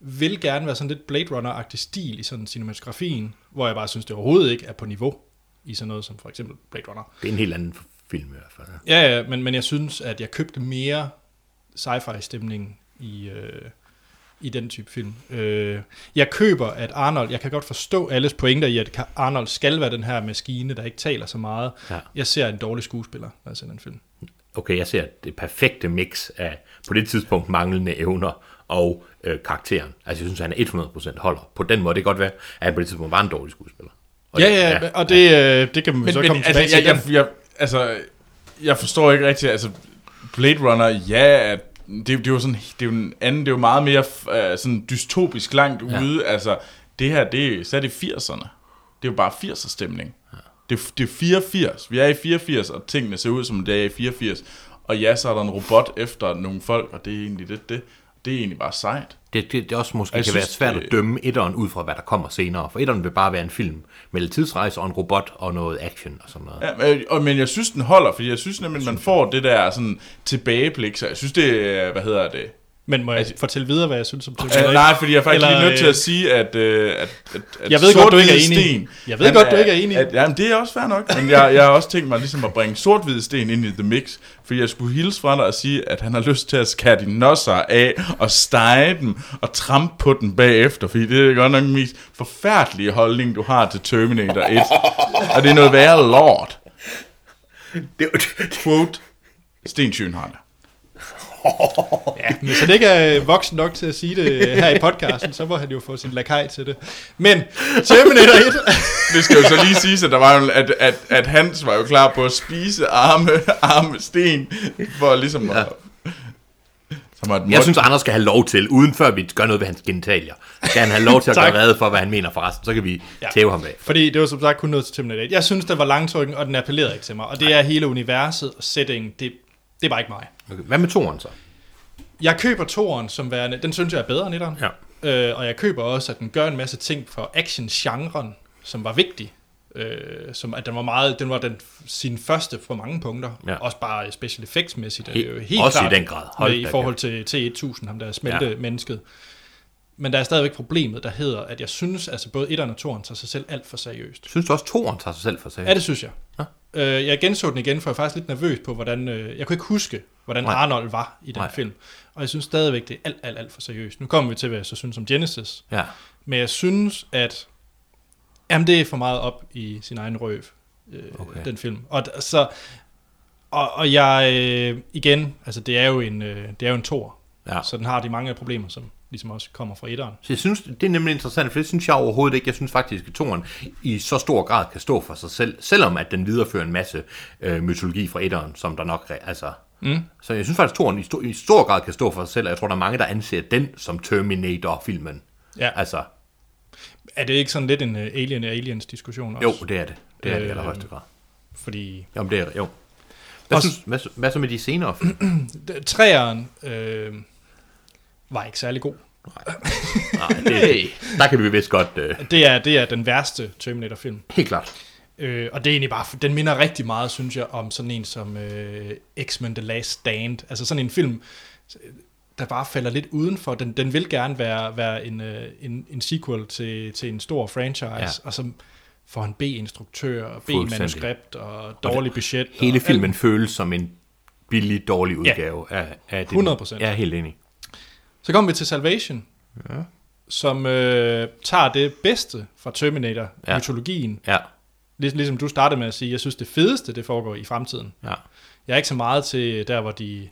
[SPEAKER 1] vil gerne være sådan lidt Blade Runner-agtig stil i sådan cinematografien, hvor jeg bare synes, det overhovedet ikke er på niveau i sådan noget som for eksempel Blade Runner.
[SPEAKER 2] Det er en helt anden film i hvert fald.
[SPEAKER 1] Ja, ja men, men jeg synes, at jeg købte mere sci-fi-stemning i, øh, i den type film. Øh, jeg køber, at Arnold, jeg kan godt forstå alles pointer i, at Arnold skal være den her maskine, der ikke taler så meget.
[SPEAKER 2] Ja.
[SPEAKER 1] Jeg ser en dårlig skuespiller, når jeg ser den film.
[SPEAKER 2] Okay, jeg ser det perfekte mix af på det tidspunkt manglende evner og øh, karakteren. Altså, jeg synes, han er 100% holder. På den måde, det kan godt være, at han på det tidspunkt var en dårlig skuespiller. Og
[SPEAKER 1] Ja,
[SPEAKER 2] det-
[SPEAKER 1] ja, ja, og det, øh, det kan vi
[SPEAKER 3] Men,
[SPEAKER 1] så
[SPEAKER 3] men
[SPEAKER 1] komme
[SPEAKER 3] altså,
[SPEAKER 1] tilbage
[SPEAKER 3] jeg,
[SPEAKER 1] til.
[SPEAKER 3] jeg, jeg, altså, jeg forstår ikke rigtigt, altså, Blade Runner, ja, at det, det er jo sådan, det er jo en anden, det er jo meget mere uh, sådan dystopisk langt ja. ude, altså, det her, det er sat i 80'erne. Det er jo bare 80'er stemning. Ja. Det, er- det er 84, vi er i 84, og tingene ser ud som det er i 84, og ja, så er der en robot efter nogle folk, og det er egentlig lidt det. Det er egentlig bare sejt.
[SPEAKER 2] Det, det, det også måske
[SPEAKER 3] Jeg
[SPEAKER 2] kan
[SPEAKER 3] synes,
[SPEAKER 2] være svært
[SPEAKER 3] det-
[SPEAKER 2] at dømme etteren ud fra, hvad der kommer senere. For etteren vil bare være en film med lidt tidsrejse og en robot og noget action og sådan noget. Ja.
[SPEAKER 3] Ja, men, og, men jeg synes, den holder, fordi jeg synes nemlig, man får det der sådan tilbageblik, så jeg synes, det er, hvad hedder det,
[SPEAKER 1] Men må jeg altså, fortælle videre, hvad jeg synes om Terminator
[SPEAKER 3] Øh, nej, fordi jeg er faktisk
[SPEAKER 1] Eller,
[SPEAKER 3] Eller, lige nødt til
[SPEAKER 1] øh,
[SPEAKER 3] at sige, at... Øh, at, at, at
[SPEAKER 1] Jeg ved godt, du ikke er
[SPEAKER 3] Sort-Hvide
[SPEAKER 1] enig.
[SPEAKER 3] Sten,
[SPEAKER 1] Jeg ved godt, du ikke er enig.
[SPEAKER 3] At, jamen, det er også fair nok, men jeg, jeg har også tænkt mig ligesom at bringe sort sten ind i The Mix, fordi jeg skulle hilse fra dig og sige, at han har lyst til at skære de nosser af og stege dem og trampe på den bagefter, fordi det er godt nok den mest forfærdelige holdning, du har til Terminator 1. og det er noget værre lort.
[SPEAKER 2] Det,
[SPEAKER 3] Quote, Sten Schønhardt.
[SPEAKER 1] Hvis han ikke er øh, voksen nok til at sige det øh, her i podcasten, så må han jo få sin lakaj til det. Men Terminator 1...
[SPEAKER 3] Det skal jo så lige siges, at, der var jo, at, at, at Hans var jo klar på at spise arme, arme sten, for ligesom at... Som er et
[SPEAKER 2] Jeg
[SPEAKER 3] måtte-
[SPEAKER 2] synes, Anders skal have lov til, uden før vi gør noget ved hans genitalier, skal han have lov til at
[SPEAKER 1] Tak.
[SPEAKER 2] gøre redde for, hvad han mener for resten. Så kan vi ja. tæve ham af.
[SPEAKER 1] Fordi det var som sagt kun noget til Terminator 8. Jeg synes, den var langtrykken, og den appellerede ikke til mig. Og det er hele universet og settingen, det, det er bare ikke mig.
[SPEAKER 2] Okay. Hvad med toren så?
[SPEAKER 1] Jeg køber toren som værende, den synes jeg er bedre end etteren.
[SPEAKER 2] Ja.
[SPEAKER 1] Øh, og jeg køber også, at den gør en masse ting for action-genren, som var vigtig. Øh, som at den var meget, den var den, sin første på mange punkter.
[SPEAKER 2] Ja.
[SPEAKER 1] Også bare special effects-mæssigt. er
[SPEAKER 2] Helt-
[SPEAKER 1] det jo helt
[SPEAKER 2] også
[SPEAKER 1] klart
[SPEAKER 2] i den grad. Hold
[SPEAKER 1] med, I
[SPEAKER 2] da
[SPEAKER 1] forhold til T1000, ham der smelte
[SPEAKER 2] Ja.
[SPEAKER 1] ja. mennesket. Men der er stadigvæk problemet, der hedder, at jeg synes, altså både etteren og toren tager sig selv alt for seriøst.
[SPEAKER 2] Synes du også, toren tager sig selv for sig?
[SPEAKER 1] Ja, det synes jeg. Øh, jeg genså den igen, for jeg er faktisk lidt nervøs på, hvordan... Øh, jeg kunne ikke huske, hvordan
[SPEAKER 2] Nej.
[SPEAKER 1] Nej. Arnold var i den
[SPEAKER 2] Nej.
[SPEAKER 1] Nej. film. Og jeg synes stadigvæk, det er alt, alt, alt for seriøst. Nu kommer vi til, hvad jeg så synes om Genesis.
[SPEAKER 2] Ja.
[SPEAKER 1] Men jeg synes, at... Jamen, det er for meget op i sin egen røv, øh,
[SPEAKER 2] Okay.
[SPEAKER 1] okay. den film. Og d- så... Og, og jeg... Øh, igen, altså, det er jo en, øh, det er jo en tor.
[SPEAKER 2] Ja.
[SPEAKER 1] Så den har de mange af problemer, som ligesom også kommer fra etteren.
[SPEAKER 2] Så jeg synes, det er nemlig interessant, for det synes jeg overhovedet ikke. Jeg synes faktisk, at toren i så stor grad kan stå for sig selv, selvom at den viderefører en masse øh, mytologi fra etteren, som der nok... re- Altså, mm. Så jeg synes faktisk, at toren i, sto- i stor grad kan stå for sig selv, og jeg tror, der er mange, der anser den som Terminator-filmen.
[SPEAKER 1] Ja.
[SPEAKER 2] Altså,
[SPEAKER 1] Er det ikke sådan lidt en øh, Alien er Aliens-diskussion også?
[SPEAKER 2] jo, det er det. Det er det i
[SPEAKER 1] Øh,
[SPEAKER 2] allerhøjeste grad.
[SPEAKER 1] Fordi
[SPEAKER 2] Jamen, det er jo. Hvad,
[SPEAKER 1] Og
[SPEAKER 2] synes, hvad, så- hvad så med de senere film?
[SPEAKER 1] D- Træeren øh, var ikke særlig god.
[SPEAKER 2] Nej, det, der kan vi vist godt... Øh,
[SPEAKER 1] Det er, det er den værste Terminator-film.
[SPEAKER 2] helt klart.
[SPEAKER 1] Øh, og det er egentlig bare, den minder rigtig meget, synes jeg, om sådan en som øh, X-Men The Last Stand. Altså sådan en film, der bare falder lidt udenfor. Den, den vil gerne være, være en, øh, en, en sequel til, til en stor franchise,
[SPEAKER 2] Ja.
[SPEAKER 1] ja. og som får en B-instruktør, og
[SPEAKER 2] Fuldstændig.
[SPEAKER 1] B-manuskript, og dårlig budget. og
[SPEAKER 2] Hele
[SPEAKER 1] alt
[SPEAKER 2] filmen føles som en billig, dårlig udgave ja. af, af det.
[SPEAKER 1] 100%.
[SPEAKER 2] Jeg er helt enig.
[SPEAKER 1] Så kommer vi til Salvation, ja. som øh, tager det bedste fra
[SPEAKER 2] Ja.
[SPEAKER 1] Terminator-mytologien.
[SPEAKER 2] Ja,
[SPEAKER 1] Lig, ligesom du startede med at sige, jeg synes det fedeste, det foregår i fremtiden.
[SPEAKER 2] ja.
[SPEAKER 1] Jeg er ikke så meget til der, hvor de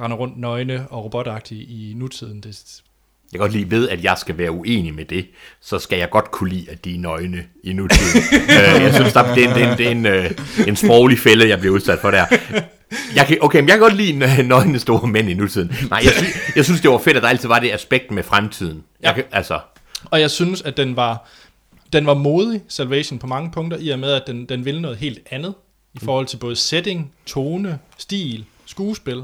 [SPEAKER 1] render rundt nøgne og robotagtige i nutiden. Det,
[SPEAKER 2] Jeg kan godt lige ved, at jeg skal være uenig med det, så skal jeg godt kunne lide, at de er nøgne i nutiden. øh, jeg synes, der, det er en, det er en, det er en, øh, en sproglig fælde, jeg bliver udsat for der. Jeg kan, okay, men jeg kan godt lide nø- nøgne store mænd i nutiden. Nej, jeg, sy- jeg synes, det var fedt, at der altid var det aspekt med fremtiden. Jeg
[SPEAKER 1] Ja.
[SPEAKER 2] kan, altså,
[SPEAKER 1] og jeg synes, at den var, den var modig, Salvation, på mange punkter, i og med, at den, den ville noget helt andet i
[SPEAKER 2] Mm.
[SPEAKER 1] forhold til både setting, tone, stil, skuespil.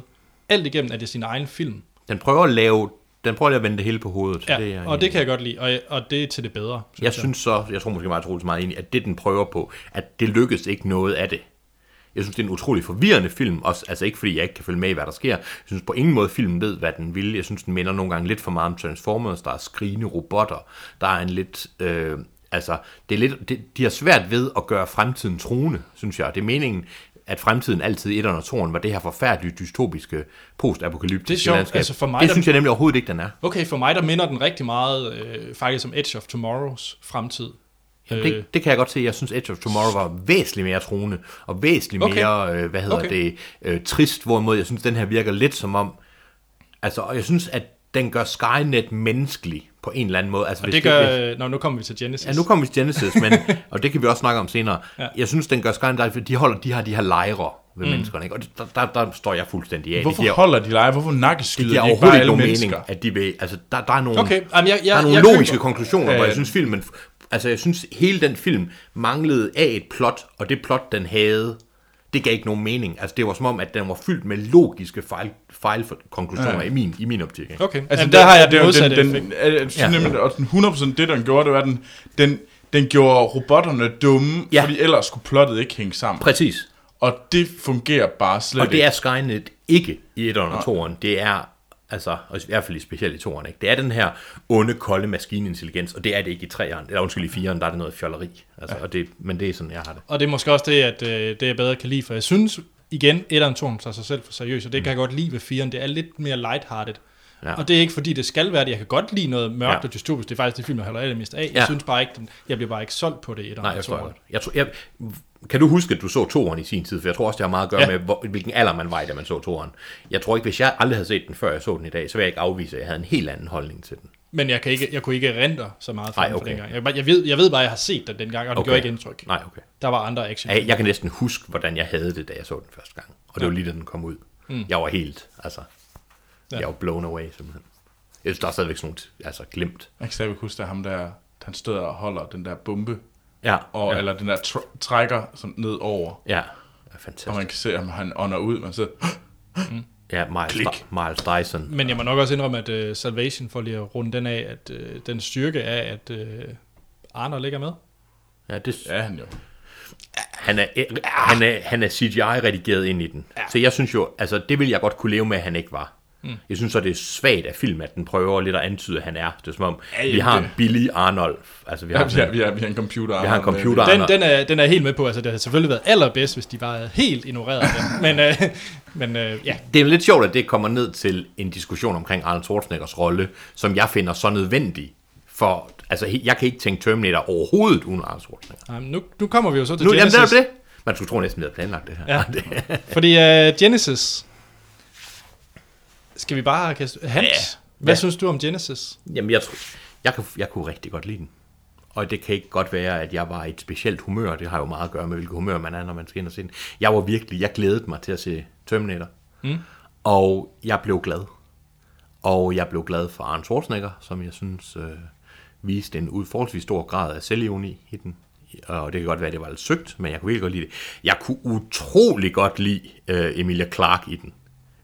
[SPEAKER 1] Alt igennem er det sin egen film.
[SPEAKER 2] den prøver at lave, den prøver at vende det hele på hovedet.
[SPEAKER 1] Ja,
[SPEAKER 2] er
[SPEAKER 1] det
[SPEAKER 2] jeg
[SPEAKER 1] og
[SPEAKER 2] enig
[SPEAKER 1] det kan jeg godt lide, og, og det er til det bedre. Synes
[SPEAKER 2] Jeg synes så, jeg tror måske meget troligt meget enig, at det den prøver på, at det lykkes ikke noget af det. Jeg synes, det er en utrolig forvirrende film, også, altså ikke fordi jeg ikke kan følge med i, hvad der sker. Jeg synes på ingen måde, filmen ved, hvad den vil. Jeg synes, den minder nogle gange lidt for meget om Transformers. Der er skrigende robotter. Der er en lidt... Øh, altså, det er lidt, det, de har svært ved at gøre fremtiden truende, synes jeg. Det er meningen, at fremtiden altid i etteren og toren var det her forfærdelige, dystopiske,
[SPEAKER 1] Det er
[SPEAKER 2] postapokalyptiske
[SPEAKER 1] sjovt.
[SPEAKER 2] landskab.
[SPEAKER 1] Altså, for mig,
[SPEAKER 2] det
[SPEAKER 1] der-
[SPEAKER 2] synes jeg nemlig overhovedet ikke, den er.
[SPEAKER 1] Okay, for mig der minder den rigtig meget øh, faktisk om Edge of Tomorrows fremtid.
[SPEAKER 2] Jamen,
[SPEAKER 1] Øh,
[SPEAKER 2] det, det kan jeg godt se. Jeg synes, Edge of Tomorrow var væsentligt mere truende, og væsentligt okay.
[SPEAKER 1] Okay.
[SPEAKER 2] mere, øh, hvad hedder okay.
[SPEAKER 1] Okay.
[SPEAKER 2] det, øh, trist, hvorimod jeg synes, den her virker lidt som om, altså, og jeg synes, at den gør Skynet menneskelig på en eller anden måde. Altså,
[SPEAKER 1] og
[SPEAKER 2] hvis
[SPEAKER 1] det gør...
[SPEAKER 2] hvis-
[SPEAKER 1] Øh, nå, nu kommer vi til Genesis.
[SPEAKER 2] Ja, nu kommer vi til Genesis, men, og det kan vi også snakke om senere. Ja. Jeg synes, den gør Skynet, dejlig, for de holder de her, de her lejre ved mm. menneskerne, ikke? og det- der, der, der, står jeg fuldstændig af.
[SPEAKER 3] Hvorfor
[SPEAKER 2] det giver,
[SPEAKER 3] holder de leje? Hvorfor nakkeskyder
[SPEAKER 2] det giver
[SPEAKER 3] de ikke bare
[SPEAKER 2] overhovedet ikke
[SPEAKER 3] alle
[SPEAKER 2] nogen
[SPEAKER 3] mennesker?
[SPEAKER 2] mening, at de vil, altså, der, der er nogle,
[SPEAKER 1] Okay, jamen, jeg- jeg-
[SPEAKER 2] der er nogle
[SPEAKER 1] jeg
[SPEAKER 2] logiske
[SPEAKER 1] køber-
[SPEAKER 2] konklusioner, hvor
[SPEAKER 3] Øh.
[SPEAKER 2] jeg synes filmen, altså jeg synes hele den film manglede af et plot, og det plot den havde, det gav ikke nogen mening. Altså det var som om, at den var fyldt med logiske fejl, fejlkonklusioner ja. i, min, i min optik. ikke?
[SPEAKER 1] Okay, altså, Jamen, der har jeg den modsatte
[SPEAKER 3] den,
[SPEAKER 1] effekt.
[SPEAKER 3] den, den,
[SPEAKER 2] Ja.
[SPEAKER 3] ja. nemlig, og den 100% det, den gjorde, det var, at den, den, den gjorde robotterne dumme,
[SPEAKER 2] Ja.
[SPEAKER 3] ja. fordi ellers skulle plottet ikke hænge sammen.
[SPEAKER 2] Præcis.
[SPEAKER 3] og det fungerer bare slet
[SPEAKER 2] Og det
[SPEAKER 3] ikke.
[SPEAKER 2] er Skynet ikke i 1'eren og 2'eren. Det er, altså, og i hvert fald i specielt i 2'eren, ikke? Det er den her onde, kolde maskinintelligens, og det er det ikke i 3'eren. Eller undskyld, i 4'eren, der er det noget fjolleri. Altså, ja. og det, men det er sådan, jeg har det.
[SPEAKER 1] Og det er måske også det, at øh, det jeg bedre kan lide, for jeg synes igen, etteren toren tager sig selv for seriøst, og det kan jeg godt lide ved firen, det er lidt mere lighthearted.
[SPEAKER 2] Ja.
[SPEAKER 1] Mm. Ja. Og det er ikke fordi, det skal være det. Jeg kan godt lide noget mørkt
[SPEAKER 2] Ja.
[SPEAKER 1] ja. og dystopisk. Det er faktisk det film, jeg holder allermest af. Ja.
[SPEAKER 2] Ja.
[SPEAKER 1] Jeg synes bare ikke, den, jeg bliver bare ikke solgt på det. i etteren
[SPEAKER 2] Nej,
[SPEAKER 1] og
[SPEAKER 2] jeg tror jeg.
[SPEAKER 1] toeren.
[SPEAKER 2] godt. Jeg tror, jeg, kan du huske, at du så toeren i sin tid? For jeg tror også, det har meget at gøre ja.
[SPEAKER 1] Ja.
[SPEAKER 2] med, hvor, hvilken alder man var i, da man så toeren. Jeg tror ikke, hvis jeg aldrig havde set den, før jeg så den i dag, så vil jeg ikke afvise, at jeg havde en helt anden holdning til den.
[SPEAKER 1] Men jeg, kan ikke, jeg kunne ikke erindre så meget fra
[SPEAKER 2] Nej,
[SPEAKER 1] den fra
[SPEAKER 2] okay.
[SPEAKER 1] dengang. Jeg, kan bare- jeg, ved, jeg ved bare, at jeg har set den dengang, og det
[SPEAKER 2] Okay.
[SPEAKER 1] okay. gjorde ikke indtryk.
[SPEAKER 2] Nej, okay.
[SPEAKER 1] Der var andre action.
[SPEAKER 2] Jeg- Jeg kan næsten huske, hvordan jeg havde det, da jeg så den første gang. Og det var lige, da den kom ud. Mm. Jeg var helt, altså... Ja. Jeg var blown away, simpelthen. Jeg synes, der er stadigvæk sådan nogle, altså glemt.
[SPEAKER 3] Jeg kan stadigvæk huske, der er ham der, han stod og holder den der bombe,
[SPEAKER 2] Ja,
[SPEAKER 3] og,
[SPEAKER 2] ja.
[SPEAKER 3] ja. eller den der tr- trækker sådan ned over,
[SPEAKER 2] ja. ja
[SPEAKER 3] og man
[SPEAKER 2] fantastisk.
[SPEAKER 3] kan se, om han ånder ud, men så,
[SPEAKER 2] Ja, Miles,
[SPEAKER 3] Klik.
[SPEAKER 2] Di- Miles Dyson.
[SPEAKER 1] Men jeg må nok også indrømme, at uh, Salvation, for lige at runde den af, at uh, den styrke er, at uh, Arner ligger med.
[SPEAKER 2] Ja, det,
[SPEAKER 3] ja han jo.
[SPEAKER 2] Han er, øh, han er, han er CGI-redigeret ind i den. Ja. Så jeg synes jo, altså det vil jeg godt kunne leve med, at han ikke var. Mm. Jeg synes så, det er svagt af film, at den prøver lidt at antyde, at han er. Det er som om,
[SPEAKER 3] Ja,
[SPEAKER 2] ja,
[SPEAKER 3] ja,
[SPEAKER 2] vi har en
[SPEAKER 3] det-
[SPEAKER 2] billig Arnolf. Altså, vi har,
[SPEAKER 3] Ja, vi, har, vi, har, vi har en computer. øh,
[SPEAKER 2] vi har en computer
[SPEAKER 1] Den,
[SPEAKER 2] Arnold.
[SPEAKER 1] den, er, den er jeg helt med på. Altså, det havde selvfølgelig været allerbedst, hvis de bare havde helt ignoreret den. Men, uh, men uh, ja,
[SPEAKER 2] Det er lidt sjovt, at det kommer ned til en diskussion omkring Arnold Schwarzeneggers rolle, som jeg finder så nødvendig. For altså, he- jeg kan ikke tænke Terminator overhovedet uden Arnold Schwarzenegger.
[SPEAKER 1] um, nu, nu kommer vi jo så til
[SPEAKER 2] Nu, jamen,
[SPEAKER 1] Genesis.
[SPEAKER 2] det er jo det. Man skulle tro næsten, vi havde planlagt det her.
[SPEAKER 1] Ja. Fordi uh, Genesis... Skal vi bare kaste... Hans,
[SPEAKER 2] Ja.
[SPEAKER 1] hvad
[SPEAKER 2] Ja.
[SPEAKER 1] synes du om Genesis?
[SPEAKER 2] Jamen, jeg, tror, jeg, kan, jeg kunne rigtig godt lide den. Og det kan ikke godt være, at jeg var i et specielt humør. Det har jo meget at gøre med, hvilket humør man er, når man skal ind og se den. Jeg var virkelig, jeg glædede mig til at se Terminator. Mm. Og jeg blev glad. Og jeg blev glad for Arne Schwarzenegger, som jeg synes øh, viste en ud- forholdsvis stor grad af selvironi i den. Og det kan godt være, at det var lidt søgt, men jeg kunne virkelig godt lide det. Jeg kunne utrolig godt lide øh, Emilia Clarke i den.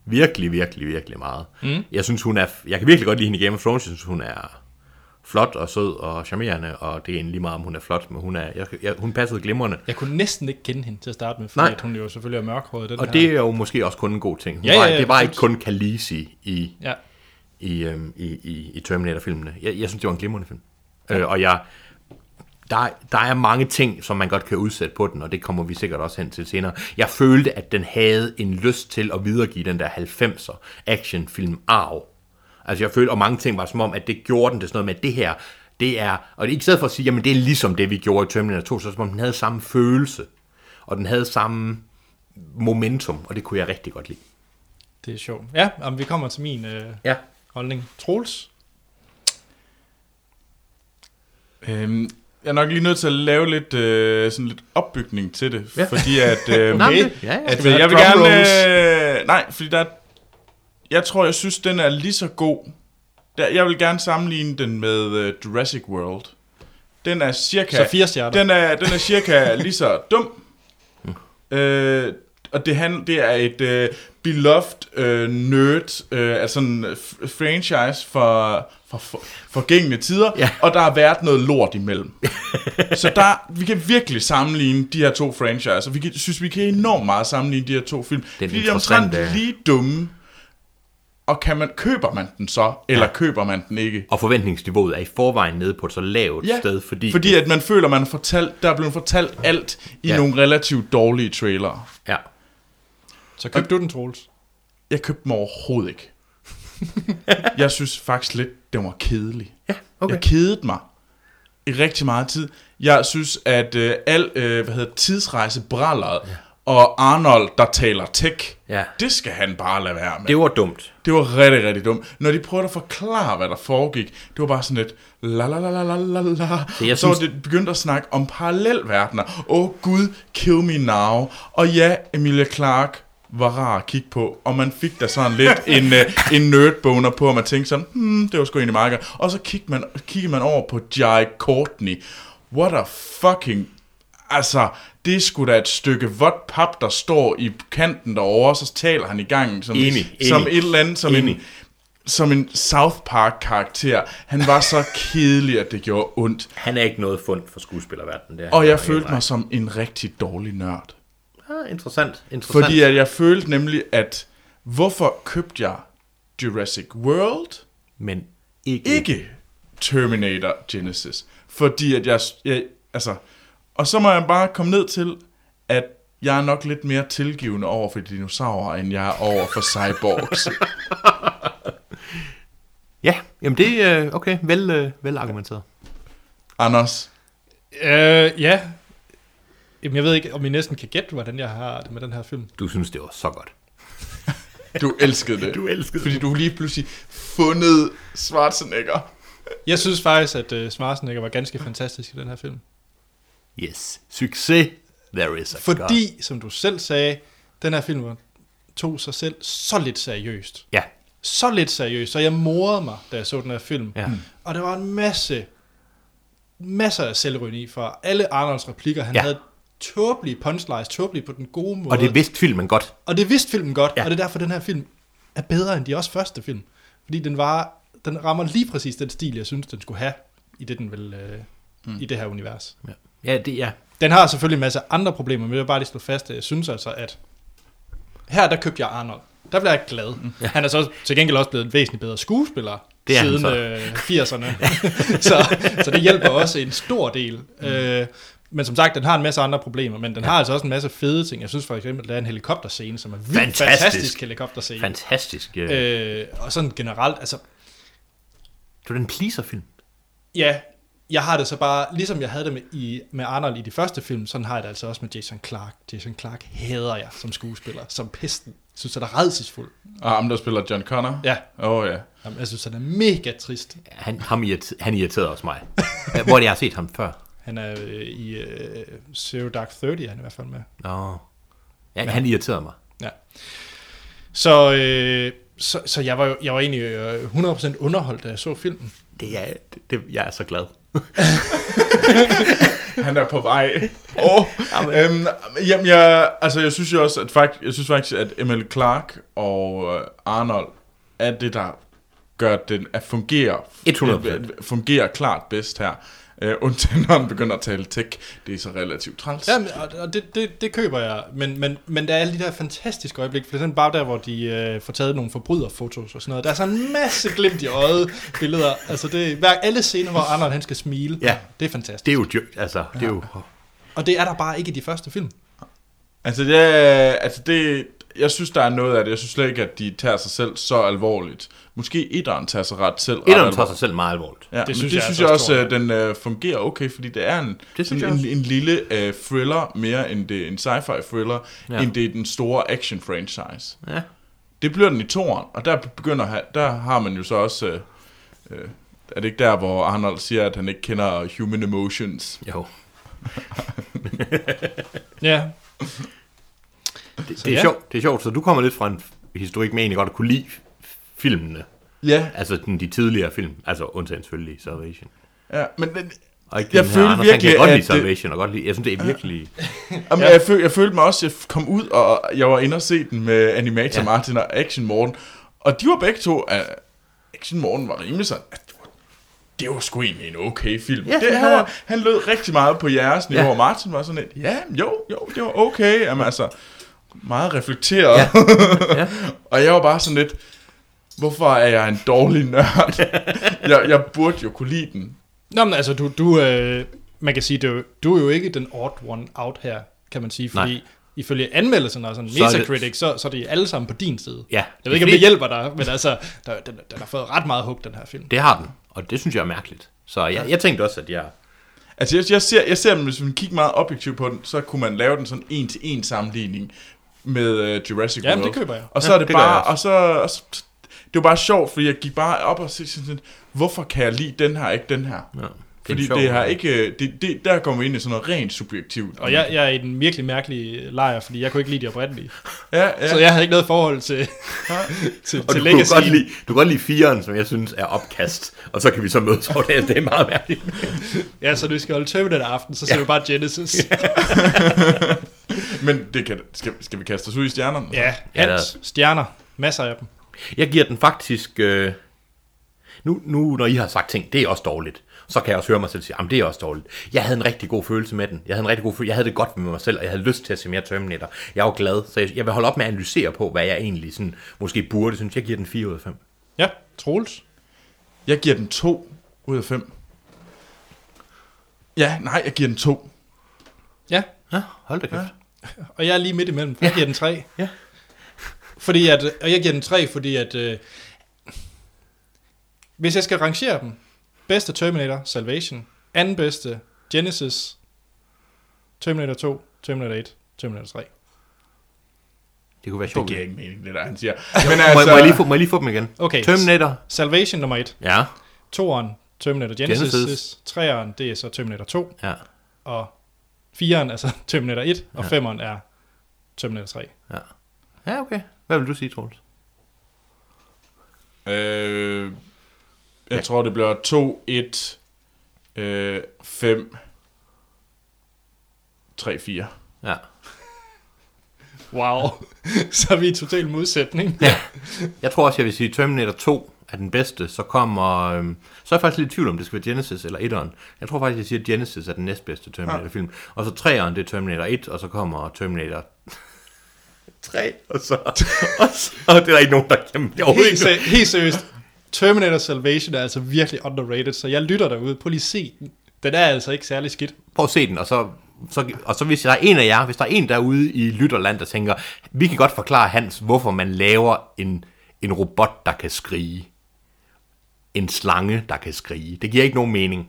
[SPEAKER 2] Virkelig, virkelig, virkelig meget. Mm. Jeg synes, hun er... Jeg kan virkelig godt lide hende i Game of Thrones. Jeg synes, hun er flot og sød og charmerende, og det er egentlig lige meget, om hun er flot, men hun, er, jeg, jeg, hun passede glimrende.
[SPEAKER 1] Jeg kunne næsten ikke kende hende til at starte med, fordi
[SPEAKER 2] Nej.
[SPEAKER 1] at hun jo selvfølgelig er mørkhåret. Den
[SPEAKER 2] Og
[SPEAKER 1] her.
[SPEAKER 2] det er jo måske også kun en god ting. Hun
[SPEAKER 1] Ja, ja,
[SPEAKER 2] var,
[SPEAKER 1] ja,
[SPEAKER 2] det var ikke
[SPEAKER 1] bestemt.
[SPEAKER 2] kun Khaleesi i,
[SPEAKER 1] Ja.
[SPEAKER 2] i, øhm, i, i, i Terminator-filmene. Jeg, jeg synes, det var en glimrende film. Øh, og jeg, der, der er mange ting, som man godt kan udsætte på den, og det kommer vi sikkert også hen til senere. Jeg følte, at den havde en lyst til at videregive den der 90'er actionfilm arv. Altså jeg følte, og mange ting var som om, at det gjorde den til sådan noget med, at det her, det er, og det er ikke stedet for at sige, jamen det er ligesom det, vi gjorde i Terminator 2, så er det som om den havde samme følelse, og den havde samme momentum, og det kunne jeg rigtig godt lide.
[SPEAKER 1] Det er sjovt. Ja, jamen, vi kommer til min øh,
[SPEAKER 2] Ja.
[SPEAKER 1] holdning. Troels?
[SPEAKER 3] Øhm, jeg er nok lige nødt til at lave lidt, øh, sådan lidt opbygning til det, ja.
[SPEAKER 2] Ja.
[SPEAKER 3] fordi at... Øh,
[SPEAKER 2] Nå, men
[SPEAKER 1] Okay.
[SPEAKER 2] det- ja, ja.
[SPEAKER 3] at øh,
[SPEAKER 1] vi have
[SPEAKER 3] jeg vil
[SPEAKER 1] drum
[SPEAKER 3] gerne... Øh, nej, fordi der... Jeg tror, jeg synes, den er lige så god. Der, jeg vil gerne sammenligne den med øh, Jurassic World. Den er cirka...
[SPEAKER 1] Så fire stjerner. Uh.
[SPEAKER 3] Den er, den er cirka lige så dum. Øh, og det, han, det er et øh, beloved øh, nerd, øh, altså en f- franchise for, for, for forgængende tider,
[SPEAKER 2] Ja.
[SPEAKER 3] og der har været noget lort imellem. så der, vi kan virkelig sammenligne de her to franchiser. Vi kan, synes, vi kan enormt meget sammenligne de her to film.
[SPEAKER 2] Den
[SPEAKER 3] fordi de er omtrent
[SPEAKER 2] interessante-
[SPEAKER 3] lige dumme. Og kan man, køber man den så, eller ja. køber man den ikke?
[SPEAKER 2] Og forventningsniveauet er i forvejen nede på et så lavt sted, fordi,
[SPEAKER 3] fordi at man føler, man er fortalt, der er blevet fortalt alt i ja.
[SPEAKER 2] Ja.
[SPEAKER 3] nogle relativt dårlige trailere.
[SPEAKER 2] ja,
[SPEAKER 1] Så købte du den, Troels?
[SPEAKER 3] Jeg købte dem overhovedet ikke. jeg synes faktisk lidt, den var kedelig. Ja,
[SPEAKER 2] okay.
[SPEAKER 3] Jeg kedede mig i rigtig meget tid. Jeg synes, at øh, al øh, hvad hedder, tidsrejse bralleret, ja. og Arnold, der taler tech,
[SPEAKER 2] Ja.
[SPEAKER 3] det skal han bare lade være med.
[SPEAKER 2] det var dumt.
[SPEAKER 3] Det var rigtig, rigtig dumt. Når de prøvede at forklare, hvad der foregik, det var bare sådan lidt la la la la la la la.
[SPEAKER 2] jeg
[SPEAKER 3] Så var
[SPEAKER 2] synes-
[SPEAKER 3] det begyndt at snakke om parallelverdener. Åh oh, gud, kill me now. Og ja, Emilia Clarke var rar at kigge på, og man fik da sådan lidt en, øh, en nerdboner på, og man tænkte sådan, hmm, det var sgu egentlig meget godt. Og så kiggede man, kiggede man over på Jai Courtney. What a fucking... Altså, det er sgu da et stykke vådt pap, der står i kanten derovre, og så taler han i gangen som,
[SPEAKER 2] Enig,
[SPEAKER 3] som
[SPEAKER 2] enig.
[SPEAKER 3] et eller andet, som en,
[SPEAKER 2] Enig.
[SPEAKER 3] som en South Park-karakter. Han var så kedelig, at det gjorde ondt.
[SPEAKER 2] Han er ikke noget fund for skuespillerverdenen. Det er
[SPEAKER 3] Og
[SPEAKER 2] han
[SPEAKER 3] jeg
[SPEAKER 2] bare
[SPEAKER 3] følte
[SPEAKER 2] helt
[SPEAKER 3] mig som en rigtig dårlig nørd.
[SPEAKER 2] ret. Ah, interessant, interessant.
[SPEAKER 3] Fordi at jeg følte nemlig, at hvorfor købte jeg Jurassic World?
[SPEAKER 2] Men ikke...
[SPEAKER 3] Ikke Terminator Genesis. Fordi at jeg, jeg... Altså... Og så må jeg bare komme ned til, at jeg er nok lidt mere tilgivende over for dinosaurer, end jeg er over for cyborgs.
[SPEAKER 2] Ja, jamen det er okay. Vel, øh, vel argumenteret.
[SPEAKER 3] Anders,
[SPEAKER 1] Øh, ja. Jamen, jeg ved ikke, om I næsten kan gætte, hvordan jeg har det med den her film.
[SPEAKER 2] Du synes, det var så godt.
[SPEAKER 3] Du elskede det.
[SPEAKER 2] Du elskede
[SPEAKER 3] Fordi du lige pludselig fundet Schwarzenegger.
[SPEAKER 1] Jeg synes faktisk, at uh, Schwarzenegger var ganske fantastisk i den her film.
[SPEAKER 2] Yes. Succes. There is a God.
[SPEAKER 1] Fordi, som du selv sagde, den her film tog sig selv så lidt seriøst.
[SPEAKER 2] Ja.
[SPEAKER 1] så lidt seriøs, så jeg morede mig, da jeg så den her film.
[SPEAKER 2] Ja.
[SPEAKER 1] Og der var en masse, masser af selvrøni fra alle Arnolds replikker. Han
[SPEAKER 2] Ja.
[SPEAKER 1] ja. havde tåbelige punchlines, tåbelige på den gode måde.
[SPEAKER 2] Og det vidste filmen godt.
[SPEAKER 1] Og det vidste filmen godt,
[SPEAKER 2] Ja.
[SPEAKER 1] ja. og det er derfor, den her film er bedre end de også første film. Fordi den, var, den rammer lige præcis den stil, jeg synes, den skulle have i det, den vil, øh, mm. i det her univers.
[SPEAKER 2] Ja, ja det ja.
[SPEAKER 1] Den har selvfølgelig en masse andre problemer, men jeg vil bare lige slå fast, at jeg synes altså, at her der købte jeg Arnold. Der blev jeg glad. Ja. Han er så til gengæld også blevet en væsentlig bedre skuespiller
[SPEAKER 2] Mm. Det er han
[SPEAKER 1] siden
[SPEAKER 2] så.
[SPEAKER 1] øh, 80'erne. så, så det hjælper også en stor del. Mm. Øh, men som sagt, den har en masse andre problemer, men den har altså også en masse fede ting. Jeg synes for eksempel, at der er en helikopterscene, som er vildt
[SPEAKER 2] Fantastisk.
[SPEAKER 1] fantastisk, fantastisk helikopterscene.
[SPEAKER 2] Fantastisk. Øh.
[SPEAKER 1] Øh, og sådan generelt, altså
[SPEAKER 2] Det var den pleaser-film.
[SPEAKER 1] Ja, jeg har det så bare, ligesom jeg havde det med, i, med Arnold i de første film, sådan har jeg det altså også med Jason Clark. Jason Clark hader jeg som skuespiller, som pesten. Jeg synes, han er redselsfuld.
[SPEAKER 3] Og ham, der spiller John Connor?
[SPEAKER 1] Ja.
[SPEAKER 3] Åh oh, ja.
[SPEAKER 1] Jamen, jeg synes, han er mega trist.
[SPEAKER 2] Han, ham irriter- han irriterede også mig. Øh, Hvor jeg har set ham før.
[SPEAKER 1] Han er øh, i øh, Zero Dark Thirty, er han i hvert fald med.
[SPEAKER 2] Nå. Ja, han irriterede mig.
[SPEAKER 1] Ja. Så, øh, så, så jeg, var jo, jeg var egentlig øh, 100% underholdt, da jeg så filmen.
[SPEAKER 2] Det er, det, det, jeg er så glad.
[SPEAKER 3] Han er på vej. Oh, øhm, jamen, jeg, altså, jeg synes jo også, at fakt, jeg synes faktisk, at Emil Clark og øh, Arnold er det, der gør den at fungere,
[SPEAKER 2] 100%.
[SPEAKER 3] øh, fungerer klart bedst her. Øh, undtagen når han begynder at tale tech. Det er så relativt træls.
[SPEAKER 1] Ja, men, og- og det, det, det køber jeg, men, men, men der er alle de der fantastiske øjeblikke, for eksempel bare der, hvor de øh, får taget nogle forbryderfotos og sådan noget. Der er så en masse glimt i øjet billeder. Altså det, hver, alle scener, hvor Arnold han skal smile,
[SPEAKER 2] Ja.
[SPEAKER 1] det er fantastisk.
[SPEAKER 2] Det
[SPEAKER 1] Det.
[SPEAKER 2] er jo dyrt, altså. Det er jo...
[SPEAKER 1] Og det er der bare ikke i de første film.
[SPEAKER 3] Altså, det, altså det, jeg synes, der er noget af det. Jeg synes slet ikke, at de tager sig selv så alvorligt. Måske etteren tager sig ret selv. ret
[SPEAKER 2] Etteren tager
[SPEAKER 3] alvorligt.
[SPEAKER 2] sig selv meget alvorligt.
[SPEAKER 3] Ja, det synes, det jeg, synes jeg
[SPEAKER 1] altså
[SPEAKER 3] også,
[SPEAKER 1] også,
[SPEAKER 3] at den øh, fungerer okay, fordi det er en,
[SPEAKER 2] synes
[SPEAKER 3] det
[SPEAKER 2] jeg
[SPEAKER 3] sådan, en,
[SPEAKER 2] også.
[SPEAKER 3] en lille øh, thriller mere end det er en sci-fi thriller,
[SPEAKER 2] Ja.
[SPEAKER 3] ja. end det er den store action franchise.
[SPEAKER 2] Ja.
[SPEAKER 3] Det bliver den i toren, og der begynder han- der har man jo så også øh, øh, er det ikke der, hvor Arnold siger, at han ikke kender human emotions?
[SPEAKER 2] Jo.
[SPEAKER 1] Ja.
[SPEAKER 2] Det, det, er
[SPEAKER 1] ja.
[SPEAKER 2] sjovt, det er sjovt, så du kommer lidt fra en historik med egentlig godt at kunne lide filmene.
[SPEAKER 3] Ja,
[SPEAKER 2] Altså den, de tidligere film. Altså undtagen selvfølgelig Salvation.
[SPEAKER 3] ja men den,
[SPEAKER 2] Og ikke
[SPEAKER 3] Jeg
[SPEAKER 2] den her
[SPEAKER 3] følte
[SPEAKER 2] Anders, han kan
[SPEAKER 3] virkelig,
[SPEAKER 2] godt
[SPEAKER 3] at
[SPEAKER 2] lide
[SPEAKER 3] det-
[SPEAKER 2] Salvation, og godt lide, jeg synes, det er virkelig...
[SPEAKER 3] Jamen, ja. jeg, føl, jeg følte mig også, jeg kom ud, og jeg var inde og se den med Animator ja. Martin og Action Morten, og de var begge to, at Action Morten var rimelig sådan, at det var- det var sgu egentlig en okay film.
[SPEAKER 2] Ja,
[SPEAKER 3] Ja, det,
[SPEAKER 2] ja,
[SPEAKER 3] han,
[SPEAKER 2] ja.
[SPEAKER 3] var, han lød rigtig meget på jeres niveau,
[SPEAKER 2] Ja.
[SPEAKER 3] ja. og Martin var sådan lidt, ja, jo, jo, det var okay, jamen altså, meget reflekteret.
[SPEAKER 2] Ja.
[SPEAKER 3] Ja.
[SPEAKER 2] Ja.
[SPEAKER 3] og jeg var bare sådan lidt, hvorfor er jeg en dårlig nørd? jeg, jeg burde jo kunne lide den.
[SPEAKER 1] Nå, men altså, du, du, øh, man kan sige, du, du er jo ikke den odd one out her, kan man sige, fordi
[SPEAKER 2] Nej.
[SPEAKER 1] Nej. ifølge anmeldelsen og sådan
[SPEAKER 2] Så er det-
[SPEAKER 1] Metacritic, så, så er de alle sammen på din side.
[SPEAKER 2] Ja.
[SPEAKER 1] Jeg ved ikke, om
[SPEAKER 2] Fordi-
[SPEAKER 1] det hjælper dig, men altså, der, den, den har fået ret meget hug, den her film.
[SPEAKER 2] Det har den, og det synes jeg er mærkeligt. Så jeg, jeg tænkte også, at jeg...
[SPEAKER 3] Altså, jeg, jeg, ser, jeg ser dem, hvis man kigger meget objektivt på den, så kunne man lave den sådan en-til-en sammenligning med uh, Jurassic
[SPEAKER 1] Jamen,
[SPEAKER 3] World.
[SPEAKER 1] det køber jeg.
[SPEAKER 3] Og så
[SPEAKER 2] Ja,
[SPEAKER 3] er det,
[SPEAKER 2] det gør jeg
[SPEAKER 3] bare,
[SPEAKER 2] også.
[SPEAKER 3] og så, og så, det var bare sjovt, fordi jeg gik bare op og sagde sådan, lidt, hvorfor kan jeg lide den her, ikke den her?
[SPEAKER 2] Ja, det er
[SPEAKER 3] fordi
[SPEAKER 2] en sjov-
[SPEAKER 3] det har ikke, øh, det, det, der kommer vi ind i sådan noget rent subjektivt.
[SPEAKER 1] Og jeg, jeg er i den virkelig mærkelige lejr, fordi jeg kunne ikke lide de oprindelige.
[SPEAKER 3] ja, ja.
[SPEAKER 1] Så jeg havde ikke noget forhold til, til,
[SPEAKER 2] Og
[SPEAKER 1] til
[SPEAKER 2] du, du, kan godt
[SPEAKER 1] legacy.
[SPEAKER 2] lide, du kan godt lide firen, som jeg synes er opkast, og så kan vi så mødes over det. Det er meget mærkeligt.
[SPEAKER 1] Ja, så du skal holde Terminator aften, så ser ja. vi bare Genesis. Ja,
[SPEAKER 3] Men det kan, skal, skal vi kaste os ud i stjernerne?
[SPEAKER 1] ja
[SPEAKER 2] Ja,
[SPEAKER 1] alt.
[SPEAKER 2] der-
[SPEAKER 1] Stjerner. Masser af dem.
[SPEAKER 2] Jeg giver den faktisk... Øh, nu, nu, når I har sagt ting, det er også dårligt, så kan jeg også høre mig selv sige, jamen det er også dårligt. Jeg havde en rigtig god følelse med den. Jeg havde en rigtig god følelse. Jeg havde det godt med mig selv, og jeg havde lyst til at se mere Terminator. Jeg var glad, så jeg, jeg vil holde op med at analysere på, hvad jeg egentlig sådan, måske burde. Synes jeg giver den 4 ud af 5.
[SPEAKER 1] Ja, Troels.
[SPEAKER 3] Jeg giver den 2 ud af 5. Ja, nej, jeg giver den 2.
[SPEAKER 1] Ja,
[SPEAKER 2] Ja, hold da kæft. Ja.
[SPEAKER 1] og jeg er lige midt imellem. Jeg giver den 3.
[SPEAKER 2] Ja.
[SPEAKER 1] Fordi at, og jeg giver den 3, fordi at... Øh, hvis jeg skal rangere dem, bedste Terminator, Salvation, anden bedste, Genesis, Terminator 2, Terminator 1, Terminator 3.
[SPEAKER 2] Det kunne være
[SPEAKER 3] Det
[SPEAKER 2] sjovt.
[SPEAKER 3] giver ikke mening, det der, han siger.
[SPEAKER 2] Men altså... må, jeg- må, jeg lige få, må jeg lige få dem igen?
[SPEAKER 1] Okay.
[SPEAKER 2] Terminator.
[SPEAKER 1] Salvation nummer 1,
[SPEAKER 2] Ja.
[SPEAKER 1] Toeren, Terminator Genesis.
[SPEAKER 2] Genesis.
[SPEAKER 1] Genesis. Treeren, det er så Terminator 2.
[SPEAKER 2] Ja.
[SPEAKER 1] Og fireren, altså Terminator 1. Og femeren er Terminator 3.
[SPEAKER 2] Ja, okay. Hvad vil du sige, Troels?
[SPEAKER 3] Øh, jeg tror, det bliver 2, 1, øh, 5, 3, 4.
[SPEAKER 2] Ja.
[SPEAKER 1] Wow. så er vi i total modsætning.
[SPEAKER 2] ja. Jeg tror også, jeg vil sige, Terminator 2 er den bedste. Så kommer... Øhm, så er jeg faktisk lidt i tvivl om, det skal være Genesis eller 1'eren. Jeg tror faktisk, jeg siger, at Genesis er den næstbedste Terminator-film. Og så 3'eren, det er Terminator 1, og så kommer Terminator 3, og så... Og, så, og det er der ikke nogen, der kan... Jeg overhovedet
[SPEAKER 1] Helt,
[SPEAKER 2] ikke
[SPEAKER 1] se- helt seriøst. Terminator Salvation er altså virkelig underrated, så jeg lytter derude. Prøv lige se den. Den er altså ikke særlig skidt.
[SPEAKER 2] prøv at se den, og så, så, og så hvis der er en af jer, hvis der er en derude i Lytterland, der tænker, vi kan godt forklare Hans, hvorfor man laver en, en robot, der kan skrige. En slange, der kan skrige. Det giver ikke nogen mening.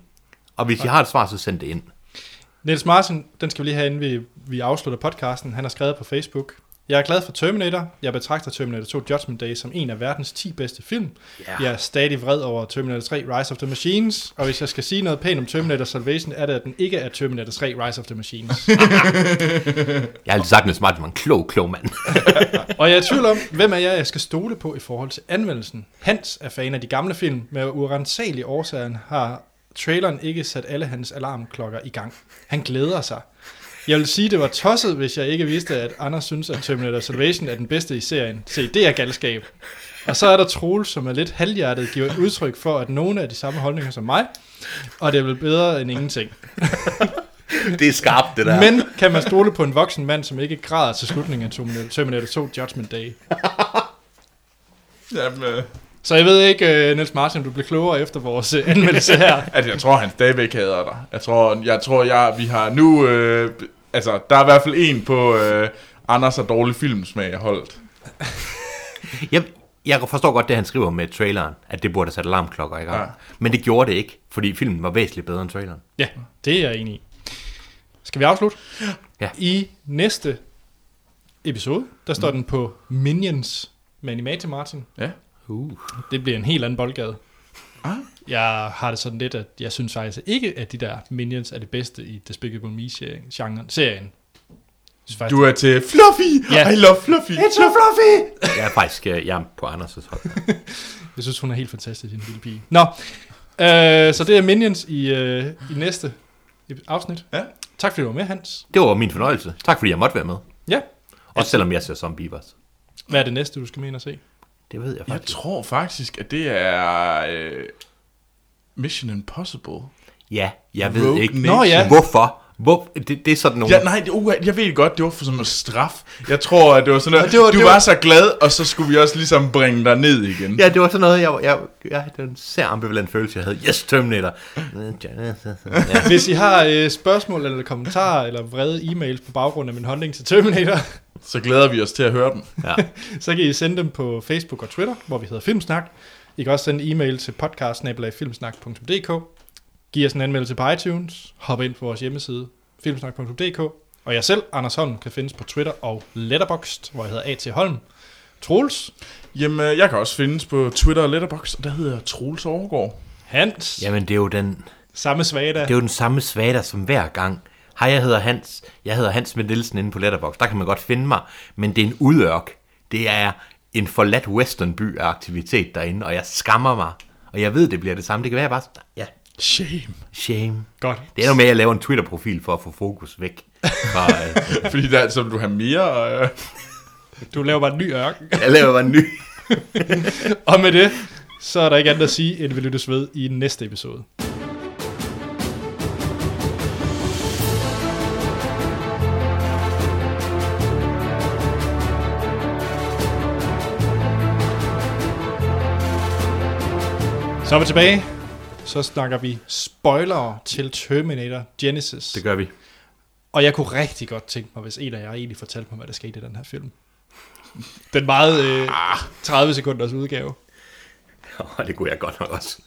[SPEAKER 2] Og hvis I har et svar, så send det ind.
[SPEAKER 1] Niels Marsen, den skal vi lige have, inden vi, vi afslutter podcasten. Han har skrevet på Facebook. Jeg er glad for Terminator. Jeg betragter Terminator 2 Judgment Day som en af verdens 10 bedste film.
[SPEAKER 2] Ja.
[SPEAKER 1] Jeg er stadig vred over Terminator 3 Rise of the Machines. Og hvis jeg skal sige noget pænt om Terminator Salvation, er det, at den ikke er Terminator 3 Rise of the Machines.
[SPEAKER 2] Jeg har altid sagt, at Niels Martin var en klog, klog mand.
[SPEAKER 1] og jeg er i tvivl om, hvem er jeg, jeg skal stole på i forhold til anmeldelsen. Hans er fan af de gamle film, men af urensagelige årsager har traileren ikke sat alle hans alarmklokker i gang. Han glæder sig. Jeg vil sige, det var tosset, hvis jeg ikke vidste, at Anders synes, at Terminator Salvation er den bedste i serien. Se, det er galskab. Og så er der Troels, som er lidt halvhjertet, giver udtryk for, at nogen af de samme holdninger som mig, og det er vel bedre end ingenting.
[SPEAKER 2] det er skarpt, det der.
[SPEAKER 1] Men kan man stole på en voksen mand, som ikke græder til slutningen af Terminator- Terminator 2 Judgment Day?
[SPEAKER 3] Jamen, øh,
[SPEAKER 1] Så jeg ved ikke, uh, Niels Martin, om du blev klogere efter vores øh, anmeldelse her.
[SPEAKER 3] altså, jeg tror, han stadigvæk hader dig. Jeg tror, jeg, tror, jeg vi har nu... Øh, altså, der er i hvert fald en på øh, Anders og dårlig filmsmag holdt.
[SPEAKER 2] Jeg, jeg forstår godt det, han skriver med traileren, at det burde have sat alarmklokker i gang.
[SPEAKER 3] Ja.
[SPEAKER 2] Ja. Men det gjorde det ikke, fordi filmen var væsentligt bedre end traileren.
[SPEAKER 1] Ja, det er jeg enig i. Skal vi afslutte?
[SPEAKER 2] Ja.
[SPEAKER 1] I næste episode, der står
[SPEAKER 3] Mm.
[SPEAKER 1] den på Minions med Animate Martin.
[SPEAKER 3] Ja.
[SPEAKER 2] Uh.
[SPEAKER 1] Det bliver en helt anden boldgade.
[SPEAKER 3] Ah.
[SPEAKER 1] Jeg har det sådan lidt, at jeg synes faktisk ikke, at de der Minions er det bedste i Despicable Me-serien. Serien. Jeg synes faktisk,
[SPEAKER 3] Du er til Fluffy!
[SPEAKER 1] Ja.
[SPEAKER 3] I love Fluffy! It's a Fluffy!
[SPEAKER 2] Jeg er faktisk øh, jeg er på Anders' hold.
[SPEAKER 1] Jeg synes, hun er helt fantastisk, den lille pige. Nå, øh, så det er Minions i, øh, i næste afsnit.
[SPEAKER 3] Ja.
[SPEAKER 1] Tak fordi du var med, Hans.
[SPEAKER 2] Det var min fornøjelse. Tak fordi jeg måtte være med.
[SPEAKER 1] Ja.
[SPEAKER 3] Altså-
[SPEAKER 2] Også selvom jeg ser zombievers.
[SPEAKER 1] Hvad er det næste, du skal med ind og se?
[SPEAKER 2] Det ved jeg
[SPEAKER 3] Jeg
[SPEAKER 2] faktisk.
[SPEAKER 3] tror faktisk, at det er øh, Mission Impossible.
[SPEAKER 2] Ja, jeg ved
[SPEAKER 3] Rogue
[SPEAKER 2] ikke.
[SPEAKER 3] Nation.
[SPEAKER 1] Nå ja.
[SPEAKER 2] Hvorfor? Hvor, det, det er sådan nogle...
[SPEAKER 3] Ja, nej, det- uh, jeg ved det godt, det var for sådan en straf. Jeg tror, at det var sådan noget,
[SPEAKER 1] det var-
[SPEAKER 3] du
[SPEAKER 1] det
[SPEAKER 3] var,
[SPEAKER 1] var-
[SPEAKER 3] så glad, og så skulle vi også ligesom bringe dig ned igen.
[SPEAKER 2] ja, det var sådan noget, jeg, jeg, jeg, det var en sær ambivalent følelse, jeg havde. Yes, Terminator. Ja.
[SPEAKER 1] Hvis I har øh, spørgsmål eller kommentarer eller vrede e-mails på baggrund af min holdning til Terminator,
[SPEAKER 3] Så glæder vi os til at høre dem.
[SPEAKER 2] Ja.
[SPEAKER 1] så kan I sende dem på Facebook og Twitter, hvor vi hedder Filmsnak. I kan også sende en e-mail til podcast-filmsnak.dk. Giv os en anmeldelse på iTunes. Hop ind på vores hjemmeside, filmsnak.dk. Og jeg selv, Anders Holm, kan findes på Twitter og Letterboxd, hvor jeg hedder A.T. Holm. Troels,
[SPEAKER 3] Jamen, øh, jeg kan også findes på Twitter og Letterboxd, og der hedder jeg Troels Overgaard.
[SPEAKER 1] Hans,
[SPEAKER 2] Jamen, det er jo den,
[SPEAKER 1] samme svada.
[SPEAKER 2] det er jo den samme svater som hver gang. Hej, jeg hedder Hans. Jeg hedder Hans med Nielsen inde på Letterboxd. Der kan man godt finde mig, men det er en udørk. Det er en forladt westernby af aktivitet derinde, og jeg skammer mig. Og jeg ved, det bliver det samme. Det kan være, jeg bare... Ja,
[SPEAKER 3] Shame.
[SPEAKER 2] shame.
[SPEAKER 1] Godt.
[SPEAKER 2] Det er jo med, at jeg laver en Twitter-profil for at få fokus væk. Fra, øh,
[SPEAKER 3] Fordi der, så vil du have mere... Øh,
[SPEAKER 1] Du laver bare en ny ørken.
[SPEAKER 2] jeg laver bare en ny.
[SPEAKER 1] Og med det, så er der ikke andet at sige, end vi lyttes ved i næste episode. Så er vi tilbage. Så snakker vi spoilere til Terminator Genesis.
[SPEAKER 2] Det gør vi.
[SPEAKER 1] Og jeg kunne rigtig godt tænke mig, hvis en af jer egentlig fortalte mig, hvad der skete i den her film. Den meget øh,
[SPEAKER 2] Ah.
[SPEAKER 1] 30 sekunders udgave.
[SPEAKER 2] Åh, det kunne jeg godt nok også.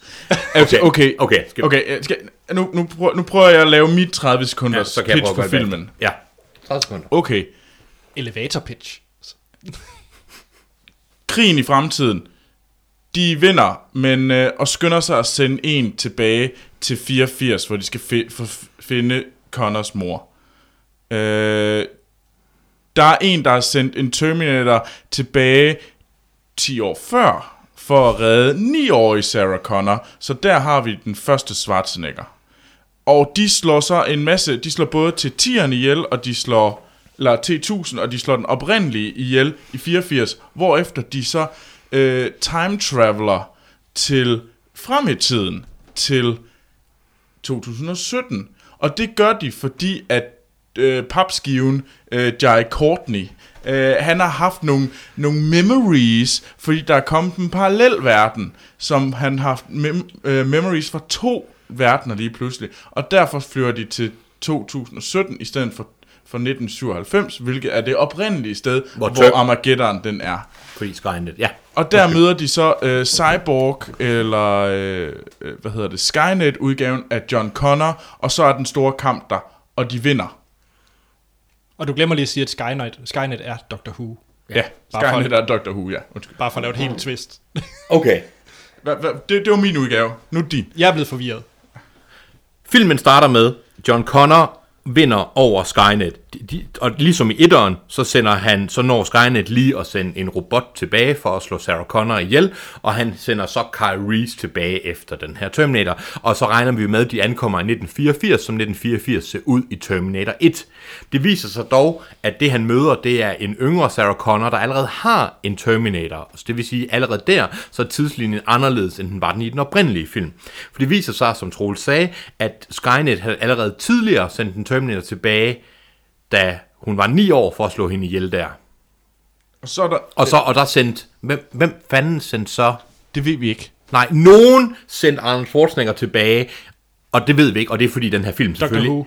[SPEAKER 3] okay, okay,
[SPEAKER 2] okay, skal-
[SPEAKER 3] okay øh, skal, nu, nu, prøver, nu prøver jeg at lave mit 30 sekunder ja, pitch for
[SPEAKER 2] at gå i bag.
[SPEAKER 3] filmen.
[SPEAKER 2] Ja. 30 sekunder.
[SPEAKER 3] Okay,
[SPEAKER 1] Elevator pitch.
[SPEAKER 3] krigen i fremtiden. De vinder, men øh, og skynder sig at sende en tilbage til 84, hvor de skal fi- for, finde Connors mor. Øh, der er en, der har sendt en Terminator tilbage 10 år før, for at redde 9-årige Sarah Connor, så der har vi den første Schwarzenegger. Og de slår så en masse, de slår både til 10'eren ihjel, og de slår, eller T1000, og de slår den oprindelige ihjel i 84, hvorefter de så øh, time traveler til frem i tiden, til 2017. Og det gør de, fordi at øh, papskiven øh, Jai Courtney, øh, han har haft nogle, nogle memories, fordi der er kommet en parallel verden, som han har haft mem- øh, memories fra to verdener lige pludselig. Og derfor flyver de til 2017 i stedet for for 1997, hvilket er det oprindelige sted, hvor,
[SPEAKER 2] Hvor
[SPEAKER 3] hvor
[SPEAKER 2] tø-
[SPEAKER 3] Armageddon den er.
[SPEAKER 2] Fordi Skynet, ja.
[SPEAKER 3] Og der møder de så øh, Cyborg, eller øh, øh, hvad hedder det, Skynet-udgaven af John Connor, og så er den store kamp der, og de vinder.
[SPEAKER 1] Og du glemmer lige at sige, at Skynet, Skynet er Doctor Who.
[SPEAKER 3] Ja, ja
[SPEAKER 1] bare
[SPEAKER 3] Skynet
[SPEAKER 1] for-
[SPEAKER 3] er Doctor Who, ja. Undskyld.
[SPEAKER 1] Bare for at lave et helt twist.
[SPEAKER 2] Okay.
[SPEAKER 3] Hva, hva, det, det var min udgave, nu din.
[SPEAKER 1] Jeg er blevet forvirret.
[SPEAKER 2] Filmen starter med, John Connor vinder over Skynet. De, de, og ligesom i etteren, så, sender han, så når Skynet lige at sende en robot tilbage for at slå Sarah Connor ihjel, og han sender så Kyle Reese tilbage efter den her Terminator. Og så regner vi med, at de ankommer i 1984, som 1984 ser ud i Terminator 1. Det viser sig dog, at det han møder, det er en yngre Sarah Connor, der allerede har en Terminator. Så det vil sige, allerede der, så er tidslinjen anderledes, end den var den i den oprindelige film. For det viser sig, som Troels sagde, at Skynet havde allerede tidligere sendt en Terminator tilbage, da hun var 9 år for at slå hende ihjel der.
[SPEAKER 3] Og så er der...
[SPEAKER 2] Og, så, og der sendt, hvem, hvem fanden sendte så?
[SPEAKER 3] Det ved vi ikke.
[SPEAKER 2] Nej, nogen sendte Arnold Schwarzenegger tilbage, og det ved vi ikke, og det er fordi den her film selvfølgelig...
[SPEAKER 1] Who.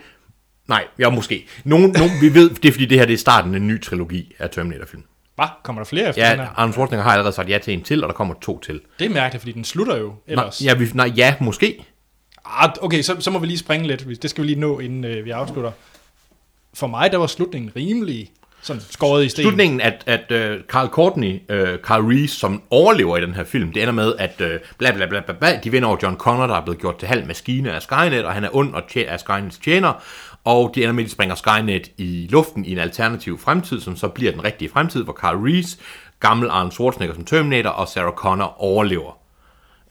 [SPEAKER 2] Nej, ja, måske. Nogen, nogen, vi ved, det er fordi det her det er starten af en ny trilogi af Terminator-film.
[SPEAKER 1] Hvad? Kommer der flere efter den
[SPEAKER 2] Ja,
[SPEAKER 1] her?
[SPEAKER 2] Arnold Schwarzenegger har allerede sagt ja til en til, og der kommer to til.
[SPEAKER 1] Det er mærkeligt, fordi den slutter jo
[SPEAKER 2] Nej,
[SPEAKER 1] ellers.
[SPEAKER 2] ja, vi, nej, ja, måske.
[SPEAKER 1] Ah, okay, så, så må vi lige springe lidt. hvis- Det skal vi lige nå, inden øh, vi afslutter. For mig, der var slutningen rimelig sådan skåret i sten.
[SPEAKER 2] Slutningen, at, at uh, Carl Courtney, uh, Carl Reese, som overlever i den her film, det ender med, at uh, bla, bla, bla, bla, bla, de vinder over John Connor, der er blevet gjort til halv maskine af Skynet, og han er ond og tje- af Skynets tjener, og de ender med, at de springer Skynet i luften i en alternativ fremtid, som så bliver den rigtige fremtid, hvor Carl Reese, gammel Arne Schwarzenegger som Terminator, og Sarah Connor overlever.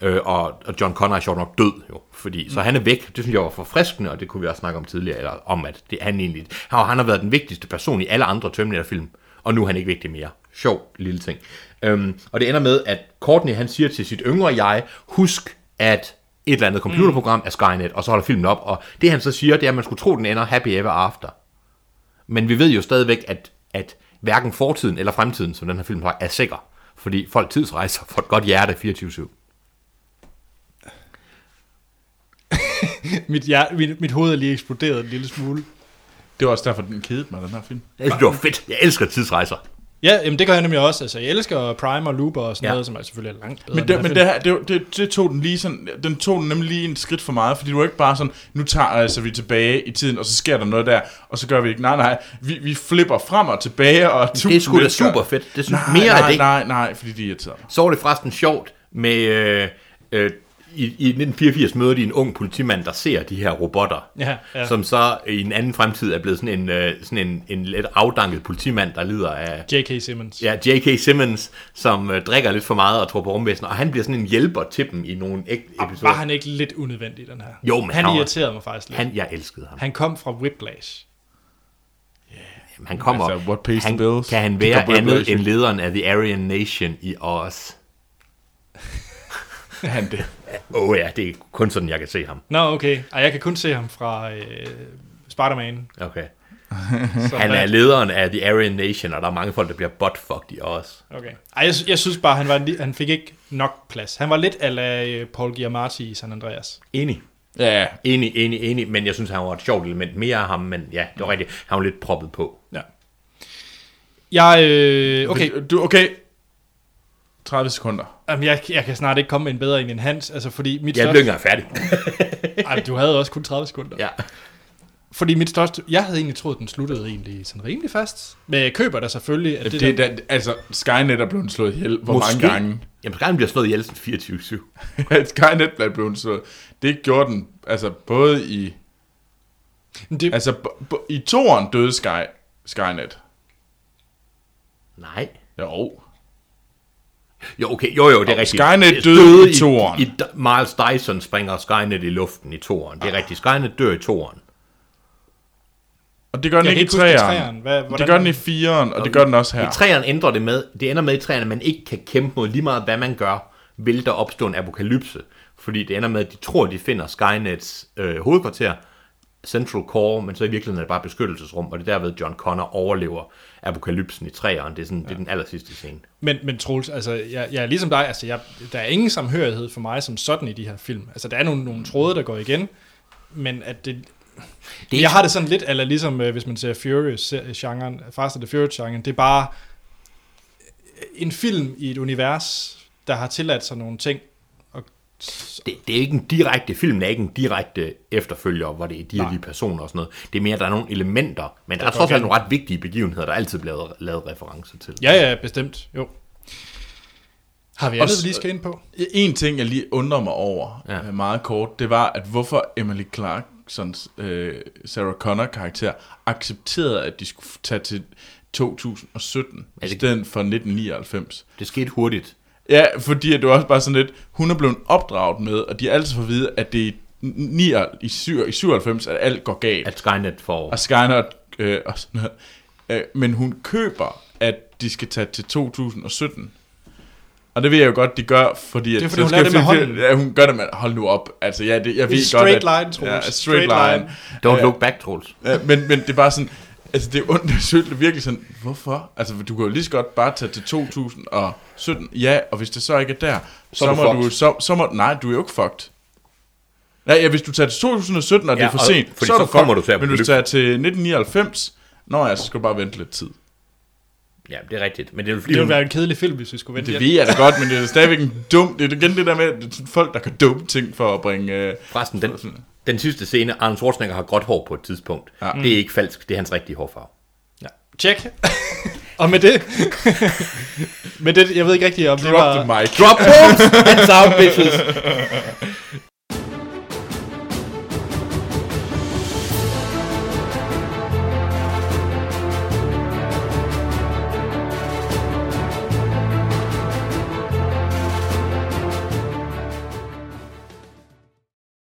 [SPEAKER 2] Øh, og, og John Connor er sjovt nok død jo, fordi, så han er væk, det synes jeg var forfriskende, og det kunne vi også snakke om tidligere, eller om at det, han egentlig, han, han har været den vigtigste person i alle andre Terminator-film, og nu er han ikke vigtig mere. Sjov lille ting. Øhm, og det ender med, at Courtney han siger til sit yngre jeg, husk at et eller andet computerprogram er Skynet, og så holder filmen op, og det han så siger, det er, at man skulle tro, den ender happy ever after. Men vi ved jo stadigvæk, at, at hverken fortiden eller fremtiden, som den her film har, er sikker, fordi folk tidsrejser for et godt hjerte 24-7.
[SPEAKER 1] Mit, ja, mit, mit hoved er lige eksploderet en lille smule.
[SPEAKER 3] Det var også derfor, den kedede mig, den her film.
[SPEAKER 2] Jeg synes, det var fedt. Jeg elsker tidsrejser.
[SPEAKER 1] Ja, jamen, det gør jeg nemlig også. Altså, jeg elsker Prime og Looper og sådan ja.
[SPEAKER 2] Ja.
[SPEAKER 1] noget, som er selvfølgelig er langt bedre.
[SPEAKER 3] Men,
[SPEAKER 1] end den
[SPEAKER 3] det,
[SPEAKER 1] her
[SPEAKER 3] men
[SPEAKER 1] film.
[SPEAKER 3] det, her, det, det, det tog den lige sådan, den tog den nemlig lige en skridt for meget, fordi du er ikke bare sådan, nu tager altså vi tilbage i tiden, og så sker der noget der, og så gør vi ikke, nej nej, vi, vi flipper frem og tilbage, og tusind
[SPEAKER 2] sgu da
[SPEAKER 3] mennesker-
[SPEAKER 2] superfedt. Det synes-
[SPEAKER 3] nej,
[SPEAKER 2] mere af
[SPEAKER 3] nej,
[SPEAKER 2] det.
[SPEAKER 3] Nej, nej, fordi de irriterer mig.
[SPEAKER 2] Så var det forresten sjovt med... Øh, øh, i, I 1984 møder de en ung politimand, der ser de her robotter,
[SPEAKER 1] Ja, ja.
[SPEAKER 2] som så i en anden fremtid er blevet sådan en, øh, sådan en, en let afdanket politimand, der lider af
[SPEAKER 1] J.K. Simmons.
[SPEAKER 2] ja, J.K. Simmons, som øh, drikker lidt for meget og tror på rumvæsener, og han bliver sådan en hjælper til dem i nogle ægte episoder.
[SPEAKER 1] Ah, Var han ikke lidt unødvendig, den her?
[SPEAKER 2] Jo, men
[SPEAKER 1] han,
[SPEAKER 2] han var-
[SPEAKER 1] irriterede mig faktisk lidt. Han,
[SPEAKER 2] han, jeg elskede ham.
[SPEAKER 1] han kom fra Whiplash.
[SPEAKER 2] Jamen, Han kommer.
[SPEAKER 3] Altså, what pays the
[SPEAKER 2] han,
[SPEAKER 3] bills?
[SPEAKER 2] Kan han
[SPEAKER 3] Det
[SPEAKER 2] være
[SPEAKER 3] kommer
[SPEAKER 2] andet
[SPEAKER 3] Revelation.
[SPEAKER 2] end lederen af The Aryan Nation i Oz?
[SPEAKER 3] Han det.
[SPEAKER 2] Åh oh, ja, det er kun sådan, jeg kan se ham.
[SPEAKER 1] Nå, okay. Og jeg kan kun se ham fra øh, Spider-Man.
[SPEAKER 2] Okay.
[SPEAKER 1] Så
[SPEAKER 2] Mm. Han
[SPEAKER 1] der-
[SPEAKER 2] er lederen af The Aryan Nation, og der er mange folk, der bliver buttfucked i os.
[SPEAKER 1] Okay. Ej, jeg, sy- jeg synes bare, han, var, en li- han fik ikke nok plads. Han var lidt ala øh, Paul Giamatti i San Andreas.
[SPEAKER 2] Enig.
[SPEAKER 3] Ja,
[SPEAKER 2] Enig, enig, enig. Men jeg synes, han var et sjovt element mere af ham, men ja, det var rigtigt. Han var lidt proppet på.
[SPEAKER 1] Ja. Jeg, øh, okay,
[SPEAKER 3] Du, okay. 30 sekunder.
[SPEAKER 1] Jamen, jeg, jeg kan snart ikke komme med en bedre en end Hans, altså fordi mit
[SPEAKER 2] Jeg blev ikke engang færdig.
[SPEAKER 1] Ej, du havde også kun 30 sekunder.
[SPEAKER 2] ja.
[SPEAKER 1] Fordi mit største... Jeg havde egentlig troet, den sluttede egentlig sådan rimelig fast. Men jeg køber der selvfølgelig, at det,
[SPEAKER 3] Det,
[SPEAKER 1] det
[SPEAKER 3] det,
[SPEAKER 1] der,
[SPEAKER 3] der, altså, Skynet er blevet slået ihjel. Hvor Måske. mange
[SPEAKER 2] Måske.
[SPEAKER 3] gange?
[SPEAKER 2] Jamen, Skyrim bliver slået ihjel sådan 24-7.
[SPEAKER 3] Skynet er blevet slået. Det gjorde den, altså både i...
[SPEAKER 1] det, det,
[SPEAKER 3] Altså, b- b- i toeren døde Sky, Skynet.
[SPEAKER 2] Nej.
[SPEAKER 3] Jo.
[SPEAKER 2] Jo, okay, jo, jo, det er
[SPEAKER 3] Og
[SPEAKER 2] rigtigt.
[SPEAKER 3] Skynet
[SPEAKER 2] Det
[SPEAKER 3] døde i
[SPEAKER 2] i
[SPEAKER 3] toeren.
[SPEAKER 2] I, D- Miles Dyson springer Skynet i luften i toeren. Det er rigtigt. Skynet dør i toeren.
[SPEAKER 3] Og det gør den
[SPEAKER 1] Jeg kan
[SPEAKER 3] ikke i
[SPEAKER 1] ikke huske i
[SPEAKER 3] træeren.
[SPEAKER 1] treeren. Hvad- hvordan-
[SPEAKER 3] Det gør den i firen, og det gør den også
[SPEAKER 2] Ja.
[SPEAKER 3] her.
[SPEAKER 2] I træerne ændrer det med, det ender med i træerne, at man ikke kan kæmpe mod lige meget, hvad man gør, vil der opstå en apokalypse. Fordi det ender med, at de tror, de finder Skynets øh, hovedkvarter, Central Core, men så i virkeligheden er det bare et beskyttelsesrum, og det er derved, John Connor overlever apokalypsen i træerne. Det er, sådan, ja. det er den aller sidste scene.
[SPEAKER 1] Men, men Troels, altså, jeg, jeg er ligesom dig, altså, jeg, der er ingen samhørighed for mig som sådan i de her film. Altså, der er nogle, nogle tråde, der går igen, men at det... det jeg har det sådan lidt, eller ligesom øh, hvis man ser Furious-genren, Fast and the Furious-genren, det er bare øh, en film i et univers, der har tilladt sig nogle ting. Og,
[SPEAKER 2] det, det er ikke en direkte film, det er ikke en direkte efterfølger, hvor det er de og de personer og sådan noget. Det er mere, at der er nogle elementer, men der er trods alt nogle ret vigtige begivenheder, der altid bliver lavet, lavet referencer til.
[SPEAKER 1] ja, ja, bestemt, jo. Har vi andet,
[SPEAKER 3] s-
[SPEAKER 1] vi lige skal ind på?
[SPEAKER 3] En ting, jeg lige undrer mig over
[SPEAKER 2] Ja.
[SPEAKER 3] ja. meget kort, det var, at hvorfor Emily Clarksons øh, Sarah Connor-karakter accepterede, at de skulle tage til 2017 i
[SPEAKER 2] det-
[SPEAKER 3] stedet for 1999.
[SPEAKER 2] Det skete hurtigt.
[SPEAKER 3] Ja, fordi at det var også bare sådan lidt, hun er blevet opdraget med, og de har altid fået at vide, at det er i, ni- i, syv- i 97, at alt går galt.
[SPEAKER 2] At Skynet får...
[SPEAKER 3] og Skynet øh, og sådan noget. Øh, men hun køber, at de skal tage til 2017. Og det ved jeg jo godt, de gør, fordi...
[SPEAKER 1] Det er,
[SPEAKER 3] at-
[SPEAKER 1] fordi hun
[SPEAKER 3] så
[SPEAKER 1] lader det
[SPEAKER 3] skal-
[SPEAKER 1] med hånden.
[SPEAKER 3] Ja, hun gør det med... Hold nu op. Altså, ja, det, jeg ved
[SPEAKER 1] straight
[SPEAKER 3] godt, at,
[SPEAKER 1] line, Troels.
[SPEAKER 3] Ja, straight,
[SPEAKER 1] Straight
[SPEAKER 3] line.
[SPEAKER 2] Don't look back, Troels.
[SPEAKER 3] Ja, men, men det er bare sådan... Altså, det er ondt, jeg synes, det er virkelig sådan, hvorfor? Altså, du kan jo lige så godt bare tage til 2017, ja, og hvis det så ikke er der, så,
[SPEAKER 2] er
[SPEAKER 3] så
[SPEAKER 2] du
[SPEAKER 3] må
[SPEAKER 2] fucked.
[SPEAKER 3] du... Så, så må, nej, du er jo ikke fucked. Nej, ja, hvis du tager til 2017, og det
[SPEAKER 2] Ja,
[SPEAKER 3] er for
[SPEAKER 2] og-
[SPEAKER 3] sent,
[SPEAKER 2] fordi
[SPEAKER 3] så er
[SPEAKER 2] så
[SPEAKER 3] du fucked.
[SPEAKER 2] kommer du til at
[SPEAKER 3] Men hvis
[SPEAKER 2] blive-
[SPEAKER 3] du tager til 1999, nå ja, så skal du bare vente lidt tid.
[SPEAKER 2] Ja, det er rigtigt. Men det er jo fordi,
[SPEAKER 1] Det ville
[SPEAKER 2] hun,
[SPEAKER 1] være en kedelig film, hvis vi skulle vente
[SPEAKER 3] Det
[SPEAKER 1] hjem.
[SPEAKER 3] ved jeg da godt, men det er stadigvæk en dum... Det er igen det der med, at det er sådan folk, der kan dumme ting for at bringe... Øh,
[SPEAKER 2] forresten, den, den sidste scene, Arnold Schwarzenegger har gråt hår på et tidspunkt. Ja. Det er ikke falsk, det er hans rigtige hårfarve.
[SPEAKER 1] Check. og med det, med det, jeg ved ikke rigtigt, om det
[SPEAKER 3] drop the
[SPEAKER 1] var...
[SPEAKER 3] mic.
[SPEAKER 2] Drop bombs! Hands out, bitches!